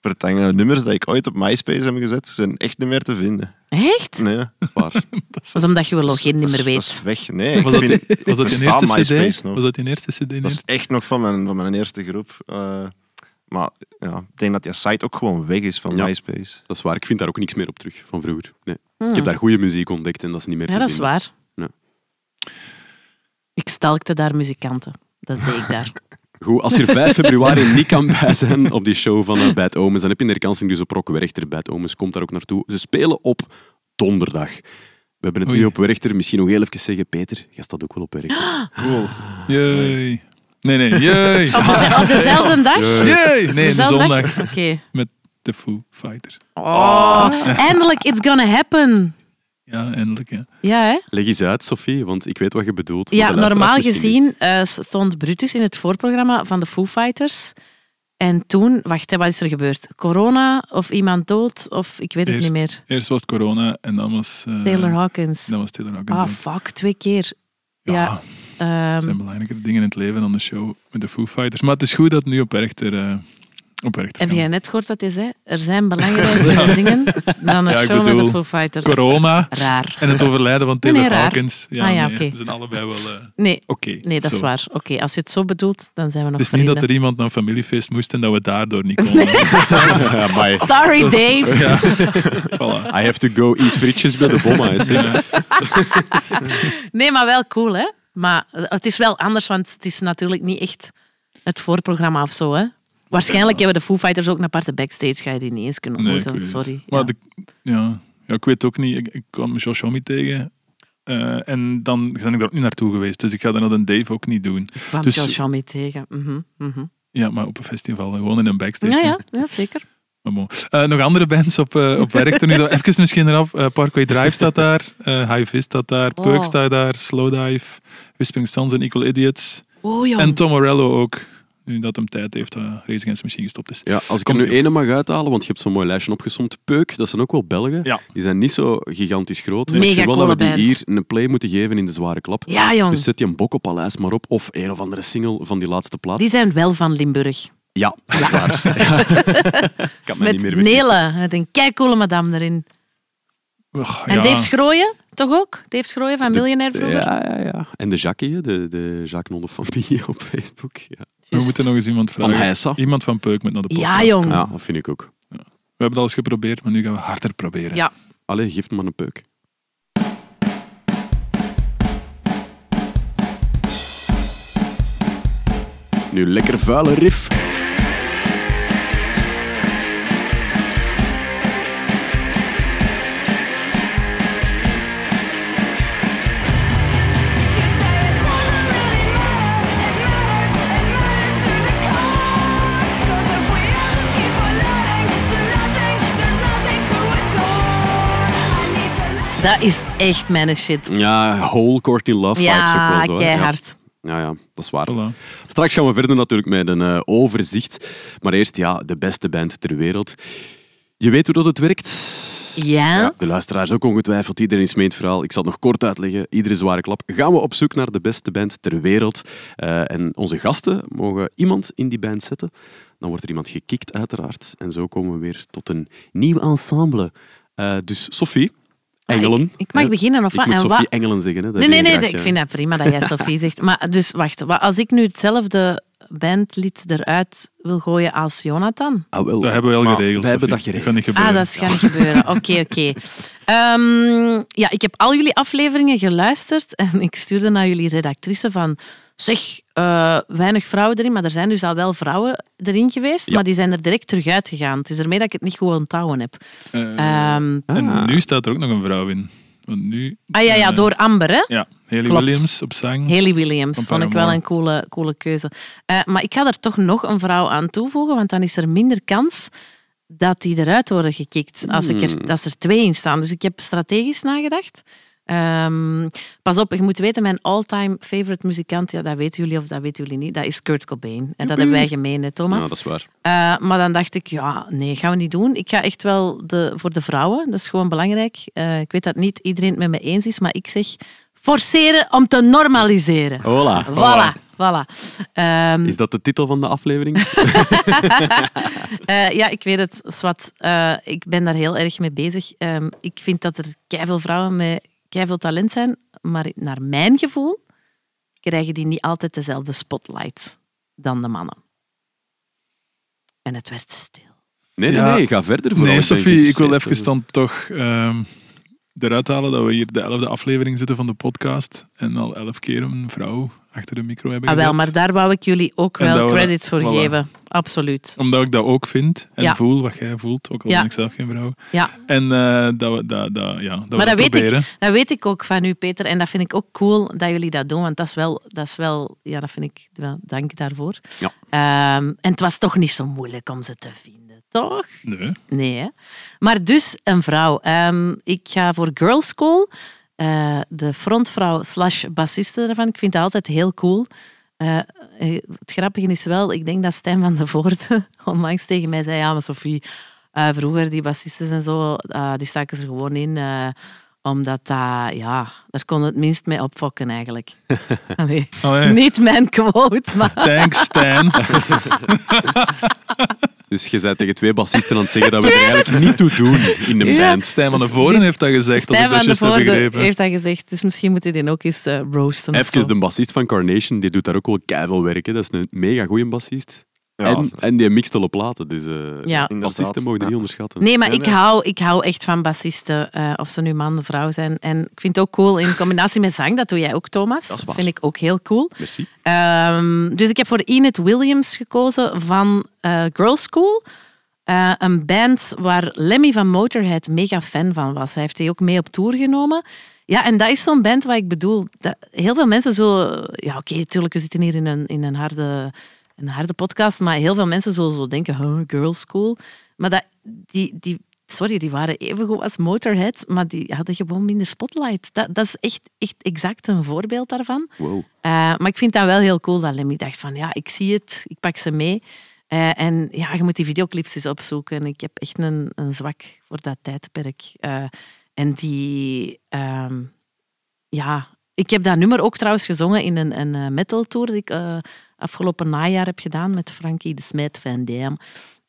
C: vertangen nummers die ik ooit op MySpace heb gezet, zijn echt niet meer te vinden.
D: Echt?
C: Nee. Dat is waar.
D: Dat is omdat je je login niet meer
C: Dat is
D: weet.
C: weg. Nee, ik
B: Was dat,
C: vind...
B: was dat je
C: bestaat
B: eerste
C: MySpace
B: cd?
C: nog?
B: Was dat je eerste cd?
C: Dat is echt nog van mijn, van mijn eerste groep. Eh, maar ja, ik denk dat die site ook gewoon weg is van
A: Ja.
C: MySpace.
A: Dat is waar. Ik vind daar ook niks meer op terug van vroeger. Nee. Ik heb daar goede muziek ontdekt en dat is niet meer
D: Hmm. Ja,
A: te
D: dat is
A: vinden.
D: waar.
A: Ja.
D: Ik stalkte daar muzikanten. Dat deed ik daar.
A: Goed, als je er 5 februari niet kan bij zijn op die show van eh, Bad Omens, dan heb je een herkansing dus op Rock Werchter. Bad Omens komt daar ook naartoe. Ze spelen op donderdag. We hebben het
B: Oei.
A: nu op Werchter. Misschien nog heel even zeggen, Peter, jij staat ook wel op Werchter.
C: Cool.
B: Jee. Nee, nee. Jee.
D: Op, deze- op dezelfde dag?
B: Jee. Nee, de
D: Dezelfde
B: zondag.
D: dag? Oké.
B: De Foo Fighters.
D: Oh, eindelijk, it's gonna happen.
B: Ja, eindelijk. Ja.
D: Ja, hè?
A: Leg eens uit, Sophie, want ik weet wat je bedoelt. maar
D: Ja,
A: de luisteraars
D: normaal
A: misschien
D: gezien eh, stond Brutus in het voorprogramma van de Foo Fighters. En toen, wacht, hè, wat is er gebeurd? Corona of iemand dood of ik weet het niet meer.
B: eerst was het corona en dan was... eh,
D: Taylor Hawkins.
B: Dan was Taylor Hawkins.
D: Ah,
B: ja.
D: fuck, twee keer. Ja.
B: Er
D: Ehm,
B: zijn belangrijkere dingen in het leven dan de show met de Foo Fighters. Maar het is goed dat het nu op Werchter... eh, op Werchter
D: heb
B: kan.
D: jij net gehoord wat hij zei? Er zijn belangrijkere dingen dan een
B: Ja, ik
D: show met de
B: bedoel,
D: Foo Fighters.
B: Corona
D: Raar.
B: en het overlijden van Taylor
D: Nee, nee, raar.
B: Hawkins.
D: Ah, ja,
B: nee,
D: oké.
B: We zijn allebei wel... eh,
D: Nee,
B: Oké.
D: nee dat is
B: zo.
D: waar. Oké, als je het zo bedoelt, dan zijn we nog
B: Het is niet dat
D: vrienden.
B: er iemand naar een familiefeest moest en dat we daardoor niet konden.
A: Ja, bye.
D: Sorry,
B: Dat is-
D: Dave.
B: Ja. Voilà.
A: I have to go eat frietjes bij de bomma. hè, zeg.
B: Ja.
D: Nee, maar wel cool, hè? Maar eh, het is wel anders, want het is natuurlijk niet echt het voorprogramma of zo, hè? Waarschijnlijk hebben de Foo Fighters ook een aparte backstage. Ga je die niet eens kunnen
B: Nee, ik
D: ontmoeten,
B: weet het.
D: sorry.
B: Maar
D: ja.
B: de- ja. Ja, ik weet het ook niet. Ik, ik kwam Josh Homme tegen. eh, en dan ben ik daar ook niet naartoe geweest. Dus ik ga dat aan Dave ook niet doen.
D: Ik kwam
B: dus-
D: Josh Homme tegen. Mhm, mhm.
B: Ja, maar op een festival. hè. Gewoon in een backstage.
D: Ja, ja, ja, zeker.
B: Maar bon. Eh, nog andere bands op, eh op werk. nu dat- even misschien eraf. Eh, Parkway Drive staat daar. eh High Fist staat daar.
D: Oh.
B: Perk staat daar. Slowdive. Whispering Sons en Equal Idiots.
D: Oh, joh.
B: En Tom Morello ook. Nu dat hem tijd heeft. eh Racing Against the Machine gestopt is.
A: Ja, als ik er
B: Komt
A: nu
B: ie op.
A: ene mag uithalen, want je hebt zo'n mooi lijstje opgesomd. Peuk, dat zijn ook wel Belgen.
B: Ja.
A: Die zijn niet zo gigantisch groot. Maar
D: Mega
A: ik vind wel dat we die
D: coole band.
A: hier een play moeten geven in de zware klap.
D: Ja, jong.
B: eh,
A: Dus zet je een bok op Paleis maar op. Of een of andere single van die laatste plaat.
D: Die zijn wel van Limburg.
A: Ja, dat is waar. Ja. kan me niet
D: Met
A: meer wegwissen.
D: Nele, met een keicoole madame erin.
B: Och,
D: En
B: Ah, ja.
D: Dave Schrooien, toch ook? Dave Schrooien van Miljonair vroeger.
A: Ja, ja, ja. En de Jackie, hè, de, de Jacques Nolle van Bie op Facebook. Ja.
B: We
D: Juist.
B: moeten nog eens iemand
A: Van
B: vragen.
A: Heisa.
B: Iemand van Peuk met naar de podcast.
D: Ja, jong.
A: Ja, dat vind ik ook.
B: We hebben het al eens geprobeerd, maar nu gaan we harder proberen.
D: Ja.
A: Allee, geef me maar een peuk. Nu lekker vuile riff.
G: You say it doesn't really matter. It matters, it matters to the cause. 'Cause if we all just keep on lying to nothing, there's nothing to adore. I need to let
D: Dat is echt mijn shit.
A: Ja, whole Courtney Love vibes ook
D: Ja,
A: wel zo. hè.
D: keihard.
A: Ja. ja, ja, dat is waar.
B: Voilà.
A: Straks gaan we verder natuurlijk met een eh, overzicht. Maar eerst, ja, de beste band ter wereld. Je weet hoe dat het werkt.
D: Ja. Ah,
A: Ja, de luisteraars ook ongetwijfeld. Iedereen is mee in het verhaal. Ik zal het nog kort uitleggen. Iedere zware klap. Gaan we op zoek naar de beste band ter wereld. Eh, en onze gasten mogen iemand in die band zetten. Dan wordt er iemand gekikt, uiteraard. En zo komen we weer tot een nieuw ensemble. Eh, dus Sophie, Engelen.
D: Ah, ik- ik mag
A: Eh,
D: beginnen, of
A: ik
D: wat?
A: moet
D: En
A: Sophie
D: wat-
A: Engelen zeggen. Hè. Dat
D: Nee,
A: wil
D: nee, nee.
A: graag,
D: Ik
A: eh,
D: vind dat prima dat jij Sophie zegt. Maar dus, wacht. wa- Als ik nu hetzelfde bandlied eruit wil gooien als Jonathan...
A: Ah, wel.
B: Dat hebben we al
A: Maar
B: geregeld.
A: Wij hebben dat
B: Sophie.
A: geregeld.
B: kan niet gebeuren.
D: Ah, dat is gaan niet gebeuren. Oké, oké. Ehm, ja, ik heb al jullie afleveringen geluisterd en ik stuurde naar jullie redactrice van... Zeg, eh, weinig vrouwen erin, maar er zijn dus al wel vrougen erin geweest, maar die zijn er direct terug uitgegaan. Het is ermee dat ik het niet goed onthouden heb.
B: Eh,
D: Ehm,
B: En nu staat er ook nog een vrouw in. Want nu...
D: ah ja, ja,
B: eh,
D: door Amber, hè?
B: Ja, Haley
D: Klopt.
B: Williams op zang.
D: Haley Williams
B: Van
D: vond ik wel
B: Paramore.
D: een coole, coole keuze. Eh, maar ik ga er toch nog een vrouw aan toevoegen, want dan is er minder kans dat die eruit worden gekikt als, ik
A: Hmm.
D: er, als er twee in staan. Dus ik heb strategisch nagedacht. Ehm, pas op, je moet weten, mijn all-time favorite muzikant, ja, dat weten jullie of dat weten jullie niet, dat is Kurt Cobain. En dat hebben wij gemeen, hè, Thomas.
A: Ah, dat is waar.
D: Eh, maar dan dacht ik, ja, nee, gaan we niet doen. Ik ga echt wel de, voor de vrouwen, dat is gewoon belangrijk. Eh, ik weet dat niet iedereen het met me eens is, maar ik zeg forceren om te normaliseren.
A: Hola.
D: Voilà, voilà. Ehm,
A: Is dat de titel van de aflevering?
D: eh, ja, ik weet het, Swat. Eh, ik ben daar heel erg mee bezig. Ehm, ik vind dat er keiveel vrouwen met keiveel talent zijn, maar naar mijn gevoel krijgen die niet altijd dezelfde spotlight dan de mannen. En het werd stil.
A: Nee, nee,
B: Ja.
A: nee, ga verder. Vooral,
B: Nee,
A: denk
B: Sophie,
A: Dus,
B: ik wil
A: eh,
B: even dan toch ehm, eruit halen dat we hier de elfde aflevering zitten van de podcast. En al elf keer een vrouw achter de micro hebben
D: Ah, wel,
B: gezet.
D: maar daar wou ik jullie ook
B: En dat
D: wel
B: we-
D: credits voor
B: voilà.
D: geven. Absoluut.
B: Omdat ik dat ook vind en
D: Ja.
B: voel wat jij voelt, ook al
D: Ja.
B: ben ik zelf geen vrouw.
D: Ja.
B: En eh, dat we dat, dat, ja, dat,
D: Maar
B: we
D: dat weet,
B: proberen.
D: ik, dat weet ik ook van u, Peter. En dat vind ik ook cool dat jullie dat doen. Want dat is wel, dat is wel ja, dat vind ik wel. Dank daarvoor.
A: Ja.
D: Ehm, en het was toch niet zo moeilijk om ze te vinden, toch?
B: Nee.
D: Nee, hè? Maar dus een vrouw. Ehm, ik ga voor Girls School. Eh, de frontvrouw slash bassiste daarvan. Ik vind dat altijd heel cool. Eh, eh, het grappige is wel, ik denk dat Stijn van de Voorde onlangs tegen mij zei... Ja, maar Sophie, eh, vroeger die bassisten en zo, eh, die staken ze gewoon in... eh, omdat dat, ja, daar kon het minst mee opfokken eigenlijk. Allee,
B: Allee.
D: Niet mijn quote, maar...
B: Oh, Thanks, Stijn.
A: Dus je zei tegen twee bassisten aan het zeggen dat we er eigenlijk niet toe doen in de
D: Ja.
A: band.
B: Stijn van de Voren heeft dat gezegd, als ik
D: Stijn
B: dat
D: van de
B: juist heb
D: Voorde
B: begrepen.
D: heeft dat gezegd, dus misschien moet je die ook eens eh, roasten. of zo.
A: Even de bassist van Carnation, die doet daar ook wel keiveel werk. Hè. Dat is een mega goeie bassist.
C: Ja,
A: en, en die mixt alle platen. Dus eh
D: Ja.
A: bassisten mogen die
C: Ja.
A: niet onderschatten.
D: Nee, maar
C: Nee,
D: ik,
C: nee.
D: Hou, ik hou echt van bassisten, eh, of ze nu man of vrouw zijn. En ik vind het ook cool in combinatie met zang, dat doe jij ook, Thomas.
A: Dat is waar.
D: vind ik ook heel cool.
A: Merci.
D: Ehm, dus ik heb voor Enid Williams gekozen van eh Girls School. Eh, een band waar Lemmy van Motorhead mega fan van was. Hij heeft die ook mee op tour genomen. Ja, en dat is zo'n band waar ik bedoel. Dat, heel veel mensen zullen. Ja, oké, tuurlijk, we zitten hier in een, in een, harde, een harde podcast. Maar heel veel mensen zullen zo denken: huh, Girls School. Maar dat, die, die, sorry, die waren even goed als Motorhead. Maar die hadden gewoon minder spotlight. Dat, dat is echt, echt exact een voorbeeld daarvan.
A: Wow.
D: Eh, maar ik vind dat wel heel cool dat Lemmy dacht van ja, ik zie het, ik pak ze mee. Eh, en ja, je moet die videoclips eens opzoeken. Ik heb echt een, een zwak voor dat tijdperk. Eh, en die, ehm, ja, ik heb dat nummer ook trouwens gezongen in een, een eh, metal tour die ik eh, afgelopen najaar heb gedaan met Frankie de Smet van Dam.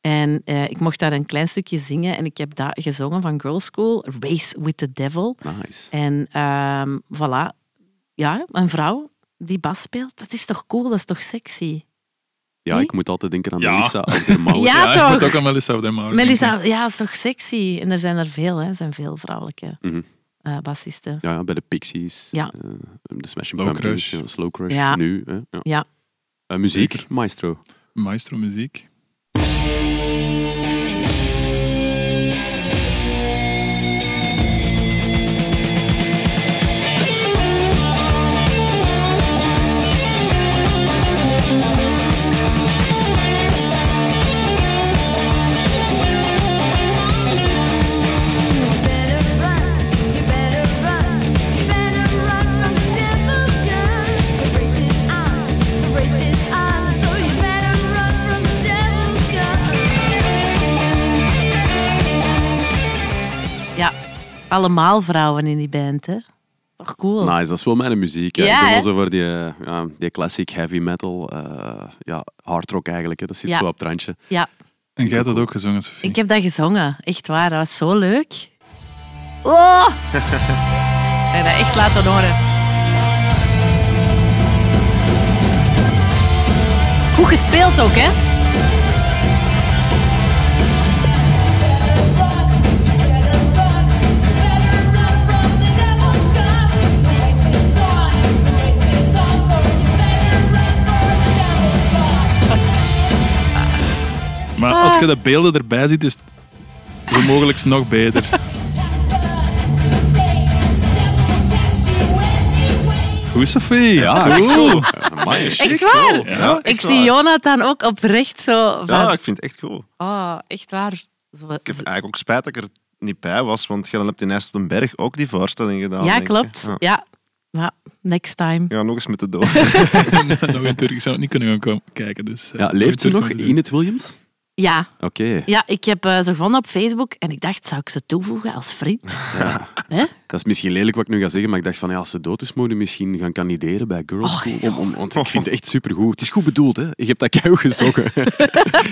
D: En eh, ik mocht daar een klein stukje zingen en ik heb dat gezongen van Girls School, Race with the Devil.
A: Nice.
D: En ehm, voilà, ja, een vrouw die bas speelt, dat is toch cool, dat is toch sexy?
A: Ja,
D: Nee?
A: ik moet altijd denken aan
B: Ja.
A: Melissa Aldermauer.
D: Ja,
B: ik moet
D: toch?
B: ook aan Melissa Oudermouw denken.
D: Melissa, ja, dat is toch sexy? En er zijn er veel, hè, er zijn veel vrouwelijke
A: Mhm.
D: eh, bassisten.
A: Ja, ja, bij de Pixies.
D: Ja.
A: eh, de Smashing
B: Slow
A: Pumpkins.
B: Crush.
A: ja, Slow Crush.
D: Ja.
A: Nu. Hè? Ja.
D: Ja.
A: Eh, muziek,
B: Zeker.
A: maestro.
B: Maestro muziek.
D: Ja, allemaal vrouwen in die band, hè? Toch cool?
A: Nice, dat is wel mijn muziek. hè.
D: Oh. Ja,
A: ik ben wel
D: hè?
A: zo voor die, eh, ja, die classic heavy metal. eh, ja, hard rock eigenlijk. Hè. Dat zit
D: Ja.
A: zo op het randje.
D: Ja,
B: En jij hebt dat ook gezongen, Sophie.
D: ik heb dat gezongen, echt waar, dat was zo leuk. Oh! Ik heb dat echt laten horen. Goed gespeeld ook, hè?
B: Maar
D: Ah.
B: als je de beelden erbij ziet, is het zo mogelijk nog beter. Goed, Sophie.
A: Ja,
B: Zo.
A: echt wel. Ja, amai.
D: Echt
C: Oh,
D: waar?
B: Ja,
D: ik zie Jonathan ook oprecht zo van...
C: Ja, ik vind het echt cool.
D: Oh, echt waar. Zo- zo-
C: Ik heb eigenlijk ook spijt dat ik er niet bij was, want jij hebt in IJsseldenberg ook die voorstelling gedaan.
D: ja,
C: denk ik.
D: klopt.
C: Ja.
D: Ja. Maar next time.
C: Ja, nog eens met de dood.
B: eh, Nog in Turk. Ik zou het niet kunnen gaan komen kijken. Dus, eh,
A: Ja, leeft ze
B: Turk
A: nog,
B: moeten doen.
A: Enid Williams?
D: Ja,
A: Oké.
D: ja ik heb eh, ze gevonden op Facebook en ik dacht, zou ik ze toevoegen als vriend?
A: Ja.
D: Hè?
A: Dat is misschien lelijk wat ik nu ga zeggen, maar ik dacht van ja, als ze dood is, moeten we misschien gaan kandideren bij Girls
D: Och,
A: School. Om, om, want ik vind het echt supergoed. Het is goed bedoeld, hè? Je hebt dat keihard gezongen.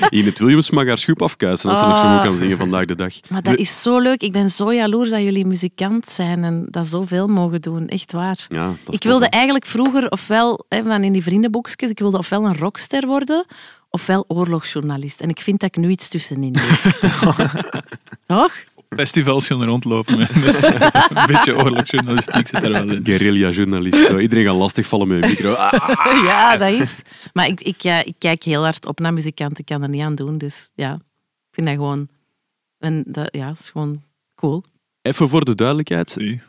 A: Inet Williams mag haar schoep afkuisen als ze nog zo goed
D: Ah.
A: kan zingen vandaag de dag.
D: Maar dat is zo leuk. Ik ben zo jaloers dat jullie muzikant zijn en dat zoveel mogen doen. Echt waar.
A: Ja, dat is tof,
D: ik wilde
A: hè.
D: eigenlijk vroeger, ofwel hè, van in die vriendenboekjes, ik wilde ofwel een rockster worden, ofwel oorlogsjournalist. En ik vind dat ik nu iets tussenin doe. Toch?
B: Festivals gaan rondlopen. hè. Dus, eh, een beetje oorlogsjournalistiek zit er wel in.
A: Guerrilla-journalist. zo. Iedereen gaat lastigvallen met een micro. Ah,
D: ja, dat is. Maar ik, ik, eh, ik kijk heel hard op naar muzikanten. Ik kan er niet aan doen. Dus ja, ik vind dat gewoon... En dat, ja, is gewoon cool.
A: Even voor de duidelijkheid.
B: Zie.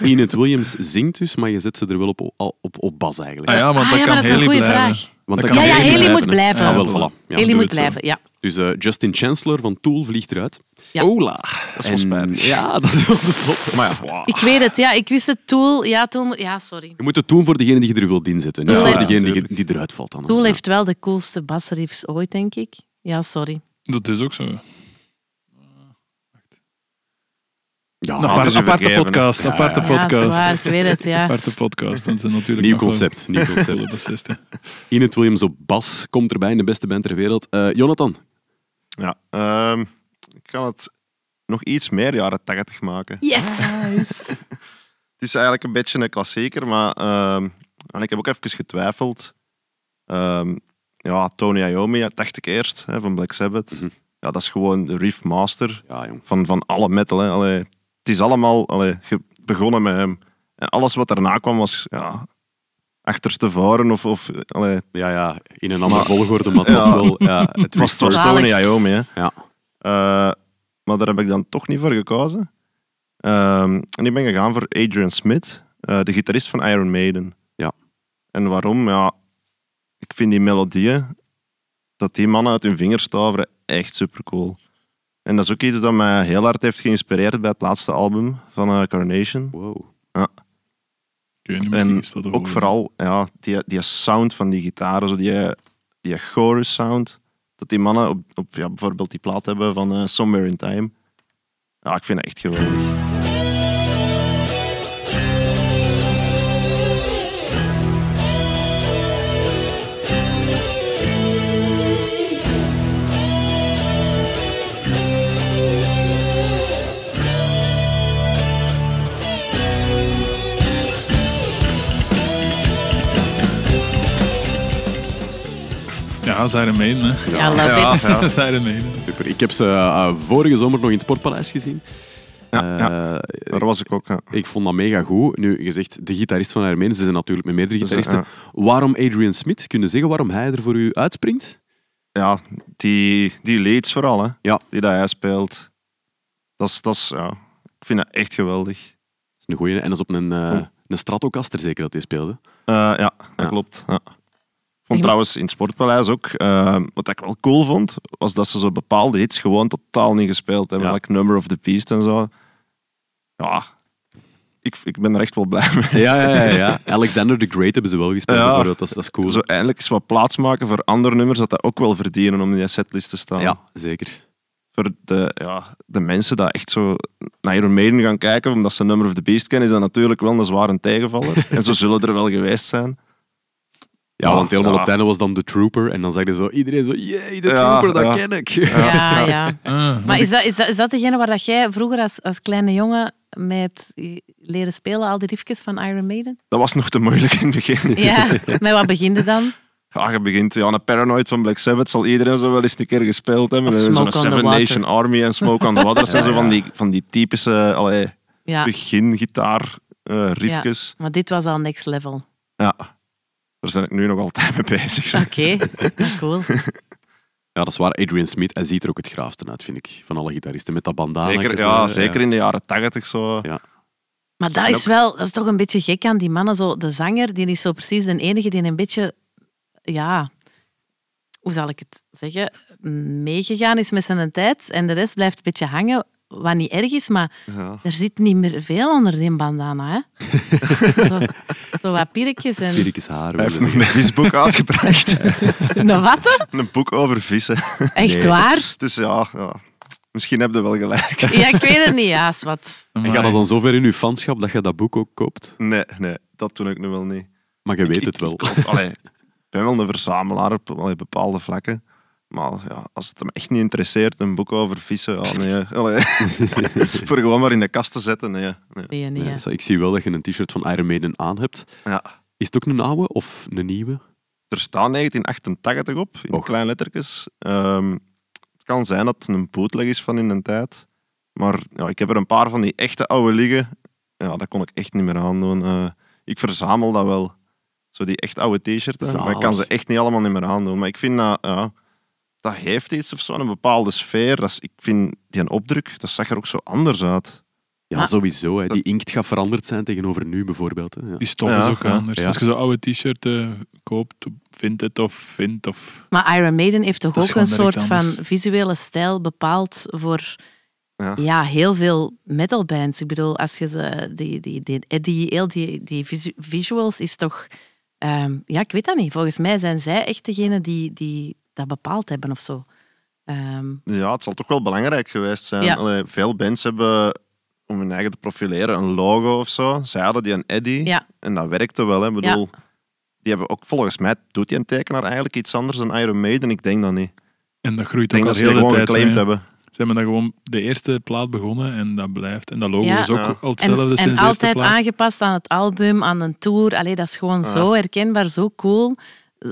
A: Inet Williams zingt dus, maar je zet ze er wel op, op, op, op bas eigenlijk.
B: Ah ja, want
D: Ah,
B: dat
D: ja,
B: kan
D: maar dat is een
B: Haley
D: goede
B: blijven.
D: vraag.
A: Want
B: Dat
A: dat
B: kan
A: kan
D: Ja, ja,
A: Haley
D: Haley moet
A: hè.
D: blijven.
A: Ah, wel,
B: Ja,
A: voilà. Ja.
D: Haley
B: doe
D: moet
B: het zo.
D: blijven, ja.
A: Dus eh, Justin Chancellor van Tool vliegt eruit.
D: Ja.
A: Ola.
C: Dat is wel spijtig.
A: Ja, dat is wel de zot.
C: maar ja, wow.
D: Ik weet het, ja. Ik wist het. Tool, ja, Tool... moet- Ja, sorry.
A: Je moet het doen voor degene die je er wilt inzetten. Niet
D: Doel
A: voor
D: heeft-
A: degene die, die eruit valt. Dan.
D: Tool
A: Ja.
D: heeft wel de coolste bassriffs ooit, denk ik. Ja, sorry.
B: Dat is ook zo.
A: Ja,
B: Een
C: het
B: aparte,
C: is u
B: aparte
C: vergeven, hè.
B: podcast.
A: Ja,
B: Aparte
A: ja.
D: Ja,
B: podcast.
D: zwaar. Ik weet het, ja.
B: aparte podcast. Dan zijn natuurlijk
A: Nieuw
B: nog wel
A: concept. Nieuw
B: coole
A: concept.
B: bassisten.
A: Inet Williams op bas komt erbij in de beste band ter wereld. Eh, Jonathan,
C: Ja, ehm, ik kan het nog iets meer jaren 80 maken.
D: Yes!
C: Het is eigenlijk een beetje een klassieker, maar ehm, en ik heb ook even getwijfeld. Ehm, ja, Tony Iommi, ja, dacht ik eerst, hè, van Black Sabbath.
A: Mhm.
C: Ja, dat is gewoon de riff master
A: ja, jong.
C: van, van alle metal. Hè. Allee, het is allemaal allee, ge- begonnen met hem. En alles wat daarna kwam was ja, achterstevoren of... of allee, het
A: Ja, ja, in een andere
C: Maar-
A: volgorde, maar het was
C: Ja.
A: wel... Ja, het
C: was, het was
D: Zalig.
C: Tony Iommi, hè.
A: Ja.
C: Eh, maar daar heb ik dan toch niet voor gekozen. Ehm, en ik ben gegaan voor Adrian Smith, eh, de gitarist van Iron Maiden.
A: Ja.
C: En waarom? Ja, ik vind die melodieën, dat die mannen uit hun vingers toveren, echt supercool. En dat is ook iets dat mij heel hard heeft geïnspireerd bij het laatste album van eh, Carnation.
A: Wow.
B: Ik weet niet,
C: En
B: misschien is dat
C: Ook
B: ook
C: vooral ja, die, die sound van die gitaren, zo die, die chorus sound. Dat die mannen op, op ja, bijvoorbeeld die plaat hebben van eh, Somewhere in Time. Ja, ik vind dat echt geweldig.
B: Ja, Iron Maiden. Hè.
D: Ja, love
C: Ja,
D: it.
C: ja.
B: Dat is Iron Maiden.
A: Super. Ik heb ze eh, vorige zomer nog in het Sportpaleis gezien.
C: Ja,
A: Eh,
C: Daar was ik ook. Ja.
A: Ik vond dat mega goed. Nu, je zegt de gitarist van Armeen, ze zijn natuurlijk met meerdere
C: Dus, eh,
A: gitaristen. Waarom Adrian Smith? Kun je zeggen waarom hij er voor u uitspringt?
C: Ja, die, die leads vooral, hè,
A: Ja.
C: die dat hij speelt. Dat is, dat is, ja, ik vind dat echt geweldig.
A: Dat is een goeie. hè? En dat is op een, eh
C: Cool.
A: een Stratocaster zeker dat hij speelde.
C: Eh, ja, dat
A: Ja.
C: klopt. Ja. Ik vond trouwens in het Sportpaleis ook, eh, wat ik wel cool vond, was dat ze zo bepaalde hits gewoon totaal niet gespeeld hebben.
A: Ja.
C: Like Number of the Beast en zo. Ja, ik, ik ben er echt wel blij mee.
A: Ja, ja, ja. ja. Alexander the Great hebben ze wel gespeeld
C: Ja.
A: bijvoorbeeld. Dat, is- dat is cool.
C: Zo eindelijk eens wat plaats maken voor andere nummers dat dat ook wel verdienen om in die setlist te staan.
A: Ja, zeker.
C: voor de, ja, de mensen die echt zo naar Iron Maiden gaan kijken, omdat ze Number of the Beast kennen, is dat natuurlijk wel een zware tegenvaller. en ze zullen er wel geweest zijn.
A: Ja,
C: Ja,
A: want helemaal
C: ja.
A: op het einde was dan The Trooper. En dan zeiden zo iedereen zo, jee, The
C: Ja,
A: Trooper, dat
C: ja.
A: ken ik.
D: Ja, ja.
B: Ah,
D: Maar is dat, is, dat, is dat degene waar dat jij vroeger als, als kleine jongen mee hebt leren spelen, al die riffjes van Iron Maiden?
C: Dat was nog te moeilijk in het begin.
D: Ja, met wat beginde dan?
C: Ja, Ah, je begint ja, een Paranoid van Black Sabbath zal iedereen zo wel eens een keer gespeeld hebben.
D: Of
C: En
D: Smoke
C: Zo'n
D: on the
C: Seven
D: Water.
C: Nation Army en Smoke on the Water. Dat zijn zo van die, van die typische allee,
D: Ja,
C: begingitaar eh riffjes.
D: maar dit was al next level. Oké,
C: Ja. Daar ben ik nu nog altijd mee bezig.
D: Ah, ja, cool.
A: Ja, dat is waar. Adrian Smith, hij ziet er ook het graafste uit, vind ik. Van alle gitaristen met dat bandana.
C: Zeker, ja, zeker in de jaren tachtig zo.
D: Maar dat is wel, dat is toch een beetje gek aan die mannen. Zo, de zanger, die is zo precies de enige die een beetje, ja, hoe zal ik het zeggen, meegegaan is met zijn tijd en de rest blijft een beetje hangen, wat niet erg is, maar
C: Ja.
D: er zit niet meer veel onder die bandana. Hè? zo, zo wat pirkjes en
A: Pirkes haar.
C: Hij
A: willen
C: heeft nog
A: zeggen.
C: een visboek uitgebracht.
D: een watten.
C: een boek over vissen.
D: Echt
A: Nee.
D: waar?
C: Dus ja, ja. misschien heb je wel gelijk.
D: Ja, ik weet het niet. Ja, is wat.
A: En gaat dat dan zover in uw fanschap dat je dat boek ook koopt?
C: Nee, nee, dat doe ik nu wel niet.
A: Maar je weet
C: Ik-
A: het wel.
C: Ik, ik- allee, ik ben wel een verzamelaar op allee, bepaalde vlakken. Maar ja, als het hem echt niet interesseert, een boek over vissen, ja, nee. Allee. Voor gewoon maar in de kast te zetten, nee. nee.
D: Nee, nee.
A: Ja,
D: ja.
A: zo, ik zie wel dat je een t-shirt van Iron Maiden aan hebt.
C: Ja.
A: Is het ook een oude of een nieuwe?
C: Er staat 1988 op, in
A: Och.
C: kleine lettertjes. Ehm, het kan zijn dat het een bootleg is van in een tijd. Maar ja, ik heb er een paar van die echte oude liggen. Ja, dat kon ik echt niet meer aandoen. Eh, ik verzamel dat wel. Zo die echt oude t-shirts. Maar ik kan
A: Zalig.
C: ze echt niet allemaal niet meer aandoen. Maar ik vind dat... Ja, dat heeft iets of zo, een bepaalde sfeer. Dat is, ik vind die een opdruk, dat zag er ook zo anders uit.
A: Ja,
D: Ah.
A: sowieso. Hè. Die inkt gaat veranderd zijn tegenover nu bijvoorbeeld. Hè. Ja.
B: Die stof
C: Ja,
B: is ook
C: ja,
B: anders.
A: ja.
B: Als je zo'n oude t-shirt eh, koopt, vindt het of vindt of...
D: Maar Iron Maiden heeft toch
B: Dat is
D: ook een
B: gewoon direct
D: soort van
B: anders.
D: visuele stijl bepaald voor
C: Ja.
D: ja. heel veel metalbands. Ik bedoel, als je ze, die, die, die, eh, die, heel die, die visu- visuals is toch... ehm, ja, ik weet dat niet. Volgens mij zijn zij echt degene die, die dat bepaald hebben of zo. Ehm,
C: Ja, het zal toch wel belangrijk geweest zijn.
D: Ja.
C: Allee, veel bands hebben, om hun eigen te profileren, een logo of zo. Zij hadden die een Eddy.
D: ja,
C: En dat werkte wel. Hè. Ik bedoel, die hebben ook, volgens mij doet die een tekenaar eigenlijk iets anders dan Iron Maiden. Ik denk dat niet. Ik
B: En dat groeit ook
C: denk
B: al
C: dat ze
B: heel
C: die
B: de
C: gewoon
B: tijd
C: geclaimd
B: mee.
C: hebben.
B: Ze hebben dan gewoon de eerste plaat begonnen en dat blijft. En dat logo
D: Ja.
B: is ook
C: Ja.
B: al hetzelfde
D: en,
B: sinds
D: en
B: de eerste
D: altijd
B: plaat.
D: aangepast aan het album, aan een tour. Allee, dat is gewoon zo herkenbaar, zo cool.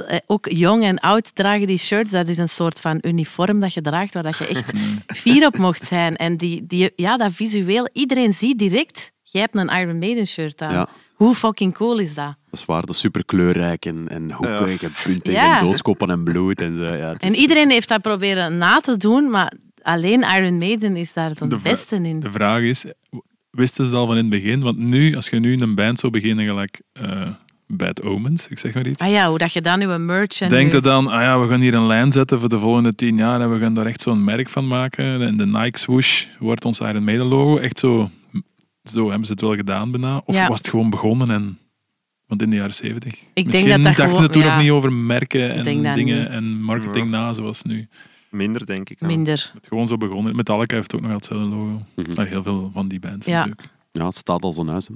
D: Eh, Ook jong en oud dragen die shirts. Dat is een soort van uniform dat je draagt, waar dat je echt
B: Mm.
D: fier op mocht zijn. En die, die, ja, dat visueel, iedereen ziet direct, jij hebt een Iron Maiden shirt aan.
A: Ja.
D: Hoe fucking cool is dat?
A: Dat is waar, dat is super kleurrijk en, en hoekig en puntig
D: Ja.
A: en doodskoppen en bloed. En, zo. Ja, het
D: En
A: is-
D: iedereen heeft dat proberen na te doen, maar alleen Iron Maiden is daar de,
B: De vra-
D: beste in.
B: De vraag is, wisten ze dat al van in het begin? Want nu, als je nu een band zou beginnen, gelijk eh, Bad Omens, ik zeg maar iets.
D: Ah ja, hoe dat je dan je merch en
B: Denk
D: je-
B: er dan, ah ja, we gaan hier een lijn zetten voor de volgende tien jaar en we gaan daar echt zo'n merk van maken. En de Nike swoosh wordt ons Iron Maiden logo. Echt zo, zo hebben ze het wel gedaan bijna. Of
D: Ja.
B: was het gewoon begonnen en... Want in de jaren zeventig.
D: denk
B: Misschien
D: dat dat
B: dachten ze
D: gewoon-
B: toen
D: ja.
B: nog niet over merken
D: Ik denk
B: en
D: dat
B: dingen
D: niet.
B: en marketing na, zoals nu.
C: Minder, denk ik. ja.
D: minder.
B: Het gewoon zo begonnen. Metallica heeft ook nog hetzelfde logo.
A: Mhm.
C: Ah,
B: Nou, heel veel van die bands
D: Ja.
B: natuurlijk.
A: Ja, het staat als een huis. hè.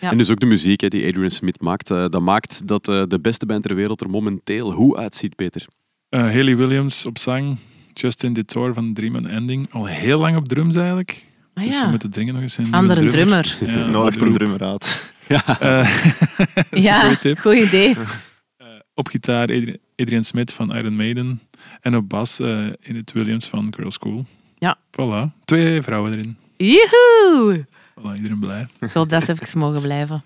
D: Ja.
A: En dus ook de muziek hè, die Adrian Smith maakt, eh, dat maakt dat eh, de beste band ter wereld er momenteel hoe uitziet, Peter.
B: Eh, Haley Williams op zang. Justin Detour van Dream and Ending. Al heel lang op drums eigenlijk.
D: Ah
B: Dus we
D: ja,
B: moeten dringen nog eens in.
D: andere drummer.
B: Ja,
C: Nodigt een
B: drummer.
C: drummer uit.
B: Eh,
D: Ja,
B: goeie tip.
D: goed idee.
B: op gitaar Adrian, Adrian Smith van Iron Maiden. En op bas eh, Init Williams van Girls School.
D: Ja.
B: Voilà. Twee vrouwen erin.
D: Joehoe!
B: Voilà, iedereen blij.
D: Ik hoop dat ze even mogen blijven.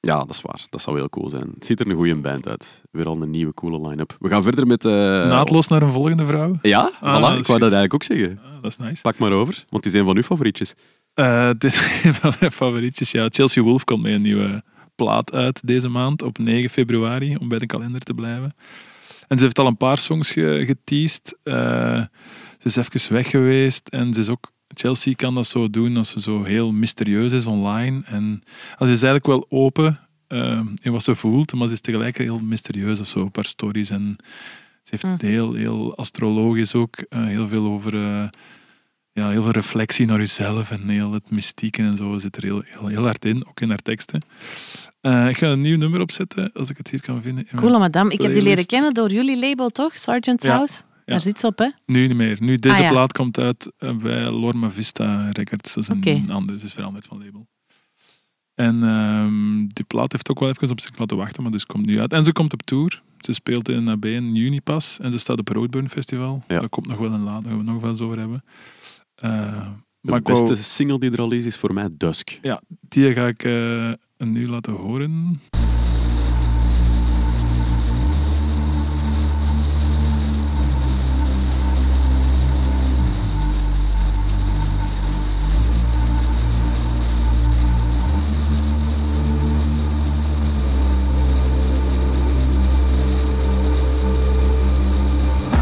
A: Ja, dat is waar. Dat zou heel cool zijn. Het ziet er een goede band uit. Weer al een nieuwe, coole line-up. We gaan verder met... eh,
B: Naadloos naar een volgende vrouw.
A: Ja,
B: Ah,
A: voilà,
B: dat
A: ik
B: is
A: wou dat
B: goed.
A: eigenlijk ook zeggen.
B: Ah, dat is nice.
A: Pak maar over, want die zijn van uw favorietjes.
B: Eh, het is een van mijn favorietjes. Ja, Chelsea Wolf komt met een nieuwe plaat uit deze maand op 9 februari, om bij de kalender te blijven. En ze heeft al een paar songs ge geteased. Eh, ze is even weg geweest en ze is ook. Chelsea kan dat zo doen als ze zo heel mysterieus is online. En als ze is eigenlijk wel open eh, in wat ze voelt, maar ze is tegelijk heel mysterieus of zo. Een paar stories en ze heeft
D: Hm.
B: heel, heel astrologisch ook eh, heel veel over. eh, ja, heel veel reflectie naar jezelf en heel het mystieke en zo zit er heel, heel, heel hard in, ook in haar teksten. Eh, ik ga een nieuw nummer opzetten, als ik het hier kan vinden. in mijn-
D: Coole madame. Ik heb die leren
B: Playlist.
D: kennen door jullie label, toch? Sergeant
B: Ja,
D: House? Daar zit ze op, hè?
B: Nu niet meer. Nu, deze
D: Ah, ja.
B: plaat komt uit eh, bij Lorma Vista Records. Dat is een
D: Oké.
B: ander, dus veranderd van label. En ehm, die plaat heeft ook wel even op zich laten wachten, maar dus komt nu uit. En ze komt op tour. Ze speelt in AB in juni pas. En ze staat op het Roadburn Festival.
A: Ja.
B: Dat komt nog wel een laat, daar gaan we het nog wel eens over hebben. Eh,
A: De
B: maar ik eh, wou-
A: beste single die er al is, is voor mij Dusk.
B: Die ga ik eh, nu laten horen.
G: I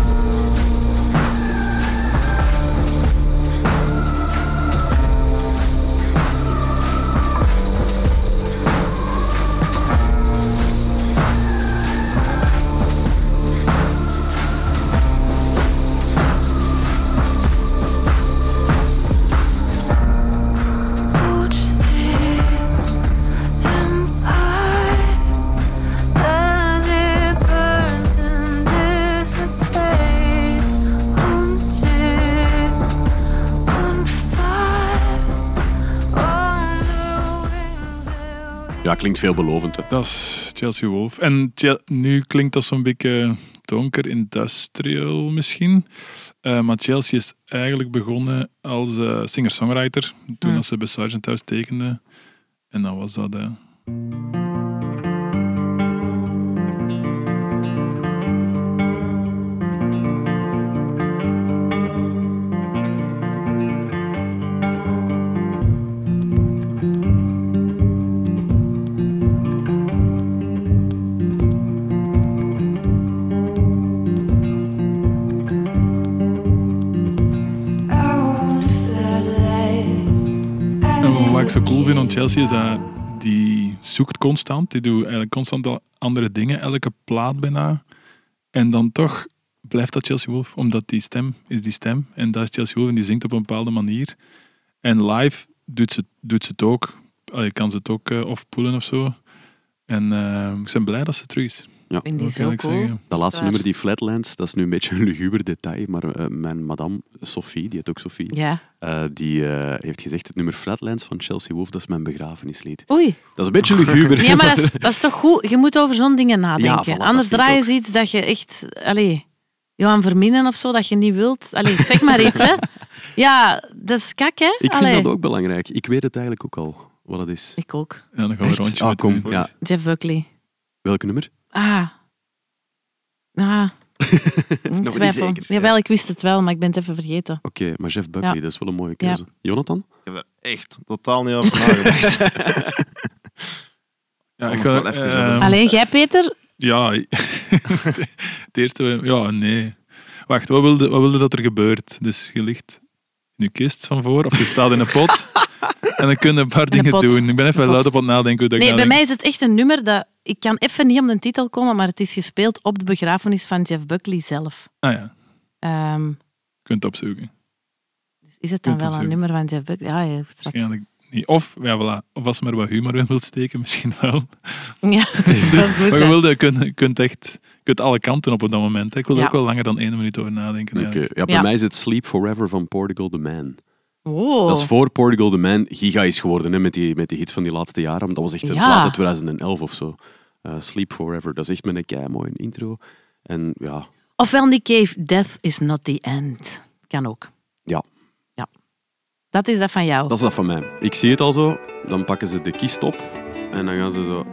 A: Ja, klinkt veelbelovend. Hè.
B: Dat is Chelsea Wolf. En Chel- nu klinkt dat zo'n beetje donker industrial misschien. Eh, maar Chelsea is eigenlijk begonnen als eh, singer-songwriter. Toen
D: Mm.
B: als ze bij Sargent House tekende. En dan was dat... eh, En wat ik zo cool vind aan Chelsea is dat die zoekt constant. Die doet eigenlijk constant al andere dingen, elke plaat bijna. En dan toch blijft dat Chelsea Wolf, omdat die stem is die stem. En dat is Chelsea Wolf en die zingt op een bepaalde manier. En live doet ze, doet ze het ook. Je kan ze het ook eh, afpoelen of zo. En eh, ik ben blij dat ze terug is.
D: En die
B: Dat
D: is
B: kan
D: ook
B: ik
D: cool.
B: zeggen.
A: Dat laatste
D: Waar.
A: nummer, die Flatlands, dat is nu een beetje een luguber detail, maar eh, mijn madame Sophie, die heet ook Sophie,
D: Ja.
A: eh, die eh, heeft gezegd, het nummer Flatlands van Chelsea Wolf, dat is mijn begrafenislied.
D: Oei.
A: Dat is een beetje luguber.
D: Ja, maar dat is, dat is toch goed. Je moet over zo'n dingen nadenken.
A: voilà, dat
D: Anders
A: vind ik
D: draai je
A: ook.
D: iets dat je echt... Allee, je aan verminen of zo, dat je niet wilt. Allee, zeg maar iets, hè. Ja, dat is kak, hè.
A: Ik
D: Allee.
A: vind dat ook belangrijk. Ik weet het eigenlijk ook al, wat dat is.
D: Ik ook.
B: Ja, dan gaan we een
A: Echt?
B: rondje
A: Ah,
B: met
A: kom.
B: doen.
A: Ja.
D: Jeff Buckley.
A: Welk nummer?
D: Ah. Ah. Ik
A: niet
D: twijfel.
A: zeker.
D: Jawel, ik wist het wel, maar ik ben het even vergeten.
A: Oké, maar Jeff Buckley,
D: Ja.
A: dat is wel een mooie keuze. Jonathan?
C: Ik heb daar echt totaal niet over nagedacht.
B: Ja, ik
C: nog
B: ga,
C: wel even
B: eh,
C: hebben.
D: Alleen jij, Peter?
B: Ja, het eerste. Ja, nee. Wacht, wat wilde, wat wilde dat er gebeurt? Dus je ligt in je kist van voor of je staat in een pot. en dan kun je een paar
D: In een
B: dingen
D: pot.
B: doen. Ik ben even
D: Een pot.
B: luid op aan het nadenken hoe dat
D: Nee,
B: ik
D: bij mij
B: nadenk.
D: is het echt een nummer dat... Ik kan even niet om de titel komen, maar het is gespeeld op de begrafenis van Jeff Buckley zelf.
B: Ah ja,
D: Ehm,
B: je kunt het opzoeken.
D: dus is het dan
B: Kunt
D: wel een
B: opzoeken.
D: nummer van Jeff Buckley? Ja, je wat.
B: Waarschijnlijk niet. Of, ja, voilà. of als je maar wat humor in wilt steken, misschien wel.
D: Ja, dat is wel
B: Dus,
D: goed.
B: maar je,
D: hè.
B: wilde, je, kunt, je kunt echt je kunt alle kanten op op dat moment. hè. Ik wil er
D: Ja.
B: ook wel langer dan één minuut over nadenken.
A: Oké,
C: eh,
B: eigenlijk.
A: Ja, bij
D: Ja.
A: mij is het Sleep Forever van Portugal The Man.
D: Oh.
A: Dat is voor Portugal The Man giga is geworden hè, met, die, met die hit van die laatste jaren. Want dat was echt een
D: Ja.
A: plaat uit 2011 of zo. Eh, Sleep Forever, dat is echt met een kei mooie intro. En ja,
D: Ofwel Nick Cave, Death is not the end. Kan ook.
A: Ja.
D: Ja. Dat is dat van jou.
A: dat is dat van mij. Ik zie het al zo, dan pakken ze de kist op en dan gaan ze zo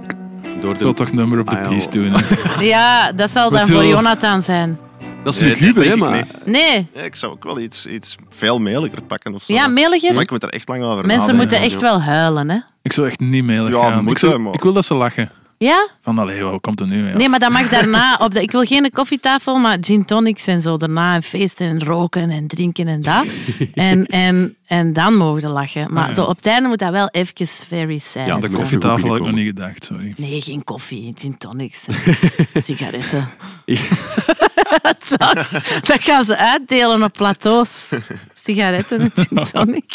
A: door
B: Ik zal
A: de...
B: toch number op de
A: Ah, ja.
B: piece doen. hè.
D: Ja, dat zal dan
B: Wat wil-
D: voor Jonathan zijn.
A: Dat is
C: Nee,
A: nu
C: dat
A: guber,
C: denk
A: hè,
C: ik
A: maar...
C: niet.
D: Nee.
C: Ja, ik zou ook wel iets, iets veel mailer pakken of zo.
D: Ja,
C: Maar
D: mailiger.
C: ik Ah, moet er echt lang over
D: Mensen
C: nadenken.
D: moeten echt wel huilen, hè.
B: Ik zou echt niet mailen
C: Ja,
B: gaan. ik,
C: moeten,
B: zou-
C: maar-
B: ik wil dat ze lachen.
D: Ja?
B: Van, allee, wat komt er nu? mee?
D: Nee, maar dat mag daarna. Op de, ik wil geen koffietafel, maar gin tonics en zo. Daarna en feesten en roken en drinken en dat. En, en, en dan mogen we lachen. Maar
B: Ah, ja.
D: zo op het einde moet dat wel even very sad
A: Ja, dat
D: zijn.
A: klopt.
B: Op de tafel had ik nog
A: binnenkomen.
B: niet gedacht, sorry.
D: Nee, geen koffie, gin tonics, sigaretten.
A: Ik-
D: Toch? dat gaan ze uitdelen op plateaus. Sigaretten en gin tonic.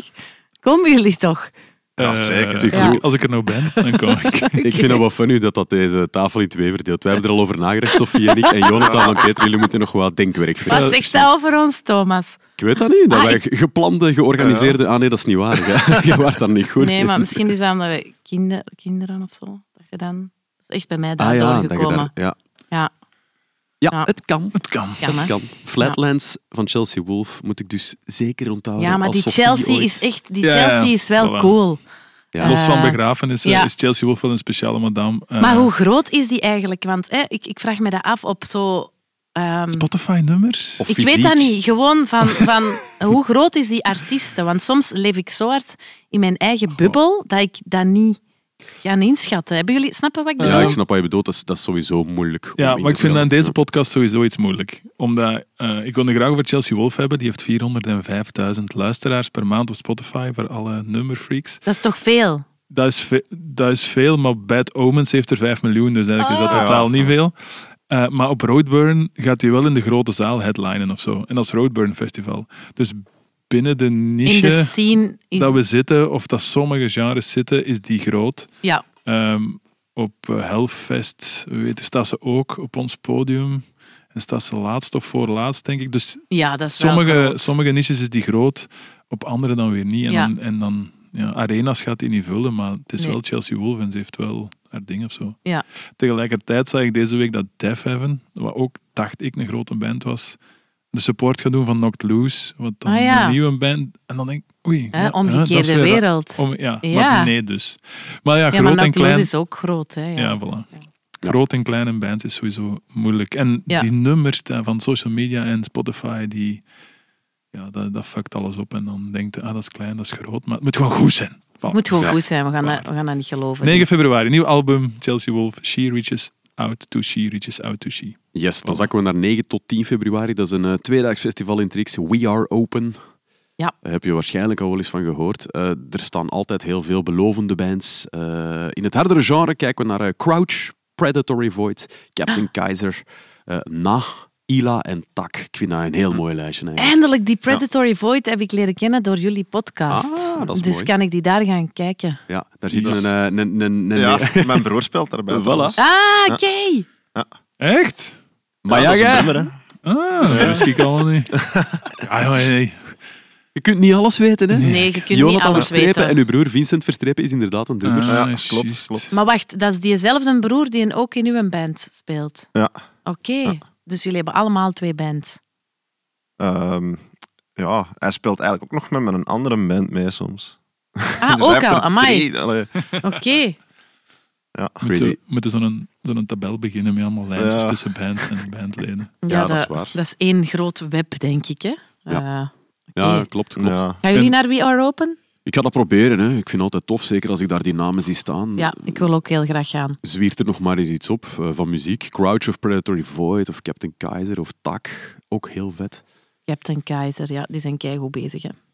D: Komen jullie toch?
C: Ja,
B: Eh,
C: zeker.
B: ik
D: Ja.
B: bedoel, Als ik er nou ben, dan kom ik.
A: Ik vind het wel van u dat, dat deze tafel in twee verdeelt. Wij hebben er al over nagedacht, Sofie en ik. En Jonathan en Peter, jullie moeten nog wat denkwerk verrichten.
D: Wat zegt dat over ons, Thomas?
A: Ik weet dat niet. Dat
D: Ah,
A: wij
D: ik-
A: geplande, georganiseerde... Ah nee, dat is niet waar. Ja. Je waart daar niet goed
D: Nee,
A: in.
D: maar misschien is dat omdat we kinder, kinderen of zo. Dat je dan. Dat is echt bij mij daar
A: Ah ja, dat je
D: doorgekomen.
A: daar... Ja.
D: Ja,
A: Ja,
D: Ja.
A: het kan.
B: Het kan.
D: kan, hè?
A: kan. Flatlands van Chelsea Wolf moet ik dus zeker onthouden.
D: ja, maar
A: als
D: die
A: Sophie
D: Chelsea
A: ooit-
D: is echt. Die
B: Ja, ja,
D: Chelsea is wel
B: voilà.
D: cool.
A: Ja.
B: Los van
D: Eh,
B: begrafenissen
D: ja.
B: is Chelsea Wolf wel een speciale madame. Eh,
D: Maar hoe groot is die eigenlijk? Want hè, ik, ik vraag me dat af op zo. ehm,
B: Spotify-nummers?
A: Of
D: ik
A: fysiek.
D: weet dat niet. Gewoon van, van hoe groot is die artiesten? Want soms leef ik zo hard in mijn eigen bubbel dat ik dat niet ga inschatten. Hebben jullie, snappen wat ik bedoel?
A: Ja, ik snap wat je bedoelt. Dat is, dat is sowieso moeilijk. om in
B: Ja, maar
A: te
B: ik vind dat
A: vullen.
B: in deze podcast sowieso iets moeilijk. Omdat eh, ik wil het graag over Chelsea Wolf hebben. Die heeft 405.000 luisteraars per maand op Spotify voor alle nummerfreaks.
D: Dat is toch veel?
B: Dat is, ve- dat is veel, maar Bad Omens heeft er 5 miljoen, dus eigenlijk is dat
C: Ah.
B: totaal
C: Ja.
B: niet veel. Eh, maar op Roadburn gaat hij wel in de grote zaal headlinen of zo. En dat is Roadburn Festival. Dus binnen de
D: In
B: niche
D: de scene is...
B: dat we zitten, of dat sommige genres zitten, is die groot.
D: Ja,
B: Ehm, op eh, Hellfest weet, staat ze ook op ons podium. En staat ze laatst of voorlaatst, denk ik. Dus
D: ja, dat is wel
B: sommige,
D: groot.
B: sommige niches is die groot, op andere dan weer niet. En,
D: Ja.
B: dan, en dan ja, arenas gaat hij niet vullen, maar het is
D: Nee.
B: wel Chelsea Wolves en ze heeft wel haar ding of zo.
D: Ja.
B: Tegelijkertijd zag ik deze week dat Def Heaven, wat ook dacht ik een grote band was, de support gaat doen van Knocked Loose, wat dan
D: Ah, ja.
B: een nieuwe band. En dan denk ik, oei.
D: Hè,
B: ja, ja, dat is
D: omgekeerde
B: weer-
D: wereld.
B: Om, ja,
D: Ja.
B: maar nee dus. Maar ja,
D: ja,
B: groot
D: maar
B: en
D: Nachtloos
B: klein.
D: is ook groot. Hè, ja.
B: Ja, voilà. Groot en klein in bands is sowieso moeilijk. En
D: Ja.
B: die nummers daar van social media en Spotify, die, ja, dat, dat fuckt alles op. En dan denkt je, ah, dat is klein, dat is groot, maar het moet gewoon goed zijn. Voilà.
D: Moet gewoon
A: Ja.
D: goed zijn, we gaan,
B: Voilà.
D: dat, we gaan dat niet geloven.
B: 9 februari, nieuw album, Chelsea Wolf, She Reaches Out to She Reaches Out to She.
A: Yes, dan zakken we naar 9 tot 10 februari. Dat is een eh, tweedaags festival in Trix, We Are Open.
D: Ja.
A: Daar heb je waarschijnlijk al wel eens van gehoord. Eh, er staan altijd heel veel belovende bands. Eh, in het hardere genre kijken we naar eh, Crouch, Predatory Void, Captain
D: Ah.
A: Kaiser, eh, Na, Ila en Tak. Ik vind dat een
D: Ah.
A: heel mooi lijstje. eigenlijk.
D: Eindelijk, die Predatory Void heb ik leren kennen door jullie podcast.
A: Ah, dat is
D: dus
A: mooi.
D: kan ik die daar gaan kijken.
A: Ja, daar zit
C: Dat is-
A: een... eh, een, een, een, een-
C: Ja, mijn broer speelt daarbij.
A: Voilà.
C: trouwens.
D: Ah, oké.
B: Echt?
A: Maar ja,
C: dat is een
A: jij-
C: drummer, hè.
B: Ah, dat wist ik allemaal niet. Ah, Ja, joh, nee.
A: je kunt niet alles weten, hè?
D: Nee, je kunt niet
A: Jonathan
D: alles
A: Verstrepen
D: weten.
A: en uw broer Vincent Verstrepen is inderdaad een drummer.
B: Ah,
C: Ja, klopt,
B: juist.
C: klopt.
D: Maar wacht, dat is diezelfde broer die een ook in uw band speelt.
C: Ja.
D: Oké, dus jullie hebben allemaal twee bands.
C: Ehm, ja, hij speelt eigenlijk ook nog met een andere band mee soms.
D: Ah,
C: Dus hij
D: ook
C: heeft
D: al,
C: er
D: amai.
C: drie, allee.
D: Oké.
B: Moeten
A: Crazy.
B: we moeten zo'n zo'n tabel beginnen met allemaal lijntjes
C: Ja.
B: tussen bands en bandleden.
D: Ja,
A: Ja, dat is waar.
D: Dat is één groot web, denk ik. Hè?
A: Ja.
D: Eh,
A: Ja, klopt, klopt.
C: Ja.
D: gaan jullie
B: En-
D: naar We Are Open?
A: Ik ga dat proberen. Hè. Ik vind het altijd tof, zeker als ik daar die namen zie staan.
D: Ja, ik wil ook heel graag gaan.
A: Zwiert er nog maar eens iets op eh, van muziek. Crouch of Predatory Void of Captain Kaiser of Tak. Ook heel vet.
D: Captain Keizer, ja, die zijn keigoed bezig. Hè?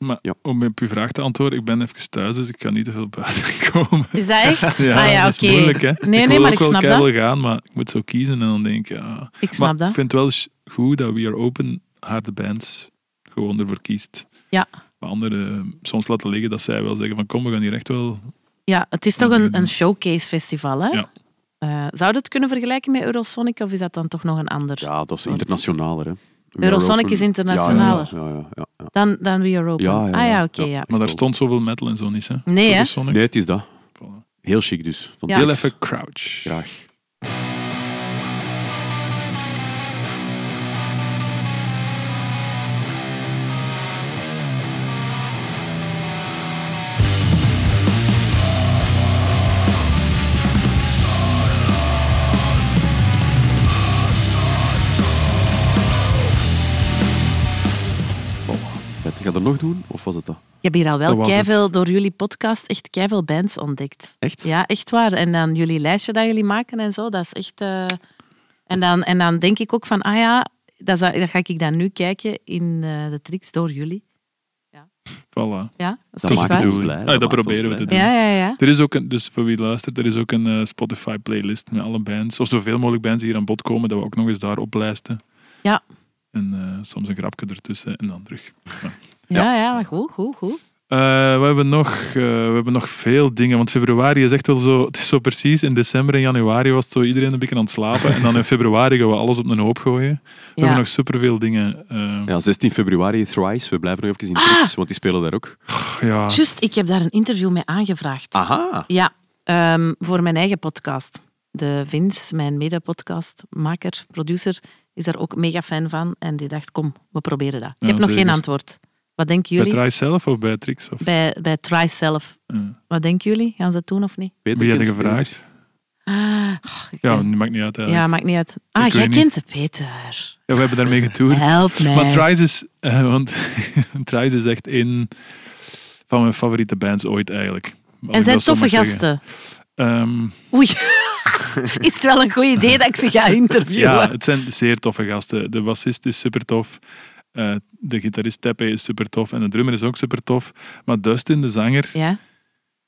B: Maar
A: Ja.
B: om op uw vraag te antwoorden, ik ben even thuis, dus ik kan niet te veel buiten komen.
D: Is dat echt? ah ja,
B: dat
D: oké.
B: is moeilijk, hè?
D: Nee,
B: ik
D: nee,
B: wil
D: maar
B: ook
D: ik snap
B: wel
D: dat.
B: wil gaan, maar ik moet zo kiezen en dan denk ik, ja...
D: Ik snap
B: maar
D: dat.
B: ik vind het wel sch- goed dat We Are Open haar de bands gewoon ervoor kiest.
D: Ja.
B: Maar anderen soms laten liggen dat zij wel zeggen van kom, we gaan hier echt wel...
D: Ja, het is toch een, een showcase-festival, hè?
B: Ja.
D: Eh, zou je het kunnen vergelijken met Eurosonic of is dat dan toch nog een ander?
A: Ja, dat is
D: Soort.
A: internationaler. Hè. We
D: Eurosonic
A: Are Open.
D: is internationaler.
A: Ja, ja, ja, ja, ja, ja.
D: Dan, dan We Are Open.
A: Ja, ja,
D: ah ja,
A: ja.
D: oké.
A: Ja.
D: ja.
B: Maar daar
A: wel.
B: stond zoveel metal en zo niet, hè?
D: Nee, hè?
B: Sonic.
A: Nee, het is dat.
B: Voilà.
A: Heel chic dus. Van
D: Ja.
B: Heel
A: Dix.
B: even Crouch.
A: Graag. Voilà. Vet. Ga je er nog doen? Of was het dat?
D: Ik heb hier al
B: Dat
D: wel
B: was het.
D: keiveel door jullie podcast echt keiveel bands ontdekt.
A: Echt?
D: Ja, echt waar. En dan jullie lijstje dat jullie maken en zo, dat is echt... eh, En, dan, en dan denk ik ook van, ah ja, dat, zou- dat ga ik dan nu kijken in eh, de tricks door jullie.
B: Voilà.
D: Ja, dat is
A: Dat
D: echt
A: maakt
D: waar.
A: ons
B: Doei.
A: blij.
B: Ah,
A: maakt
B: dat
A: ons
B: proberen we
A: blij.
B: te doen.
D: Ja, ja, ja.
B: Er is ook een, dus voor wie luistert, er is ook een eh, Spotify-playlist met alle bands, of zoveel mogelijk bands die hier aan bod komen, dat we ook nog eens daar oplijsten.
D: Ja.
B: En eh, soms een grapje ertussen en dan terug.
D: Ja, ja, maar goed, goed, goed.
B: Eh, we, hebben nog, eh, we hebben nog veel dingen, want februari is echt wel zo, het is zo precies, in december en januari was het zo iedereen een beetje aan het slapen en dan in februari gaan we alles op een hoop gooien. We hebben
D: Ja.
B: nog superveel dingen. eh,
A: Ja, 16 februari, Thrice. We blijven nog even in
D: Ah!
A: Trix, want die spelen daar ook.
B: pff, ja.
D: Just, ik heb daar een interview mee aangevraagd.
B: Ah.
A: Aha.
D: Ja, ehm, voor mijn eigen podcast. De Vince, mijn mede-podcastmaker, producer, is daar ook mega fan van. En die dacht, kom, we proberen dat. Ik
B: Ja,
D: heb nog
B: zeker.
D: geen antwoord. Wat denken
B: Bij
D: jullie?
B: Try zelf of bij Trix? Of,
D: Bij, bij Try zelf.
B: eh,
D: Wat denken jullie? Gaan ze het doen of niet?
A: Peter
B: wie had je
A: kent
B: gevraagd?
D: Ah, och, ik
B: Ja,
D: weet-
B: dat maakt niet uit eigenlijk.
D: ja, maakt niet uit. Ah,
B: Ik
D: jij
B: weet niet.
D: kent de Peter.
B: Ja, we hebben daarmee getoerd.
D: Help mij.
B: Maar Thrice is, eh, want Thrice is echt een van mijn favoriete bands ooit eigenlijk. Als
D: en
B: ik
D: zijn
B: dat zo
D: toffe
B: mag zeggen.
D: gasten.
B: Ehm,
D: Oei, is het wel een goed idee dat ik ze ga interviewen?
B: ja, het zijn zeer toffe gasten. De bassist is super tof. eh, de gitarist Tepe is super tof. En de drummer is ook super tof. Maar Dustin, de zanger,
D: Ja?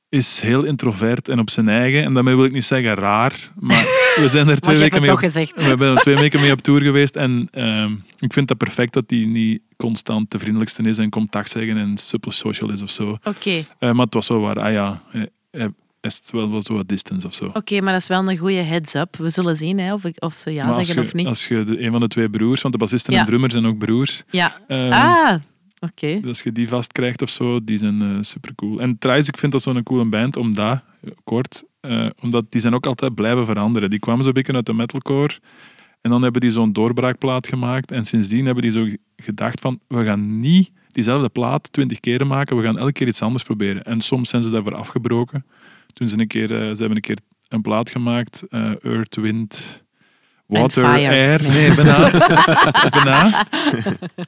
B: is heel introvert en op zijn eigen. En daarmee wil ik niet zeggen raar. Maar we zijn er
D: Maar
B: twee
D: je
B: weken
D: hebt het
B: mee
D: toch
B: op
D: gezegd.
B: we zijn er twee weken mee op tour geweest en ehm, ik vind dat perfect dat hij niet constant de vriendelijkste is en contact zeggen en super social is of zo.
D: Oké, oké,
B: Eh, maar het was wel waar, ah ja, eh, eh, is het wel, wel zo wat distance of zo.
D: maar dat is wel een goede heads-up. We zullen zien hè, of, ik, of ze ja
B: maar als
D: zeggen
B: je,
D: of niet.
B: Als je de, een van de twee broers, want de bassisten
D: Ja.
B: en drummer zijn ook broers.
D: Ja.
B: ehm,
D: ah, Oké.
B: Dus als je die vastkrijgt of zo, die zijn super cool. En Thrice, ik vind dat zo'n coole band, omdat, kort, eh, omdat die zijn ook altijd blijven veranderen. Die kwamen zo'n beetje uit de metalcore. En dan hebben die zo'n doorbraakplaat gemaakt. En sindsdien hebben die zo g- gedacht van, we gaan niet diezelfde plaat twintig keren maken. We gaan elke keer iets anders proberen. En soms zijn ze daarvoor afgebroken. Toen ze een keer, eh, ze hebben een keer een plaat gemaakt. eh, Earth, Wind, Water,
D: fire.
B: Air.
D: Nee.
B: Nee, bijna. bijna.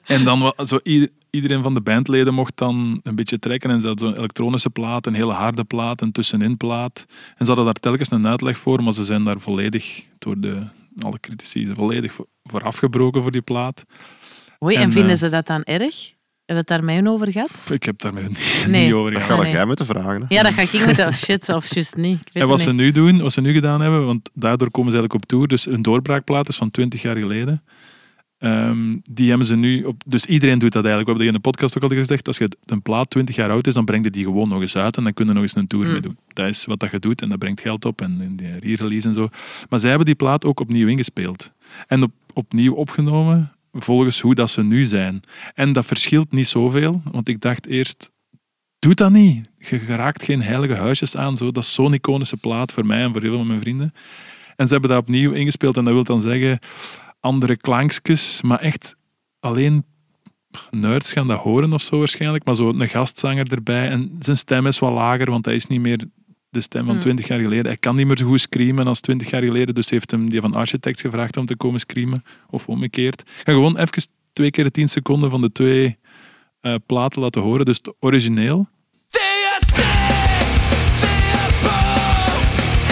B: En dan wa- zo ieder- iedereen van de bandleden mocht dan een beetje trekken. En ze hadden zo'n elektronische plaat, een hele harde plaat, een tussenin plaat. En ze hadden daar telkens een uitleg voor, maar ze zijn daar volledig door de, alle critici zijn volledig voor, voor afgebroken voor die plaat.
D: Oei, en,
B: En,
D: vinden
B: eh,
D: ze dat dan erg? Hebben we het daar met hun over gehad?
B: Pff, Ik heb daar nog niet,
D: Nee.
B: niet over
C: Dat
B: gehad.
C: ga
D: nee.
C: jij moeten vragen. Hè?
D: Ja, dat ga ik niet moeten. Oh, shit, of juist niet. Ik weet
B: En wat
D: het
B: ze
D: niet.
B: nu doen, wat ze nu gedaan hebben, want daardoor komen ze eigenlijk op tour. Dus een doorbraakplaat is van 20 jaar geleden. Ehm, die hebben ze nu op. Dus iedereen doet dat eigenlijk. We hebben dat in de podcast ook al gezegd. Als je een plaat 20 jaar oud is, dan breng je die gewoon nog eens uit. En dan kunnen we nog eens een tour
D: Mm.
B: mee doen. Dat is wat dat je doet. En dat brengt geld op. En, en die re-release en zo. Maar zij hebben die plaat ook opnieuw ingespeeld. En op, opnieuw opgenomen. Volgens hoe dat ze nu zijn. En dat verschilt niet zoveel. Want ik dacht eerst. Doe dat niet. Je raakt geen heilige huisjes aan. Zo. Dat is zo'n iconische plaat voor mij en voor heel veel mijn vrienden. En ze hebben dat opnieuw ingespeeld. En dat wil dan zeggen, andere klankjes, maar echt alleen nerds gaan dat horen of zo waarschijnlijk. Maar zo een gastzanger erbij. En zijn stem is wat lager, want hij is niet meer de stem van
D: Hmm.
B: 20 jaar geleden. Hij kan niet meer zo goed screamen als 20 jaar geleden. Dus heeft hem die van Architects gevraagd om te komen screamen. Of omgekeerd. En gewoon even twee keer de 10 seconden van de twee eh, platen laten horen. Dus het origineel.
G: They are sick, they are poor, and they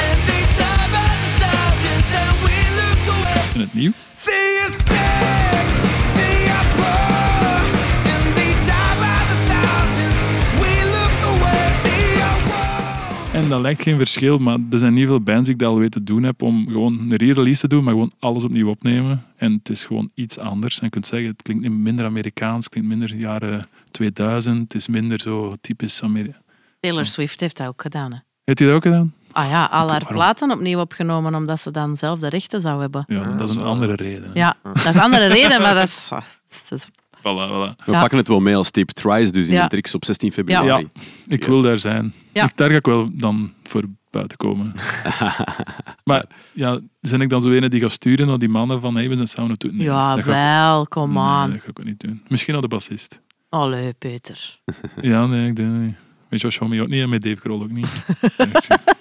G: die by the thousands, and we look away.
B: En het nieuw.
G: They are sick, they are poor, and they die by the thousands, we look away. They are wild.
B: En dat lijkt geen verschil, maar er zijn niet veel bands die ik dat al weet te doen heb om gewoon een re-release te doen, maar gewoon alles opnieuw opnemen. En het is gewoon iets anders. En je kunt zeggen, het klinkt niet minder Amerikaans, het klinkt minder jaren 2000, het is minder zo typisch Amerika.
D: Taylor Swift heeft dat ook gedaan. Hè.
B: Heeft hij dat ook gedaan?
D: Ah ja, al haar
B: Waarom?
D: platen opnieuw opgenomen, omdat ze dan zelf de rechten zou hebben.
B: Ja, dat is een
C: zo.
B: andere reden. hè.
D: Ja, dat is een andere reden, maar dat is... ah, dat is-
B: Voilà, voilà.
A: We
D: Ja.
A: pakken het wel mee als tip Tries, dus in
D: Ja.
A: de tricks op 16 februari.
B: Ik wil daar zijn.
D: Ja.
B: Ik, daar ga ik wel dan voor buiten komen. maar ja, zijn ik dan zo ene die gaat sturen naar die mannen van, hey, we zijn samen op toe? Nee,
D: ja,
B: dat ga ik-
D: wel, kom aan.
B: Nee, dat ga ik ook niet doen. Misschien naar de bassist.
D: Allee, Peter. Ja,
B: Ja, nee, ik denk het niet. Met Josh Homme ook niet en met Dave Grohl ook niet.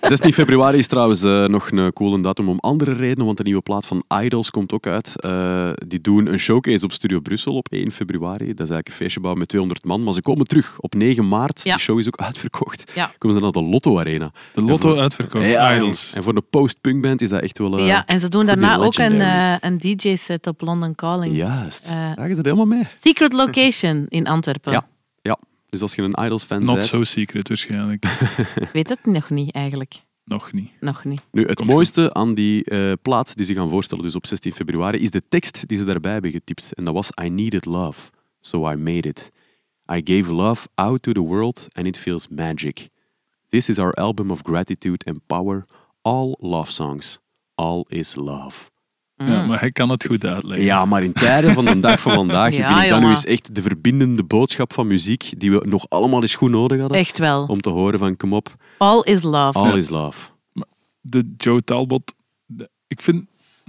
A: 16 februari is trouwens eh, nog een coole datum om andere redenen, want de nieuwe plaat van Idols komt ook uit. Eh, die doen een showcase op Studio Brussel op 1 februari. Dat is eigenlijk een feestje bouwen met 200 man, maar ze komen terug op 9 maart.
D: Ja.
A: Die show is ook uitverkocht.
D: Ja.
A: Komen ze naar de Lotto Arena.
B: De Lotto Ah, uitverkoopt.
A: Ja,
B: Idols.
A: En voor een post-punkband is dat echt wel... eh,
D: ja, en ze doen
A: voor die
D: daarna ook een,
A: legendary.
D: eh, een DJ-set op London Calling.
A: Juist.
D: Eh,
A: Daar is het helemaal mee.
D: Secret Location in Antwerpen.
A: Ja. Ja. Dus als je een Idols-fan
B: Not
A: bent...
B: so secret waarschijnlijk.
D: Ik weet het nog niet, eigenlijk.
B: Nog niet.
D: Nog niet.
A: Nu, het
B: Komt
A: mooiste aan die eh, plaat die ze gaan voorstellen, dus op 16 februari, is de tekst die ze daarbij hebben getypt. En dat was I needed love, so I made it. I gave love out to the world and it feels magic. This is our album of gratitude and power. All love songs. All is love.
B: Ja, maar hij kan het goed uitleggen.
A: Mm. Ja, maar in tijden van de dag van vandaag
D: Ja,
A: vind ik dat nu
D: jongen.
A: eens echt de verbindende boodschap van muziek die we nog allemaal eens goed nodig hadden.
D: Echt wel.
A: Om te horen van, kom op,
D: All is love.
A: all is love.
B: De Joe Talbot. de- ik vind...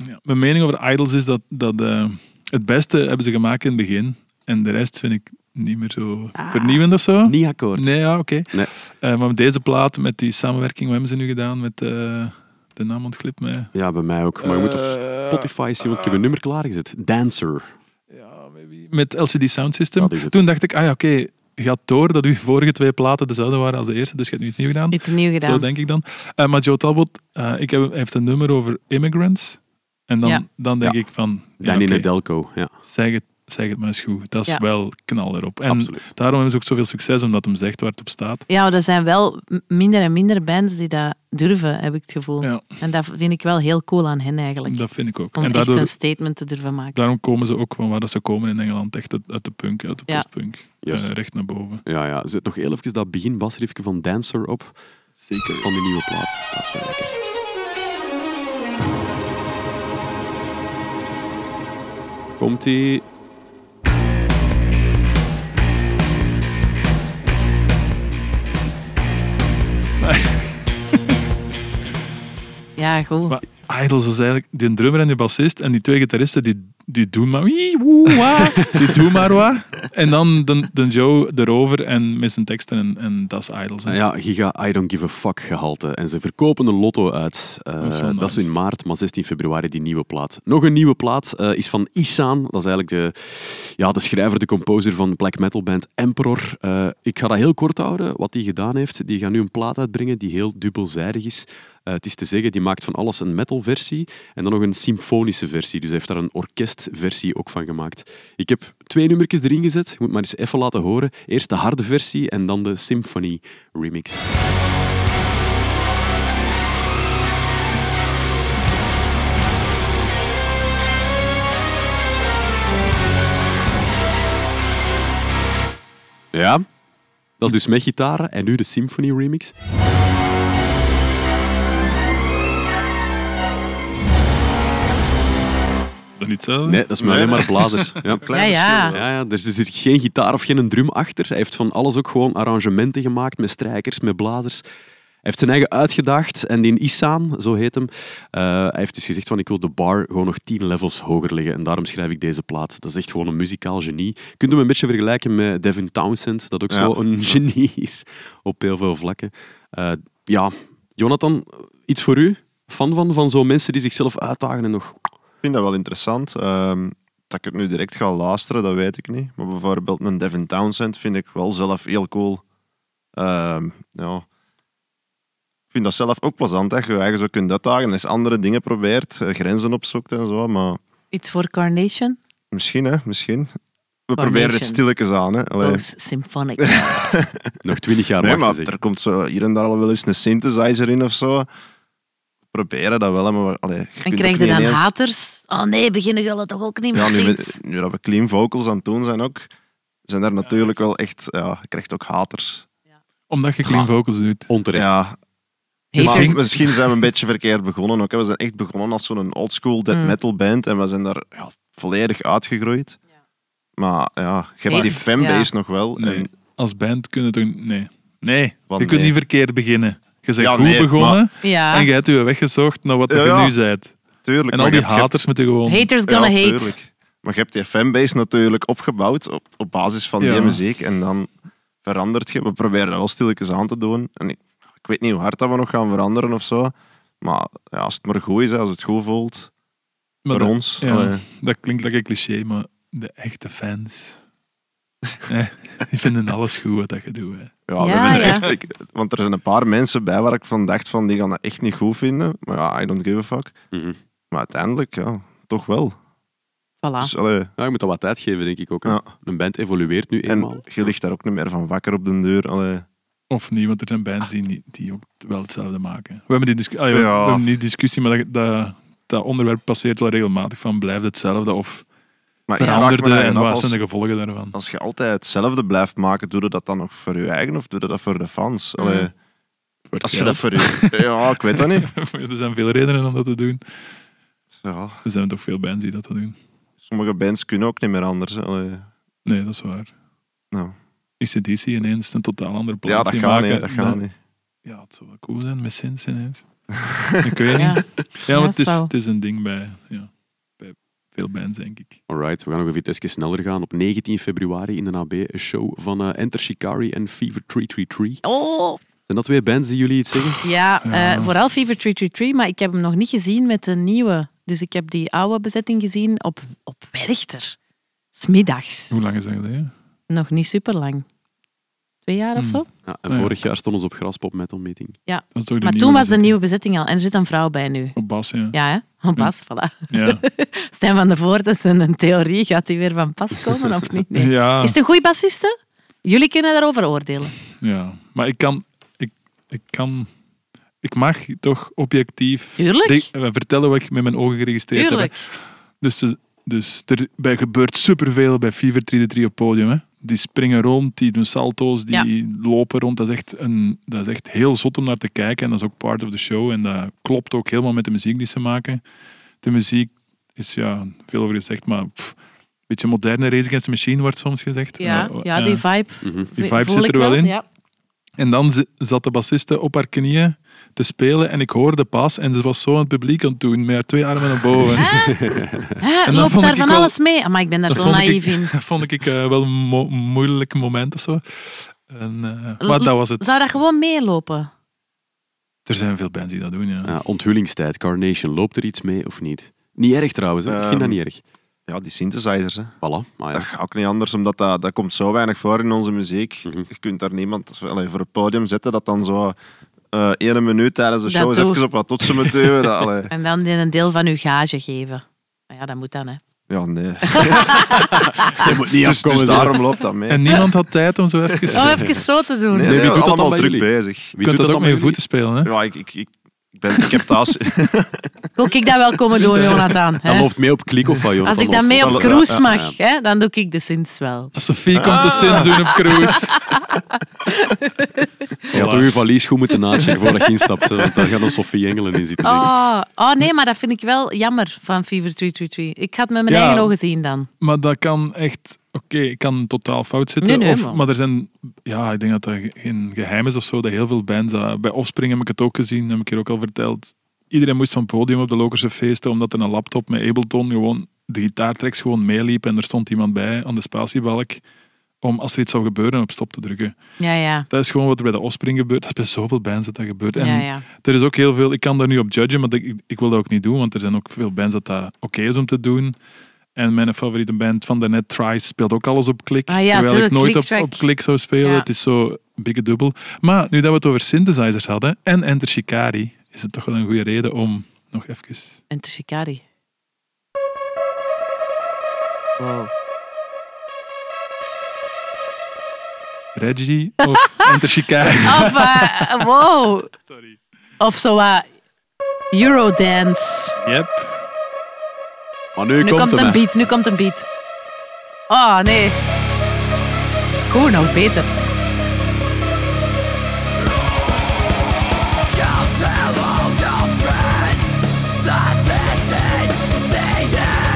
B: Ja, mijn mening over Idols is dat, dat eh, het beste hebben ze gemaakt in het begin. En de rest vind ik niet meer zo vernieuwend of zo.
A: Ah. Niet akkoord.
B: Nee, ja, oké.
A: Nee.
B: Eh, maar met deze plaat, met die samenwerking, wat hebben ze nu gedaan met eh, de naam ontglipt mij?
A: Ja, bij mij ook. Maar je moet op
B: Eh,
A: Spotify zien, want ik heb een nummer klaargezet. Dancer.
B: met LCD Sound System.
A: Dat is het.
B: Toen dacht ik, ah ja, oké, gaat door dat uw vorige twee platen dezelfde waren als de eerste, dus je hebt nu iets nieuws gedaan.
D: Iets nieuw gedaan.
B: Zo denk ik dan. Eh, maar Joe Talbot, eh, ik heb, hij heeft een nummer over immigrants. En dan,
D: Ja.
B: dan denk
A: Ja.
B: ik van, ja,
A: Danny
B: oké,
A: Nedelko. Ja,
B: zeg, het, zeg het maar eens goed. Dat is
D: Ja.
B: wel knal erop. En
A: absoluut.
B: daarom hebben ze ook zoveel succes, omdat hem zegt waar het op staat.
D: Ja, maar er zijn wel m- minder en minder bands die dat durven, heb ik het gevoel.
B: Ja.
D: En dat vind ik wel heel cool aan hen eigenlijk.
B: Dat vind ik ook.
D: om
B: en
D: echt
B: daardoor,
D: een statement te durven maken.
B: daarom komen ze ook van waar dat ze komen in Engeland, echt uit, uit de punk, uit de
D: Ja.
B: postpunk.
A: Juist.
B: Eh, recht naar boven.
A: Ja, ja. Zet nog heel even dat beginbasriffje van Dancer op. Zeker. Van die nieuwe plaat. Dat is wel lekker. Komt-ie.
D: Ja, goed.
B: Maar Idols is eigenlijk die drummer en die bassist en die twee gitaristen die, die doen maar wie, woe, wa, die doen maar wat. En dan de, de Joe erover en met zijn teksten en, en dat is Idols. hè.
A: Nou ja, giga I don't give a fuck gehalte. En ze verkopen een lotto uit. Eh,
B: Dat is wel
A: dat is
B: nice.
A: in maart, maar 16 februari die nieuwe plaat. Nog een nieuwe plaat eh, is van Isan. Dat is eigenlijk de, ja, de schrijver, de composer van de black metal band Emperor. Eh, ik ga dat heel kort houden, wat die gedaan heeft. Die gaat nu een plaat uitbrengen die heel dubbelzijdig is. Eh, het is te zeggen, die maakt van alles een metalversie en dan nog een symfonische versie. Dus hij heeft daar een orkestversie ook van gemaakt. Ik heb twee nummertjes erin gezet. Je moet maar eens even laten horen. Eerst de harde versie en dan de symphony remix. Ja, dat is dus met gitaar en nu de symphony remix.
B: Dan niet zo.
A: Nee, dat is maar
C: Nee,
A: alleen maar
C: nee.
A: blazers. Ja.
D: Ja, ja.
A: Ja, ja, dus er zit geen gitaar of geen drum achter. Hij heeft van alles ook gewoon arrangementen gemaakt met strijkers, met blazers. Hij heeft zijn eigen uitgedaagd en die Isaan, zo heet hem, eh, hij heeft dus gezegd van ik wil de bar gewoon nog tien levels hoger leggen en daarom schrijf ik deze plaat. Dat is echt gewoon een muzikaal genie. Je kunt hem een beetje vergelijken met Devin Townsend, dat ook
C: Ja.
A: zo een genie is op heel veel vlakken. Eh, ja, Jonathan, iets voor u? Fan van, van zo'n mensen die zichzelf uitdagen en nog...
C: Ik vind dat wel interessant. Ehm, dat ik het nu direct ga luisteren, dat weet ik niet. Maar bijvoorbeeld een Devin Townsend vind ik wel zelf heel cool. Ehm, ja. Ik vind dat zelf ook plezant, dat je je eigen zo kunt uitdagen en eens andere dingen probeert, eh, grenzen opzoekt en zo. Maar
D: Iets voor Carnation?
C: misschien, hè, misschien. We
D: Carnation.
C: proberen het stilletjes aan. Hè. Allee.
D: Oh, symphonic.
A: Nog twintig jaar
C: Nee,
A: wachten,
C: maar
A: zeg.
C: er komt zo hier en daar al wel eens een synthesizer in of zo. We proberen dat wel, hè, maar... Allee, je kunt
D: En
C: ook
D: krijg je
C: niet
D: dan
C: ineens-
D: haters? Oh nee, beginnen jullie toch ook niet meer
C: Ja, nu,
D: zingen?
C: we- nu dat we clean vocals aan het doen zijn ook, zijn er natuurlijk wel echt... Ja, je krijgt ook haters.
B: Omdat je
C: Ah.
B: clean vocals doet.
A: Onterecht.
C: Ja,
D: Haters.
C: maar misschien zijn we een beetje verkeerd begonnen ook. Hè. We zijn echt begonnen als zo'n oldschool dead
D: Mm.
C: metal band en we zijn daar ja, volledig uitgegroeid. Maar ja, je hebt
D: Nee,
C: die
D: ja.
C: fanbase nog wel.
B: Nee.
C: En,
B: Als band kunnen toch... Nee. Nee.
C: Want
B: je kunt
C: nee.
B: niet verkeerd beginnen. Je bent
C: Ja,
B: goed
C: nee,
B: begonnen
D: Ja.
B: en je hebt je weggezocht naar wat
C: Ja,
B: je
C: ja.
B: nu bent.
C: tuurlijk,
B: En al die
C: maar je hebt- je hebt-
B: haters moeten gewoon...
D: Haters gonna
C: ja,
D: hate.
C: tuurlijk. Maar je hebt die fanbase natuurlijk opgebouwd op, op basis van
B: Ja.
C: die muziek. En dan verandert je. We proberen dat wel stilletjes aan te doen. En ik, ik weet niet hoe hard dat we nog gaan veranderen of zo. Maar ja, als het maar goed is, hè, als het goed voelt.
B: Maar
C: voor
B: dat-
C: ons.
B: ja,
C: allee.
B: dat klinkt lekker cliché, maar de echte fans... nee, die vinden alles goed wat dat je doet. Hè.
C: Ja, we
D: Ja,
C: hebben er
D: ja.
C: echt, ik- want er zijn een paar mensen bij waar ik van dacht van die gaan dat echt niet goed vinden. Maar ja, I don't give a fuck.
A: Mhm.
C: Maar uiteindelijk, ja, toch wel.
D: Voilà.
C: Dus, allee,
A: Ja, je moet dat wat tijd geven, denk ik ook. hè.
C: Ja.
A: Een band evolueert nu eenmaal.
C: en je ligt daar ook niet meer van wakker op de deur. Allee.
B: Of niet, want er zijn bands die, niet- die ook wel hetzelfde maken. We hebben die discussie, we
C: Ja.
B: hebben niet discussie maar dat, dat, dat onderwerp passeert wel regelmatig van blijft hetzelfde of
C: Maar ik vraag me
B: veranderde
C: eigenlijk
B: en
C: af
B: wat
C: als-
B: zijn de gevolgen daarvan.
C: als je altijd hetzelfde blijft maken, doe je dat dan nog voor je eigen of doe je dat voor de fans? Allee,
D: Mm.
B: Wordt
C: Als je dat
B: geld.
C: voor je... Ja, ik weet dat niet.
B: er zijn veel redenen om dat te doen.
C: Ja,
B: Er zijn toch veel bands die dat doen.
C: sommige bands kunnen ook niet meer anders. hè. Allee,
B: Nee, dat is waar.
C: nou.
B: ICDC ineens een totaal andere plaats
C: Ja, dat
B: in
C: gaat
B: maken.
C: niet. Dat gaat
B: dan-
C: niet.
B: Ja, het zou wel cool zijn met Sins ineens. Ik weet niet.
D: Ja.
B: Ja, maar het is,
D: zou.
B: het is een ding bij, ja, bij veel bands, denk ik.
A: Alright, we gaan nog een vitesse sneller gaan. Op 19 februari in de AB een show van eh, Enter Shikari en Fever 333.
D: Oh,
A: Zijn dat twee bands die jullie iets zeggen?
D: ja.
B: Ja.
D: eh, vooral Fever 333, maar ik heb hem nog niet gezien met de nieuwe. Dus ik heb die oude bezetting gezien op, op Werchter. Smiddags.
B: Hoe lang is dat geleden?
D: Nog niet super lang. Twee jaar of
B: Hmm.
D: zo.
A: Ja, en
B: Ja.
A: vorig jaar stonden ze op Graspop Metal Meeting.
B: Dat is toch de
D: Maar toen was de nieuwe bezetting al. En er zit een vrouw bij nu.
B: Op Bas, ja.
D: Ja, hè? Van pas,
B: Hmm.
D: voilà.
B: Ja.
D: Stijn van de Voort is een theorie. Gaat die weer van pas komen of niet? Nee.
B: Ja,
D: Is het een goede bassiste? Jullie kunnen daarover oordelen.
B: ja. Maar ik kan, ik, ik kan, ik mag toch objectief
D: Tuurlijk.
B: ding- eh, vertellen wat ik met mijn ogen geregistreerd heb.
D: Tuurlijk.
B: Dus, ze- dus er bij gebeurt superveel bij Fever 3 op het podium. Hè. Die springen rond, die doen salto's, die lopen rond. Dat is, echt een, dat is echt heel zot om naar te kijken. En dat is ook part of the show. En dat klopt ook helemaal met de muziek die ze maken. De muziek is ja, veel over gezegd, maar pff, een beetje moderne Race Against the Machine wordt soms gezegd.
D: Ja,
B: Eh,
D: ja
B: eh,
D: die vibe.
A: Mhm.
B: die
D: voel
B: vibe zit
D: ik
B: er wel in.
D: Ja.
B: En dan zi- zat de bassiste op haar knieën te spelen en ik hoorde pas en ze was zo aan het publiek aan het doen, met haar twee armen naar boven.
D: Hè,
B: dan
D: Ah, loopt
B: vond
D: daar
B: ik
D: van
B: wel-
D: alles mee? Ah, Maar ik ben daar
B: Dat
D: zo
B: vond ik-
D: naïef in.
B: Dat vond ik eh, wel een mo- moeilijk moment of zo. En, eh, maar dat was het.
D: Zou dat gewoon meelopen?
B: Er zijn veel bands die dat doen, ja.
A: Ja, onthullingstijd, Carnation, loopt er iets mee of niet? Niet erg trouwens, hè? ik vind dat niet erg.
C: Ja, die synthesizers. Hè.
A: Voilà, maar
C: Ehm, Dat
A: ja.
C: gaat ook niet anders, omdat dat, dat komt zo weinig voor in onze muziek.
A: Mhm.
C: Je kunt daar niemand allee, voor het podium zetten dat dan zo eh ene minuut tijdens de
D: Dat
C: show eens
D: doe-
C: even op wat totsen moet duwen. Dat, allee,
D: En dan een deel van uw gage geven. Nou Ja, dat moet dan, hè.
C: ja, nee.
A: Je moet niet
C: Dus, dus daarom loopt dat mee.
B: En niemand had tijd om zo even...
D: Oh, even zo te doen.
C: Nee,
A: wie
C: nee,
A: doet dat dan
C: allemaal
A: bij
C: druk
A: jullie?
C: bezig.
A: Wie
B: je kunt dat ook met je
A: jullie?
B: voeten spelen, hè?
C: Ja, ik, ik, ik, ik ben, ik heb thuis...
D: Wil ik dat wel komen doen, Jonathan? hè?
A: Dan loopt mee op klik of wat, Jonathan?
D: Als ik
A: of-
D: dan mee
C: of-
D: op
C: ja,
D: cruise
C: ja,
D: mag, hè, dan doe ik de Sins wel.
B: Sophie komt de Sins doen op cruise.
A: Je had toch je valies goed moeten nachecken voordat je instapt. hè, Want daar gaan dan Sophie Engelen in zitten. denk ik.
D: Oh, oh nee, maar dat vind ik wel jammer van Fever 333. Ik had het met mijn
B: Ja.
D: eigen ogen zien dan.
B: Maar dat kan echt... Oké, ik kan totaal fout zitten.
D: Nee, nee,
B: of,
D: maar-
B: Maar er zijn... Ja, ik denk dat dat ge- geen geheim is of zo. Dat heel veel bands... dat- bij Offspring heb ik het ook gezien. Heb ik hier ook al verteld. Iedereen moest van het podium op de Lokerse feesten. Omdat er een laptop met Ableton gewoon... De gitaartracks gewoon meeliep. En er stond iemand bij aan de spatiebalk. Om als er iets zou gebeuren op stop te drukken.
D: Ja, ja.
B: Dat is gewoon wat er bij de Offspring gebeurt. Dat is bij zoveel bands dat dat gebeurt. En
D: ja, ja.
B: Er is ook heel veel, ik kan daar nu op judgen, maar ik, ik wil dat ook niet doen, want er zijn ook veel bands dat dat oké is om te doen. En mijn favoriete band van daarnet, Trice, speelt ook alles op klik.
D: Ah ja,
B: terwijl ik
D: tuurlijk,
B: nooit op,
D: klik-track.
B: op klik zou spelen.
D: Ja.
B: Het is zo een beetje dubbel. Maar nu dat we het over synthesizers hadden en Enter Shikari, is het toch wel een goede reden om nog even...
D: En Tushikari. Wow.
B: Reggie of Enter Shikari?
D: Of, eh, wow.
B: Sorry.
D: Of zo wat. Eurodance.
B: Yep.
A: Maar nu,
D: Nu
A: komt,
D: komt
A: hem,
D: een
A: hè.
D: beat, nu komt een beat. Oh, nee. Goed, nog beter.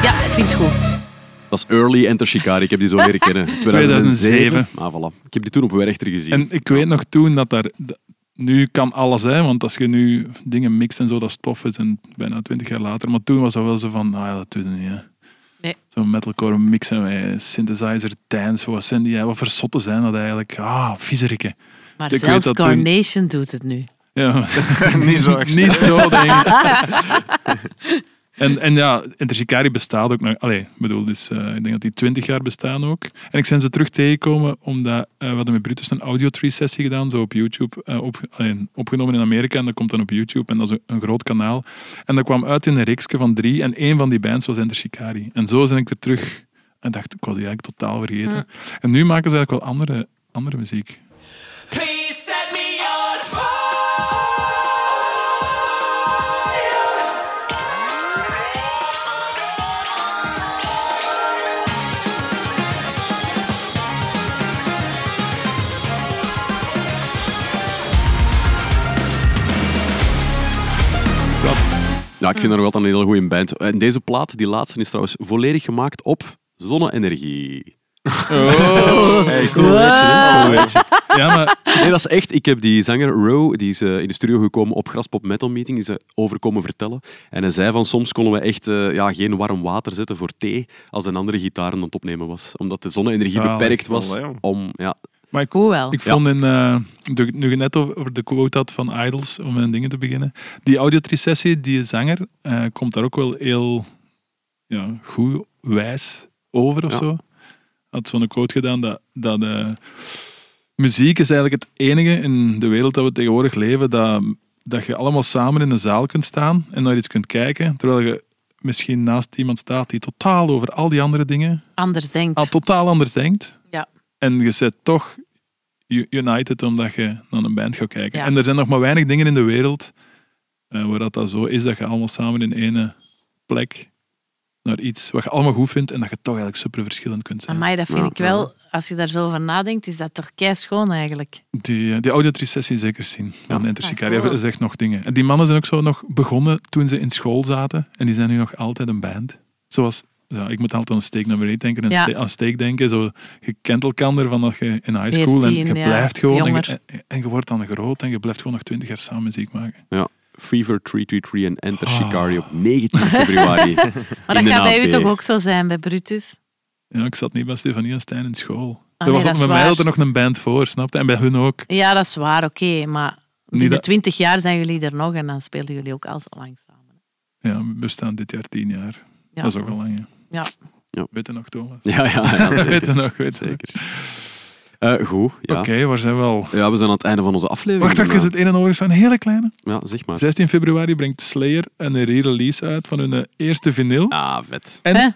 D: Ja, ik vind het goed.
A: Dat is Early Enter Shikari. Ik heb die zo leren kennen. 2007.
B: 2007.
A: Ah, voilà. Ik heb die toen op Werchter gezien.
B: En ik weet nog toen dat daar... d- Nu kan alles, hè, want als je nu dingen mixt en zo, dat is tof. Het en bijna twintig jaar later. Maar toen was dat wel zo van, nou ja, dat doen we niet. Hè.
D: Nee.
B: Zo'n metalcore mixen met synthesizer, dance, wat zijn die? hè, Wat voor zotten zijn dat eigenlijk? Ah, viezerikken.
D: Maar
B: Ik weet
D: zelfs
B: dat toen-
D: Carnation doet het nu.
B: Ja,
C: niet zo extreem.
B: niet zo dingen. En, en ja, Intercicari bestaat ook nog. Allee, ik bedoel, dus, eh, ik denk dat die 20 jaar bestaan ook. En ik zijn ze terug tegengekomen omdat eh, we hadden met Brutus een audio tree sessie gedaan, zo op YouTube, eh, op, allee, opgenomen in Amerika. En dat komt dan op YouTube en dat is een- een groot kanaal. En dat kwam uit in een reeksje van drie en één van die bands was Intercicari. En zo ben ik er terug en dacht, ik was die eigenlijk totaal vergeten. En nu maken ze eigenlijk wel andere, andere muziek.
E: Please set me on fire.
A: Ja, ik vind dat nog altijd een hele goede band. En deze plaat, die laatste, is trouwens volledig gemaakt op zonne-energie.
C: Oh.
A: Hey, cool weetje, hè? Cool weetje.
B: Ja, maar
A: Nee, dat is echt. Ik heb die zanger Row, die is eh, in de studio gekomen op Graspop Metal Meeting, is er over komen vertellen. En hij zei van soms konden we echt eh, ja, geen warm water zetten voor thee als een andere gitaar aan het opnemen was. Omdat de zonne-energie
B: Zalig.
A: beperkt was
C: Wel, hè, jong.
A: om... Ja,
B: Maar ik,
D: Goed wel.
B: ik vond in, eh, de- nu je net over over de quote had van Idols, om mijn dingen te beginnen. Die audiotrisessie, die zanger, eh, komt daar ook wel heel ja, goed, wijs over of
A: Ja.
B: zo. Had zo'n quote gedaan dat, dat eh, muziek is eigenlijk het enige in de wereld dat we tegenwoordig leven dat, dat je allemaal samen in een zaal kunt staan en naar iets kunt kijken, terwijl je misschien naast iemand staat die totaal over al die andere dingen
D: Anders denkt.
B: al totaal anders denkt.
D: Ja.
B: En je zet toch u- United omdat je naar een band gaat kijken.
D: Ja.
B: En er zijn nog maar weinig dingen in de wereld eh, waar dat, dat zo is dat je allemaal samen in ene plek naar iets wat je allemaal goed vindt en dat je toch eigenlijk super verschillend kunt zijn.
D: Amai, dat vind
A: Ja,
D: ik wel... Als je daar zo over nadenkt, is dat toch schoon eigenlijk.
B: Die, eh, die audiotrisessie zeker zien van ja.
D: Ah, cool.
B: zegt nog dingen. En die mannen zijn ook zo nog begonnen toen ze in school zaten en die zijn nu nog altijd een band. Zoals ja, ik moet altijd aan steeknummer 1 denken en
D: Ja.
B: ste- aan steek denken. Zo, je kent elkaar vanaf je in high school en
D: 14,
B: je
D: ja.
B: blijft gewoon. En je,
D: Jonger.
B: en- en je wordt dan groot en je blijft gewoon nog 20 jaar samen muziek maken.
A: Ja. Fever 333 en Enter
B: Ah.
A: Shikari op 19 februari.
D: Maar
A: In
D: dat
A: de
D: gaat bij
A: AP.
D: u toch ook zo zijn, bij Brutus?
B: Ja, ik zat niet bij Stefanie en Stijn in school.
D: Ah,
B: dat
D: nee,
B: was
D: dat
B: ook
D: is
B: bij mij
D: waar.
B: dat er nog een band voor, snapte? En bij hun ook.
D: Ja, dat is waar, oké. maar binnen
B: dat-
D: twintig jaar zijn jullie er nog en dan spelen jullie ook al zo lang samen.
B: Ja, we bestaan dit jaar 10 jaar.
D: Ja.
B: Dat is ook al lang. hè.
D: Ja.
A: Ja.
B: Weet je nog, Thomas?
A: ja, ja, ja,
B: weet je
A: zeker.
B: nog, weet je nog.
A: zeker. Eh, goed, ja.
B: Oké, waar zijn we al?
A: Ja, we zijn aan het einde van onze aflevering.
B: Wacht, wacht,
A: Maar-
B: is het een en oor is van een hele kleine?
A: Ja, zeg maar.
B: 16 februari brengt Slayer een re-release uit van hun eh, eerste vinyl.
A: Ah, vet.
B: En
D: Hè?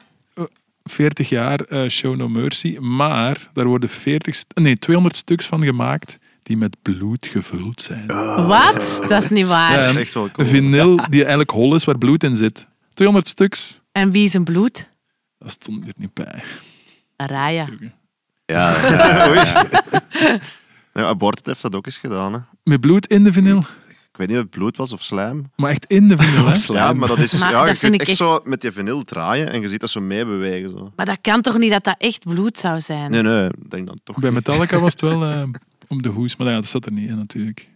B: 40 jaar eh, Show No Mercy, maar daar worden 40, st- nee, 200 stuks van gemaakt die met bloed gevuld zijn.
A: Oh.
D: Wat? Dat is niet waar.
B: Ja,
C: Dat
B: en
C: is echt wel
B: Een
C: cool.
B: vinyl die eigenlijk hol is, waar bloed in zit. 200 stuks.
D: En wie is een bloed?
B: Dat stond er niet bij.
D: Raya.
A: Ja,
C: Oei. Ja, Aborted heeft dat ook eens gedaan. Hè.
B: Met bloed in de vinyl,
C: Ik weet niet of het bloed was of slijm.
B: maar echt in de
A: Oh,
B: vinyl. hè.
C: Ja, maar dat is...
D: Maar
C: ja,
D: dat
C: je
D: vind
C: kunt
D: ik
C: echt,
D: echt-
C: zo met je vinyl draaien en je ziet dat zo meebewegen. Zo.
D: Maar dat kan toch niet dat dat echt bloed zou zijn?
C: Nee, nee, ik denk dan toch.
B: Bij Metallica was het wel eh, om de hoes, maar ja, dat zat er niet in natuurlijk.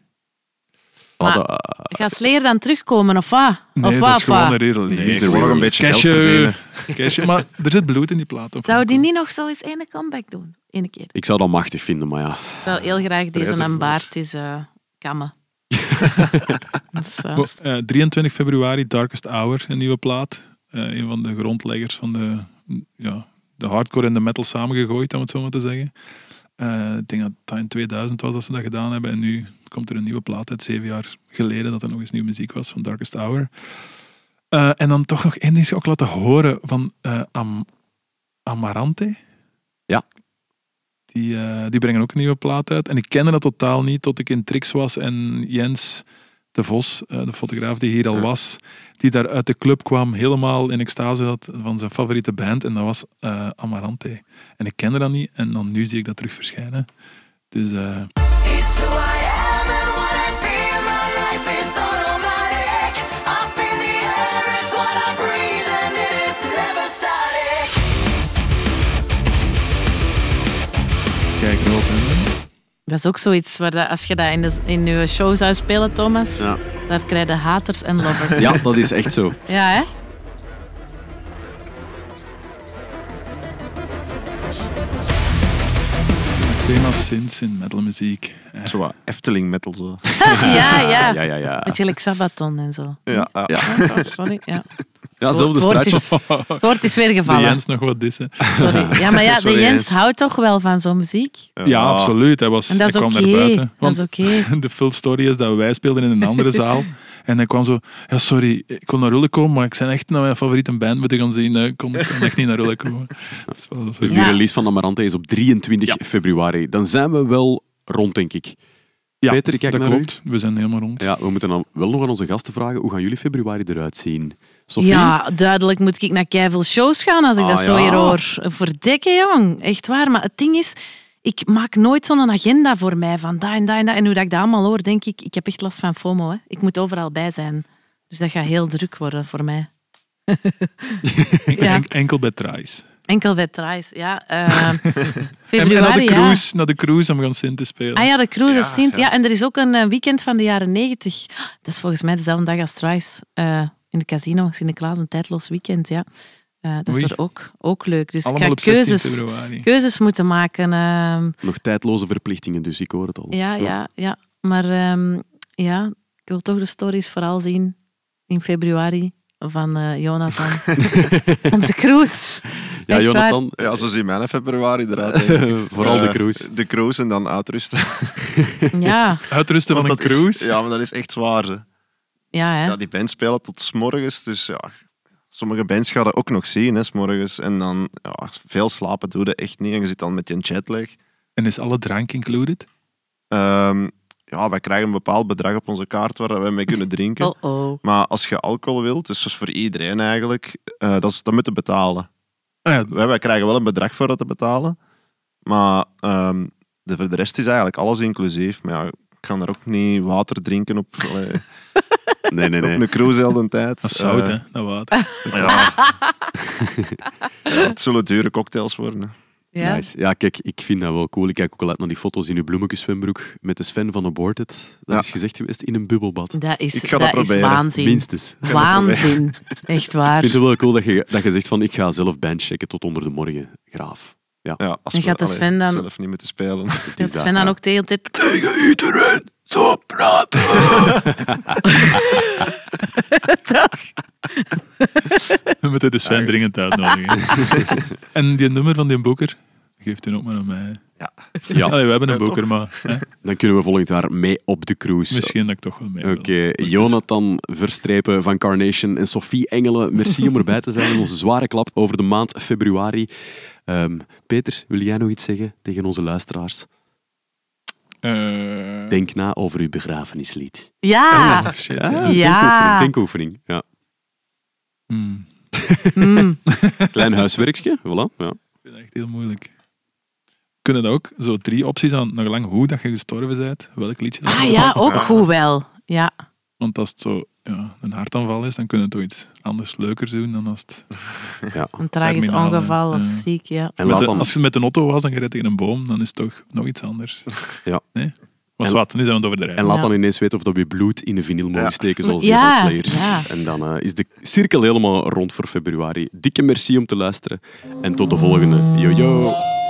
A: Ah,
D: Maar-
A: dat- eh,
D: Gaat Slayer dan terugkomen of wat?
B: Nee,
D: of
B: dat
D: wat,
B: is gewoon een
D: wat?
B: re-release.
C: Nee, ik
A: de
C: wil nog een
A: release.
C: beetje geld
B: Cashje,
C: verdienen.
B: cashje, maar er zit bloed in die plaat. Of
D: Zou
B: niet?
D: die niet nog zo eens ene comeback doen? Eén keer.
A: ik zou dat machtig vinden, maar ja.
D: Ik wil heel graag
C: is
D: deze
C: er
D: een
C: voor.
D: baard is eh, kammen. Dus, eh,
B: Bo- eh, 23 februari, Darkest Hour, een nieuwe plaat. Eh, een van de grondleggers van de, mm, ja, de hardcore en de metal samengegooid, om het zo maar te zeggen. Eh, ik denk dat dat in 2000 was dat ze dat gedaan hebben. En nu komt er een nieuwe plaat uit, zeven jaar geleden, dat er nog eens nieuwe muziek was van Darkest Hour. Eh, en dan toch nog één ding zou ik laten horen van eh, Am- Amarante.
A: Ja.
B: Die, eh, die brengen ook een nieuwe plaat uit. En ik kende dat totaal niet tot ik in Trix was en Jens de Vos, eh, de fotograaf die hier al was, die daar uit de club kwam, helemaal in extase had van zijn favoriete band. En dat was eh, Amarante. En ik kende dat niet. En dan nu zie ik dat terug verschijnen. Dus eh,
G: It's who I am and what I feel. My life is automatic. Up in the air, it's what I breathe, and it is never static.
B: kijk, rood. hè.
D: dat is ook zoiets waar dat, als je dat in, de, in je show zou spelen, Thomas,
A: Ja.
D: daar krijg je haters en lovers.
A: ja, dat is echt zo.
D: Ja, hè?
B: Thema sinds in metalmuziek. Eh,
C: Zo wat Efteling metal. Zo.
D: Ja, ja.
A: Ja, ja, ja.
D: Met gelijk Sabaton en zo.
C: Ja, ja.
A: Ja,
D: Sorry, ja.
A: ja zelfde
D: het, woord
A: straatje.
D: is, het woord is weer
B: de
D: gevallen.
B: Jens nog wat dissen.
D: Sorry. Ja, maar ja,
C: Sorry,
D: de
C: Jens.
D: Jens houdt toch wel van zo'n muziek?
B: Ja, absoluut. Hij, was,
D: En dat is
B: hij kwam
D: oké.
B: naar buiten.
D: Dat
B: Want
D: is oké.
B: de full story is dat wij speelden in een andere zaal. En hij kwam zo, ja sorry, ik kon naar Rulle komen, maar ik ben echt naar mijn favoriete band moeten gaan zien. Ik kon, ik kon echt niet naar Rulle komen. Dat is wel
A: Dus
B: zo.
A: die
D: Ja.
A: release van Amarante is op 23 februari. Dan zijn we wel rond, denk ik.
B: Ja,
A: Peter, ik kijk
B: dat
A: naar
B: klopt. We zijn helemaal rond.
A: Ja, we moeten dan wel nog aan onze gasten vragen. Hoe gaan jullie februari eruit zien? Sophie?
D: Ja, duidelijk moet ik naar keiveel shows gaan als ik
A: Ah,
D: dat zo
A: ja.
D: hier hoor. Verdikken, jong. Echt waar. Maar het ding is, ik maak nooit zo'n agenda voor mij van dat en dat en dat. En hoe dat ik dat allemaal hoor, denk ik, ik heb echt last van FOMO. Hè. Ik moet overal bij zijn. Dus dat gaat heel druk worden voor mij.
B: En-
D: Ja.
B: en- enkel bij Thais.
D: Enkel bij Thais, ja. eh,
B: En, en
D: februari,
B: naar de
D: ja.
B: cruise, naar de cruise om gaan Sint te spelen.
D: Ah ja, de cruise is Sint. Ja. en er is ook een eh, weekend van de jaren negentig. Dat is volgens mij dezelfde dag als Thrice eh, in de casino. Sinterklaas, een tijdloos weekend, ja. Eh, dat
B: Oei.
D: is er ook, ook leuk. Dus
B: Allemaal op
D: ik ga
B: 16
D: keuzes,
B: februari.
D: keuzes moeten maken. ehm,
A: Nog tijdloze verplichtingen, dus ik hoor het al.
D: ja, ja, ja. Maar ehm, ja, ik wil toch de stories vooral zien in februari van eh, Jonathan. Op de cruise.
A: Ja,
D: Echt waar.
A: Jonathan,
C: Ja, zo zien mijn februari eruit. denk ik.
A: vooral de
C: Eh,
A: cruise.
C: De cruise en dan uitrusten.
D: Ja,
B: Uitrusten van
C: Want
B: een
C: dat is-
B: cruise.
C: ja, maar dat is echt zwaar. hè.
D: ja, hè.
C: Ja, die bands spelen tot s'morgens, dus ja... Sommige bands gaan dat ook nog zien, hè, s'morgens. En dan, ja, veel slapen doe je echt niet. En je zit dan met je jetlag.
B: En is alle drank included?
C: Ehm, ja, wij krijgen een bepaald bedrag op onze kaart waar we mee kunnen drinken.
D: Oh-oh.
C: Maar als je alcohol wilt, dus dat is voor iedereen eigenlijk, eh, dat, is, dat moet je betalen.
B: Ah ja,
C: Wij, wij krijgen wel een bedrag voor dat te betalen. Maar ehm, de, voor de rest is eigenlijk alles inclusief. Maar ja, ik kan er ook niet water drinken eh, op. allee.
A: Nee, nee, nee.
C: Op een cruise elden tijd.
B: Dat is zout,
C: Eh,
B: hè? Dat water.
C: Ja. Ja, het zullen dure cocktails worden. hè.
D: Ja.
A: Nice. Ja, kijk, ik vind dat wel cool. Ik kijk ook al uit naar die foto's in uw bloemetjeszwembroek met de Sven van Aborted. Dat
C: Ja.
A: is gezegd geweest in een bubbelbad.
D: Dat is,
C: Ik ga dat
D: is
C: proberen.
D: waanzin.
A: Minstens. Ik
D: Waanzin. Echt waar.
A: vind het wel cool dat je, dat je zegt van ik ga zelf bandchecken tot onder de morgen. Graaf. Ja.
C: Ja, als
D: En
C: we
D: gaat de
C: allee,
D: Sven dan-
C: zelf niet moeten spelen.
A: het is
D: Dat Sven dan
A: ja.
D: ook de hele tijd...
B: Dus Tegen iedereen zo praten.
D: Toch?
B: We moeten de Sven dringend uitnodigen. en die nummer van die boker, geeft u ook maar aan mij.
A: Ja.
B: Allee, we hebben een
C: Ja, toch.
B: boker, maar hè,
A: Dan kunnen we volgend jaar mee op de cruise.
B: misschien dat ik toch wel mee wil.
A: Oké, Jonathan Verstrepen van Carnation en Sophie Engelen, merci om erbij te zijn in onze zware klap over de maand februari. Ehm, Peter, wil jij nog iets zeggen tegen onze luisteraars?
B: Eh,
A: Denk na over uw begrafenislied.
D: Ja.
B: shit,
A: Ah, Ja,
D: Ja.
A: Denkoefening, denkoefening. Ja.
B: Hmm.
D: Mm.
A: Klein huiswerkje, voilà. Ja.
B: Ik vind dat echt heel moeilijk. Kunnen dat ook zo drie opties aan, nog lang hoe dat je gestorven bent, welk liedje dat
D: Ah ja, ook goed wel. Ja.
B: Want als het zo ja, een hartaanval is, dan kunnen we toch iets anders leukers doen dan als het...
A: Ja.
D: Een tragisch
B: Terminale,
D: ongeval of
B: ja.
D: ziek, ja.
A: En
B: Met
A: laat
B: de-
A: dan,
B: als je met een auto was en je rijdt tegen een boom, dan is het toch nog iets anders.
A: Ja.
B: Nee? Maar
A: En-
B: wat, nu zijn we het overdrijven.
A: en laat
D: Ja.
A: dan ineens weten of dat we je bloed in de vinyl mogen
C: Ja.
A: steken, zoals
D: Ja,
A: die van Slayer.
D: ja.
A: En dan eh, is de cirkel helemaal rond voor februari. Dikke merci om te luisteren en tot de volgende. Yo, yo.